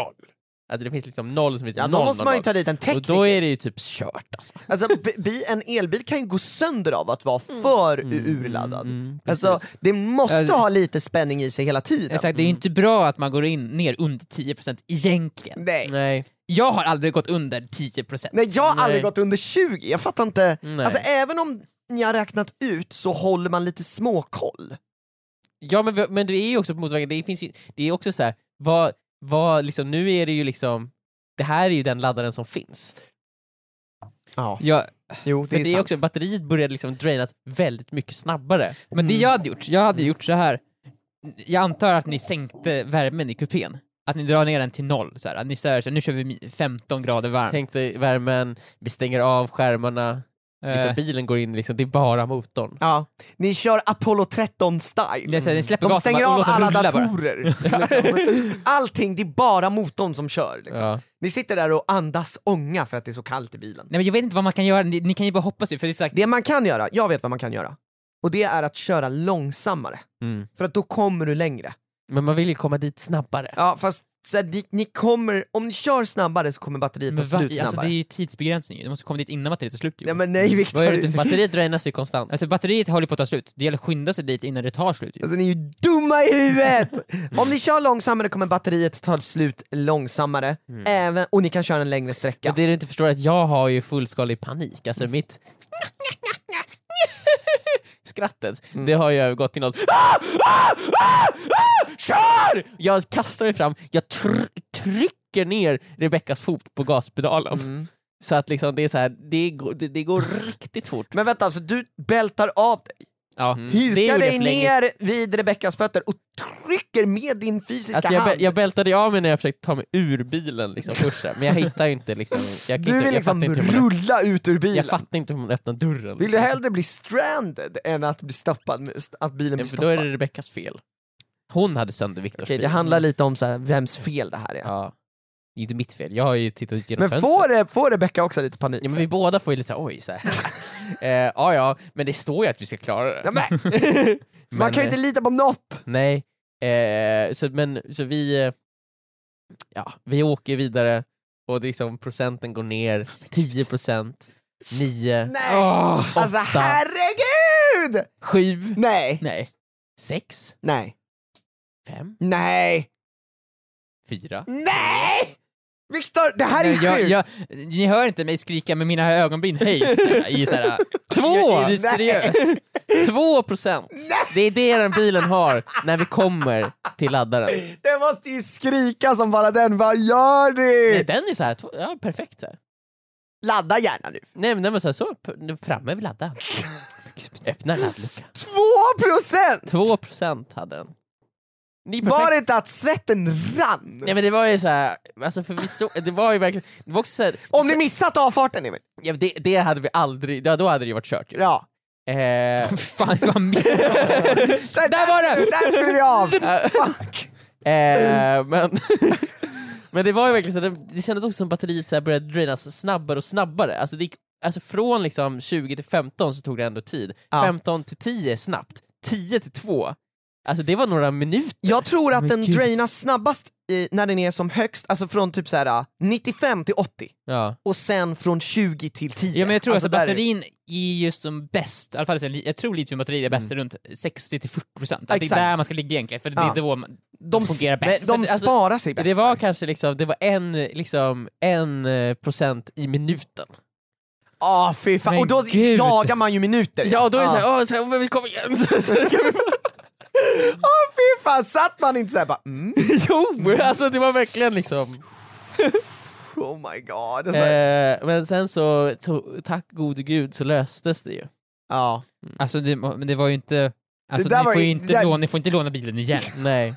[SPEAKER 2] Alltså det finns liksom noll som heter
[SPEAKER 4] Ja,
[SPEAKER 2] 0,
[SPEAKER 4] då måste
[SPEAKER 2] 0,
[SPEAKER 4] man
[SPEAKER 2] 0.
[SPEAKER 4] ju ta dit en
[SPEAKER 2] Och
[SPEAKER 4] tekniker.
[SPEAKER 2] då är det ju typ kört alltså.
[SPEAKER 4] Alltså, bi- bi- en elbil kan ju gå sönder av att vara för
[SPEAKER 2] Mm,
[SPEAKER 4] urladdad. Alltså, det måste
[SPEAKER 3] Ja,
[SPEAKER 4] ha lite spänning i sig hela tiden.
[SPEAKER 3] Exakt,
[SPEAKER 2] Mm.
[SPEAKER 3] det är ju inte bra att man går in ner under 10% egentligen.
[SPEAKER 4] Nej.
[SPEAKER 2] Nej.
[SPEAKER 3] Jag har aldrig gått under 10%.
[SPEAKER 4] Nej, jag har aldrig
[SPEAKER 2] Nej.
[SPEAKER 4] gått under 20, jag fattar inte.
[SPEAKER 2] Nej.
[SPEAKER 4] Alltså även om ni har räknat ut så håller man lite småkoll.
[SPEAKER 2] Ja men, vi- men det är ju också på motorvägen, det finns ju, det är också så här, vad, vad liksom, nu är det ju liksom, det här är ju den laddaren som finns.
[SPEAKER 4] Ja.
[SPEAKER 3] Jag,
[SPEAKER 4] Jo, det
[SPEAKER 2] För
[SPEAKER 4] är,
[SPEAKER 2] det är
[SPEAKER 4] sant.
[SPEAKER 2] också, batteriet började liksom drainas väldigt mycket snabbare.
[SPEAKER 3] men det jag hade gjort, jag hade gjort så här. Jag antar att ni sänkte värmen i kupén. Att ni drar ner den till noll. Så här. Att ni säger så här, nu kör vi mi- 15 grader varmt.
[SPEAKER 2] Tänk dig värmen, vi stänger av skärmarna, liksom,
[SPEAKER 3] Eh,
[SPEAKER 2] bilen går in, liksom, det är bara motorn.
[SPEAKER 4] Ja. Ni kör Apollo 13
[SPEAKER 3] det är
[SPEAKER 4] style.
[SPEAKER 3] så här, ni släpper
[SPEAKER 4] De
[SPEAKER 3] gasen
[SPEAKER 4] stänger
[SPEAKER 3] bara, och
[SPEAKER 4] av
[SPEAKER 3] låter den
[SPEAKER 4] alla
[SPEAKER 3] rulla bara.
[SPEAKER 4] datorer.
[SPEAKER 3] [laughs]
[SPEAKER 4] Liksom. Allting, det är bara motorn som kör. Liksom.
[SPEAKER 2] Ja.
[SPEAKER 4] Ni sitter där och andas ånga för att det är så kallt i bilen.
[SPEAKER 3] Nej men jag vet inte vad man kan göra, ni, ni kan ju bara hoppas ju för det är så här,
[SPEAKER 4] Det man kan göra, jag vet vad man kan göra. Och det är att köra långsammare.
[SPEAKER 2] Mm.
[SPEAKER 4] För att då kommer du längre.
[SPEAKER 2] Men man vill ju komma dit snabbare.
[SPEAKER 4] Ja fast så här, ni, ni kommer, om ni kör snabbare så kommer batteriet ta
[SPEAKER 3] men va,
[SPEAKER 4] slut snabbare.
[SPEAKER 3] alltså, det är ju tidsbegränsning ju. du måste komma dit innan batteriet tar slut ju.
[SPEAKER 4] Nej men nej Viktor.
[SPEAKER 3] Vad är det du-
[SPEAKER 2] [laughs] Batteriet drainas ju konstant.
[SPEAKER 3] Alltså batteriet håller på att ta slut, det gäller att skynda sig dit innan det tar slut ju.
[SPEAKER 4] Alltså ni är ju dumma i huvudet! Om ni kör långsammare kommer batteriet ta slut långsammare,
[SPEAKER 3] Mm.
[SPEAKER 4] även, och ni kan köra en längre sträcka.
[SPEAKER 2] Men det du inte förstår är att jag har ju fullskalig panik, alltså mitt skrattet,
[SPEAKER 4] Mm.
[SPEAKER 2] det har ju gått till något Ah! Kör! Jag kastar mig fram, jag tr- trycker ner Rebeckas fot på gaspedalen.
[SPEAKER 4] Mm.
[SPEAKER 2] Så att liksom det är så här, det, går, det, det går riktigt fort.
[SPEAKER 4] Men vänta, alltså du bältar av dig,
[SPEAKER 2] Ja. Det
[SPEAKER 4] hukar
[SPEAKER 2] gjorde jag
[SPEAKER 4] dig
[SPEAKER 2] för länge
[SPEAKER 4] ner vid Rebeckas fötter och trycker med din fysiska
[SPEAKER 2] Att Alltså, jag, bä-
[SPEAKER 4] hand.
[SPEAKER 2] jag bältade ju av mig när jag försökte ta mig ur bilen liksom, först, där, men jag hittar ju inte liksom, jag, kan
[SPEAKER 4] du
[SPEAKER 2] inte,
[SPEAKER 4] vill
[SPEAKER 2] jag
[SPEAKER 4] liksom
[SPEAKER 2] fattar inte hur man,
[SPEAKER 4] rulla ut ur bilen.
[SPEAKER 2] jag fattar inte hur man öppnar dörren.
[SPEAKER 4] Vill du hellre bli stranded än att, bli stoppad, med- att bilen
[SPEAKER 2] ja,
[SPEAKER 4] blir
[SPEAKER 2] för då är
[SPEAKER 4] stoppad?
[SPEAKER 2] det Rebeckas fel. Hon hade sönder Viktors
[SPEAKER 4] Okej,
[SPEAKER 2] bil.
[SPEAKER 4] det handlar lite om så här, vems fel det här är.
[SPEAKER 2] Ja. Det är inte mitt fel, jag har ju tittat ut genom
[SPEAKER 4] Men
[SPEAKER 2] fönstret.
[SPEAKER 4] får, eh, får Rebecka också lite panik?
[SPEAKER 2] Ja, men vi båda får ju lite såhär, oj, så här.
[SPEAKER 4] [laughs]
[SPEAKER 2] eh, ja, ja, men det står ju att vi ska klara det. [laughs]
[SPEAKER 4] Ja, men, man
[SPEAKER 2] Men,
[SPEAKER 4] kan ju inte
[SPEAKER 2] eh,
[SPEAKER 4] lita på något!
[SPEAKER 2] Nej, eh, så, men, så vi, eh, ja, vi åker vidare och det är liksom, procenten går
[SPEAKER 4] [laughs]
[SPEAKER 2] ner, 10%, 9,
[SPEAKER 4] Nej! alltså
[SPEAKER 2] åtta.
[SPEAKER 4] herregud!
[SPEAKER 2] 7,
[SPEAKER 4] Nej,
[SPEAKER 2] nej, 6,
[SPEAKER 4] nej,
[SPEAKER 2] 5,
[SPEAKER 4] nej,
[SPEAKER 3] fyra.
[SPEAKER 4] Nej! Viktor, Mm. det här är
[SPEAKER 3] Jag- jag,
[SPEAKER 4] sjukt!
[SPEAKER 3] jag, ni hör inte mig skrika med mina ögonbryn hej såhär, i såhär, två!
[SPEAKER 2] Är du
[SPEAKER 4] [laughs]
[SPEAKER 2] seriös?
[SPEAKER 3] Två procent!
[SPEAKER 2] Det är det den bilen har när vi kommer till laddaren.
[SPEAKER 4] [laughs] Den måste ju skrika som bara den, vad gör
[SPEAKER 2] Nej,
[SPEAKER 4] du?
[SPEAKER 2] den är så här, två- ja, perfekt. Så här.
[SPEAKER 4] Ladda gärna nu.
[SPEAKER 2] Nej men den var så, här, så p- framme vid laddaren. Öppna laddluckan.
[SPEAKER 4] Två procent!
[SPEAKER 2] Två procent hade den. Det är perfekt.
[SPEAKER 4] Var det inte att svetten rann?
[SPEAKER 2] Nej men det var ju såhär, alltså för vi så, det var ju verkligen, det var också så här,
[SPEAKER 4] Om ni missat avfarten Emil.
[SPEAKER 2] ja, det, det hade vi aldrig, ja, då hade det ju varit kört ju.
[SPEAKER 4] Ja.
[SPEAKER 2] Eh,
[SPEAKER 3] Fan vad mycket.
[SPEAKER 4] Där,
[SPEAKER 2] Där var den!
[SPEAKER 4] Där skulle vi [laughs] av! Fuck!
[SPEAKER 2] eh, men, [laughs] men det var ju verkligen så här, det, det kändes också som batteriet så här började drainas snabbare och snabbare. Alltså, det gick, alltså från liksom 20 till 15 så tog det ändå tid.
[SPEAKER 4] Ja.
[SPEAKER 2] 15 till 10 snabbt, 10 till 2. Alltså det var några minuter.
[SPEAKER 4] Jag tror att
[SPEAKER 2] Men
[SPEAKER 4] den
[SPEAKER 2] gud.
[SPEAKER 4] drainas snabbast i, när den är som högst, alltså från typ så här 95 till 80
[SPEAKER 2] Ja.
[SPEAKER 4] och sen från 20 till 10.
[SPEAKER 3] Ja, men jag tror alltså,
[SPEAKER 4] där är-
[SPEAKER 3] batterin är ju som bäst, i alla fall, så li- jag tror litiumbatterier är bäst runt 60-40%. procent. Det är
[SPEAKER 4] Exakt.
[SPEAKER 3] där man ska ligga egentligen, för det
[SPEAKER 4] Ja.
[SPEAKER 3] är då man...
[SPEAKER 4] de
[SPEAKER 3] fungerar
[SPEAKER 4] sp-
[SPEAKER 3] bäst.
[SPEAKER 4] De
[SPEAKER 2] Men alltså,
[SPEAKER 4] sparar sig bäst.
[SPEAKER 2] Det var kanske liksom, det var en, liksom, en eh, procent i minuten.
[SPEAKER 4] Ah, fy fan.
[SPEAKER 3] Men
[SPEAKER 4] Och då
[SPEAKER 3] gud.
[SPEAKER 4] jagar man ju minuter.
[SPEAKER 2] Ja, och då är det
[SPEAKER 4] Ah.
[SPEAKER 2] såhär, åh, så här, men vi kommer igen! Så- så kan vi-
[SPEAKER 4] Ah, fy fan, satt man inte såhär bara mm,
[SPEAKER 2] jo! Alltså det var verkligen liksom...
[SPEAKER 3] [laughs]
[SPEAKER 4] oh my god. Och så här,
[SPEAKER 2] Eh, men sen så, så, tack gode gud, så löstes det ju.
[SPEAKER 4] ja.
[SPEAKER 3] Alltså det, men det var ju inte... Alltså,
[SPEAKER 4] där
[SPEAKER 3] ni,
[SPEAKER 4] var
[SPEAKER 3] får ju
[SPEAKER 4] ju-
[SPEAKER 3] inte
[SPEAKER 4] det där-
[SPEAKER 3] låna, ni får inte låna bilen igen.
[SPEAKER 2] Nej.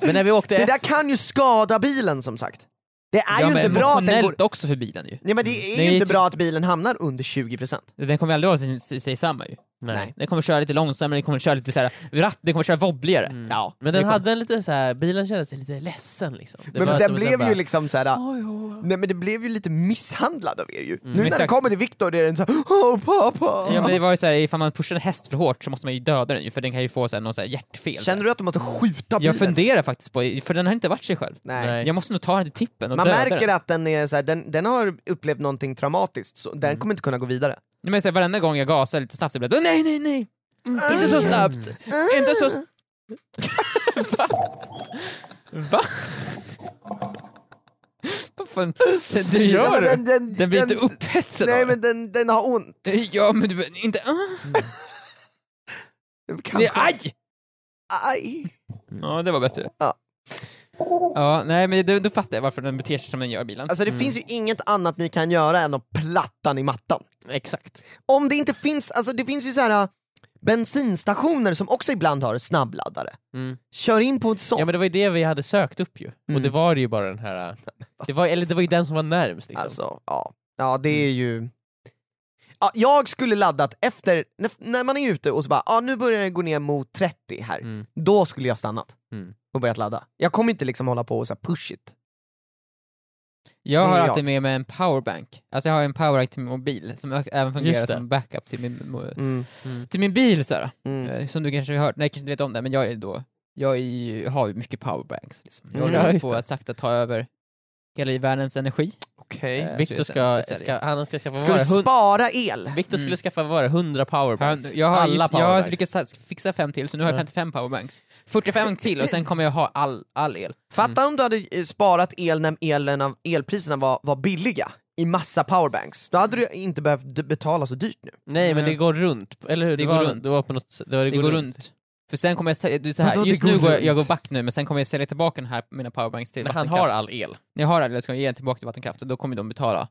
[SPEAKER 2] Men när vi åkte
[SPEAKER 4] Det
[SPEAKER 2] efter,
[SPEAKER 4] där kan ju skada bilen som sagt. Det är
[SPEAKER 3] ja,
[SPEAKER 4] ju
[SPEAKER 3] men
[SPEAKER 4] inte bra att den
[SPEAKER 3] emotionellt
[SPEAKER 4] går...
[SPEAKER 3] också för bilen ju.
[SPEAKER 4] Nej men det är
[SPEAKER 3] Det
[SPEAKER 4] ju
[SPEAKER 3] är ju
[SPEAKER 4] inte
[SPEAKER 3] typ-
[SPEAKER 4] bra att bilen hamnar under 20%.
[SPEAKER 3] Den kommer aldrig ha sin- sig, sig samma ju.
[SPEAKER 2] Nej.
[SPEAKER 3] Den kommer köra lite långsammare, den kommer köra lite såhär, ratt, den kommer köra wobbligare.
[SPEAKER 4] Ja.
[SPEAKER 2] Mm. men den
[SPEAKER 3] det kom-
[SPEAKER 2] hade en lite så här, bilen kände sig lite ledsen liksom. Det
[SPEAKER 4] Men
[SPEAKER 2] var
[SPEAKER 4] den
[SPEAKER 2] som att
[SPEAKER 4] blev
[SPEAKER 2] bara,
[SPEAKER 4] ju liksom såhär,
[SPEAKER 2] "Oj, oj, oj."
[SPEAKER 4] nej men det blev ju lite misshandlad av er ju. nu när den
[SPEAKER 3] Mm. exakt.
[SPEAKER 4] kommer till Viktor det är den såhär, åh pappa!
[SPEAKER 3] Ja, men det var ju såhär, ifall man pushar en häst för hårt så måste man ju döda den ju, för den kan ju få såhär, någon såhär hjärtfel.
[SPEAKER 4] Känner du att de måste skjuta bilen?
[SPEAKER 3] jag funderar faktiskt på, för den har inte varit sig själv.
[SPEAKER 4] Nej.
[SPEAKER 2] Nej.
[SPEAKER 3] Jag måste nog ta den till tippen och
[SPEAKER 4] Man
[SPEAKER 3] döda
[SPEAKER 4] märker
[SPEAKER 3] den.
[SPEAKER 4] att den, är så här, den, den har upplevt någonting traumatiskt, så den
[SPEAKER 3] Mm.
[SPEAKER 4] kommer inte kunna gå vidare.
[SPEAKER 3] Nej, Men så här, varenda gång jag gasar lite snabbt så blir det så, nej, nej, nej!
[SPEAKER 4] Mm.
[SPEAKER 3] Inte så snabbt! Inte så... s- Va? Va? Vad fan? Det- Det
[SPEAKER 4] Ja,
[SPEAKER 3] gör
[SPEAKER 4] men
[SPEAKER 3] du!
[SPEAKER 4] den, den,
[SPEAKER 3] Den blir inte
[SPEAKER 4] den-
[SPEAKER 3] upphetsad
[SPEAKER 4] Nej
[SPEAKER 3] av det.
[SPEAKER 4] men den, den har ont.
[SPEAKER 3] Ja men du, inte... ah.
[SPEAKER 4] Den kan-
[SPEAKER 3] Nej, ah. aj!
[SPEAKER 4] Aj.
[SPEAKER 3] Ja, det var bättre.
[SPEAKER 4] Ja.
[SPEAKER 3] Ja, nej men då, då fattar jag varför den beter sig som den gör bilen.
[SPEAKER 4] Alltså det finns ju
[SPEAKER 2] Mm.
[SPEAKER 4] inget annat ni kan göra än att plattan i mattan.
[SPEAKER 2] Exakt.
[SPEAKER 4] Om det inte finns, alltså det finns ju så här äh, bensinstationer som också ibland har snabbladdare.
[SPEAKER 2] Mm.
[SPEAKER 4] Kör in på ett sånt.
[SPEAKER 2] Ja men det var ju det vi hade sökt upp ju. Och det
[SPEAKER 3] Mm.
[SPEAKER 2] var ju bara den
[SPEAKER 3] [laughs]
[SPEAKER 2] här, det var, eller det var ju den som var närmst liksom. Mm.
[SPEAKER 4] Alltså, ja. Ja, det är ju... Ja, jag skulle laddat efter, när- när man är ute och så bara, ja nu börjar det gå ner mot 30 här.
[SPEAKER 2] Mm.
[SPEAKER 4] Då skulle jag stannat
[SPEAKER 2] Mm.
[SPEAKER 4] och börjat ladda. Jag kommer inte liksom hålla på och så här push it.
[SPEAKER 3] Jag
[SPEAKER 4] det
[SPEAKER 3] har
[SPEAKER 4] är
[SPEAKER 3] alltid med mig en powerbank. Alltså jag har en powerbank till min mobil som ö- även fungerar
[SPEAKER 2] Just det.
[SPEAKER 3] som backup till min, mo-
[SPEAKER 2] Mm.
[SPEAKER 3] till min bil såhär. Eh, Som du kanske har hört, nej kanske inte vet om det, men jag är då, jag är, ju- har ju mycket powerbanks. Liksom. Jag
[SPEAKER 4] Mm,
[SPEAKER 3] håller
[SPEAKER 2] ja, just
[SPEAKER 3] på
[SPEAKER 2] det.
[SPEAKER 3] att sakta ta över hela världens energi.
[SPEAKER 4] Okej.
[SPEAKER 3] Eh,
[SPEAKER 2] Viktor
[SPEAKER 3] så jag
[SPEAKER 2] ska,
[SPEAKER 3] sälja.
[SPEAKER 2] ska, han ska skaffa
[SPEAKER 4] Ska
[SPEAKER 2] vad
[SPEAKER 4] du
[SPEAKER 2] var det?
[SPEAKER 4] spara el?
[SPEAKER 2] Viktor
[SPEAKER 3] Mm.
[SPEAKER 2] skulle skaffa vad var det, 100
[SPEAKER 3] Han,
[SPEAKER 2] powerbanks?
[SPEAKER 3] jag har, ju-
[SPEAKER 2] Alla
[SPEAKER 3] jag har
[SPEAKER 2] powerbanks.
[SPEAKER 3] lyckats sa- fixa fem till, så nu har jag
[SPEAKER 2] Ja.
[SPEAKER 3] 55 powerbanks. 45 till och sen kommer jag ha all, all el.
[SPEAKER 4] Fatta om du hade eh, sparat el när elen av, elpriserna var, var billiga i massa powerbanks. Då hade du inte behövt d- betala så dyrt nu.
[SPEAKER 2] Nej men det
[SPEAKER 3] Nej.
[SPEAKER 2] går runt, eller hur?
[SPEAKER 3] Mm. Det
[SPEAKER 2] Det
[SPEAKER 3] går
[SPEAKER 2] var,
[SPEAKER 3] runt.
[SPEAKER 2] det var på något, det, var,
[SPEAKER 3] Det går runt. För sen kommer jag sälja, du, så
[SPEAKER 4] Vadå,
[SPEAKER 3] här,
[SPEAKER 4] det
[SPEAKER 3] just
[SPEAKER 4] går
[SPEAKER 3] nu går jag, jag går
[SPEAKER 4] runt?
[SPEAKER 3] back nu, men sen kommer jag sälja tillbaka den här, mina powerbanks till
[SPEAKER 2] Men han
[SPEAKER 3] vattenkraft.
[SPEAKER 2] har all el.
[SPEAKER 3] När jag har all el ska jag ge den tillbaka till vattenkraft och då kommer de betala.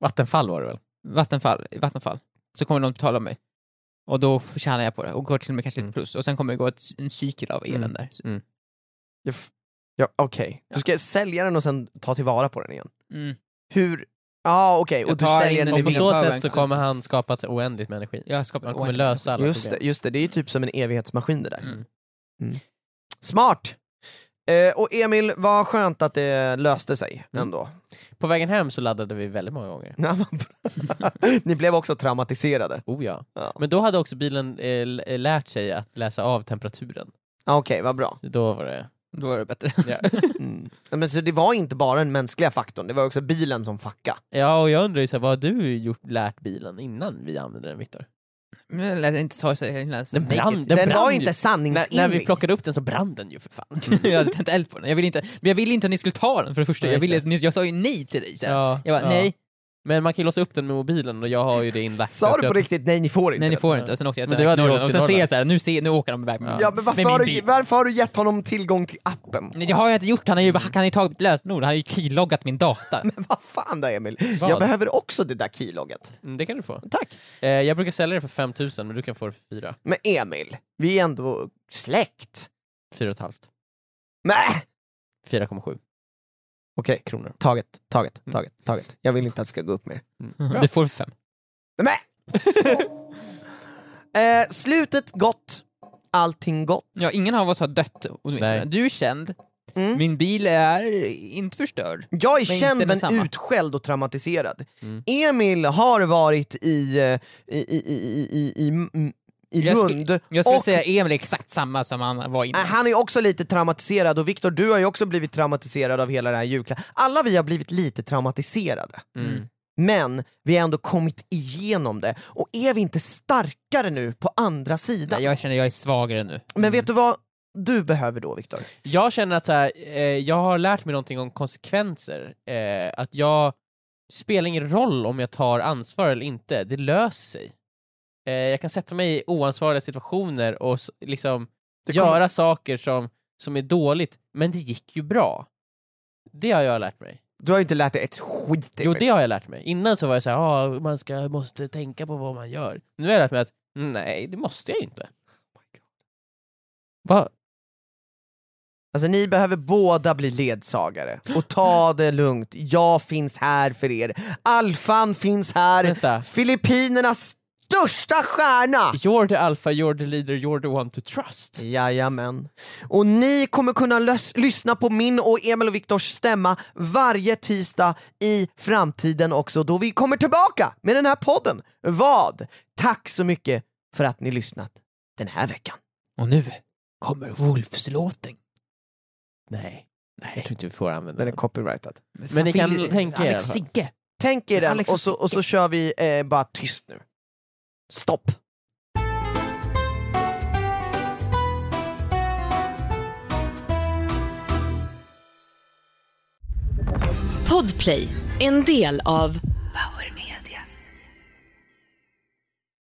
[SPEAKER 2] Vattenfall var det väl?
[SPEAKER 3] Vattenfall, Vattenfall. Så kommer de betala mig. Och då f- tjänar jag på det och går till och med kanske lite
[SPEAKER 2] Mm.
[SPEAKER 3] plus. Och sen kommer det gå ett, en cykel av elen
[SPEAKER 2] Mm.
[SPEAKER 3] där. Så-
[SPEAKER 4] Jag f- Ja, Okej, du ska sälja den och sen ta tillvara på den igen.
[SPEAKER 3] Mm.
[SPEAKER 4] Hur? Ja ah, okej,
[SPEAKER 3] Jag
[SPEAKER 4] och du
[SPEAKER 3] tar
[SPEAKER 4] säljer
[SPEAKER 3] in
[SPEAKER 4] den
[SPEAKER 3] den
[SPEAKER 4] i
[SPEAKER 3] i
[SPEAKER 2] På
[SPEAKER 3] min
[SPEAKER 2] så
[SPEAKER 3] powerbank
[SPEAKER 2] sätt så
[SPEAKER 3] så-
[SPEAKER 2] kommer han skapa ett oändligt med energi.
[SPEAKER 3] Jag har skapat
[SPEAKER 2] Han kommer lösa alla
[SPEAKER 4] Just det,
[SPEAKER 2] problem.
[SPEAKER 4] just det, det är ju typ som en evighetsmaskin det där.
[SPEAKER 3] Mm.
[SPEAKER 4] Mm. Smart! Eh, och Emil, vad skönt att det löste sig
[SPEAKER 2] Mm.
[SPEAKER 4] ändå. [laughs]
[SPEAKER 2] På vägen hem så laddade vi väldigt många gånger.
[SPEAKER 4] Ja, vad bra. Ni blev också traumatiserade.
[SPEAKER 2] Oh ja.
[SPEAKER 4] Ja.
[SPEAKER 2] Men då hade också bilen eh, l- eh, lärt sig att läsa av temperaturen.
[SPEAKER 4] Ah, Okej, vad bra.
[SPEAKER 2] Så Då var det...
[SPEAKER 3] Då är det bättre. [laughs]
[SPEAKER 2] [laughs]
[SPEAKER 4] Mm. Men så det var inte bara den mänskliga faktorn, det var också bilen som fuckade.
[SPEAKER 2] Ja, och jag undrar ju så här, vad har du gjort, lärt bilen innan vi använde den Viktor?
[SPEAKER 3] Men det lät inte så, så himla... så
[SPEAKER 2] Den brann,
[SPEAKER 3] naked.
[SPEAKER 2] den
[SPEAKER 4] Den
[SPEAKER 2] brann
[SPEAKER 4] var
[SPEAKER 2] ju.
[SPEAKER 4] inte
[SPEAKER 2] När,
[SPEAKER 4] sanningsenlig.
[SPEAKER 2] när vi plockade upp den så brann den ju för fan.
[SPEAKER 3] jag hade tänt eld på den. Jag ville inte, men jag ville inte att ni skulle ta den för det första.
[SPEAKER 2] Nej,
[SPEAKER 3] Jag, ville,
[SPEAKER 2] just
[SPEAKER 3] ni, jag sa ju nej till dig. Så här.
[SPEAKER 2] Ja,
[SPEAKER 3] Jag bara,
[SPEAKER 2] ja.
[SPEAKER 3] nej,
[SPEAKER 2] Men man kan ju låsa upp den med mobilen och jag har ju det inlagt. så
[SPEAKER 4] Sa
[SPEAKER 2] att
[SPEAKER 4] du på
[SPEAKER 2] jag-
[SPEAKER 4] riktigt, nej ni får inte?
[SPEAKER 3] nej ni
[SPEAKER 4] det?
[SPEAKER 3] får inte. Och sen åkte jag
[SPEAKER 2] Men
[SPEAKER 3] till
[SPEAKER 2] du hade ju
[SPEAKER 3] Norrland
[SPEAKER 2] åkt till
[SPEAKER 3] och sen ser
[SPEAKER 2] Norrland.
[SPEAKER 3] jag såhär, nu, ser- nu åker de iväg med
[SPEAKER 4] Ja, men varför
[SPEAKER 3] med
[SPEAKER 4] har,
[SPEAKER 3] min
[SPEAKER 4] du,
[SPEAKER 3] bil.
[SPEAKER 4] varför har du gett honom tillgång till appen? [laughs]
[SPEAKER 3] Nej, Det har jag inte gjort, han har ju, han har ju tagit lösenord, han har ju keyloggat min data.
[SPEAKER 4] Men vad fan då Emil?
[SPEAKER 2] Vad?
[SPEAKER 4] Jag behöver också det där keylogget.
[SPEAKER 2] Mm, det kan du få.
[SPEAKER 4] Tack.
[SPEAKER 2] Eh, jag brukar sälja det för 5000 men du kan få det för 4.
[SPEAKER 4] Men Emil, vi är ändå släkt.
[SPEAKER 2] 4,5.
[SPEAKER 4] Nej!
[SPEAKER 2] 4,7
[SPEAKER 4] Okej,
[SPEAKER 2] kronor. Mm.
[SPEAKER 4] taget, taget, taget, taget. Jag vill inte att det ska gå upp mer.
[SPEAKER 2] [laughs] Bra.
[SPEAKER 3] Du får fem.
[SPEAKER 4] Nej! men! eh, slutet gott, allting gott.
[SPEAKER 3] Ja, ingen av oss har dött åtminstone.
[SPEAKER 2] Nej.
[SPEAKER 3] Du är känd,
[SPEAKER 4] Mm.
[SPEAKER 3] min bil är inte förstörd.
[SPEAKER 4] Jag är
[SPEAKER 3] Men
[SPEAKER 4] känd
[SPEAKER 3] inte
[SPEAKER 4] men
[SPEAKER 3] detsamma.
[SPEAKER 4] utskälld och traumatiserad.
[SPEAKER 2] Mm.
[SPEAKER 4] Emil har varit i, eh, i, i, i, i, i, i, i
[SPEAKER 3] Jag sku-
[SPEAKER 4] Lund
[SPEAKER 3] Jag skulle
[SPEAKER 4] och
[SPEAKER 3] säga Emil är exakt samma som han var
[SPEAKER 4] Äh,
[SPEAKER 3] innan.
[SPEAKER 4] Han är också lite traumatiserad och Viktor du har ju också blivit traumatiserad av hela den här julklappen. Alla vi har blivit lite traumatiserade.
[SPEAKER 2] Mm.
[SPEAKER 4] Men vi har ändå kommit igenom det och är vi inte starkare nu på andra sidan?
[SPEAKER 3] Nej, jag känner jag Mm. är svagare nu.
[SPEAKER 4] Men vet du vad du behöver då Viktor?
[SPEAKER 2] Jag känner att så här, eh, jag har lärt mig någonting om konsekvenser. Eh, att jag spelar ingen roll om jag tar ansvar eller inte, det löser sig. Eh, jag kan sätta mig i oansvariga situationer och s- liksom göra saker som, som är dåligt, men det gick ju bra. Det har jag lärt mig.
[SPEAKER 4] Du har ju inte lärt dig ett skit
[SPEAKER 2] Jo,
[SPEAKER 4] Emil.
[SPEAKER 2] det har jag lärt mig. Innan så var jag så här, ah, man ska, måste tänka på vad man gör. Nu har jag lärt mig att nej, det måste jag ju inte. Va?
[SPEAKER 4] Alltså ni behöver båda bli ledsagare och ta det lugnt, jag finns här för er. Alfan finns här,
[SPEAKER 2] Vänta.
[SPEAKER 4] Filippinernas största stjärna!
[SPEAKER 2] You're the alpha, you're the leader, you're the one to trust.
[SPEAKER 4] Jajamän. Och ni kommer kunna lös- lyssna på min och Emil och Viktors stämma varje tisdag i framtiden också då vi kommer tillbaka med den här podden. Vad? Tack så mycket för att ni lyssnat den här veckan.
[SPEAKER 3] Och nu kommer Wolfslåten.
[SPEAKER 2] Nej. Nej. Jag tror inte vi får använda
[SPEAKER 4] Den är
[SPEAKER 2] den.
[SPEAKER 4] copyrightad.
[SPEAKER 2] Men ni kan tänka er i alla
[SPEAKER 3] Alex
[SPEAKER 2] fall.
[SPEAKER 3] Sigge.
[SPEAKER 4] Tänk er den
[SPEAKER 3] Alex
[SPEAKER 4] och så, och så kör vi eh, bara tyst nu. Stopp.
[SPEAKER 1] Podplay, en del av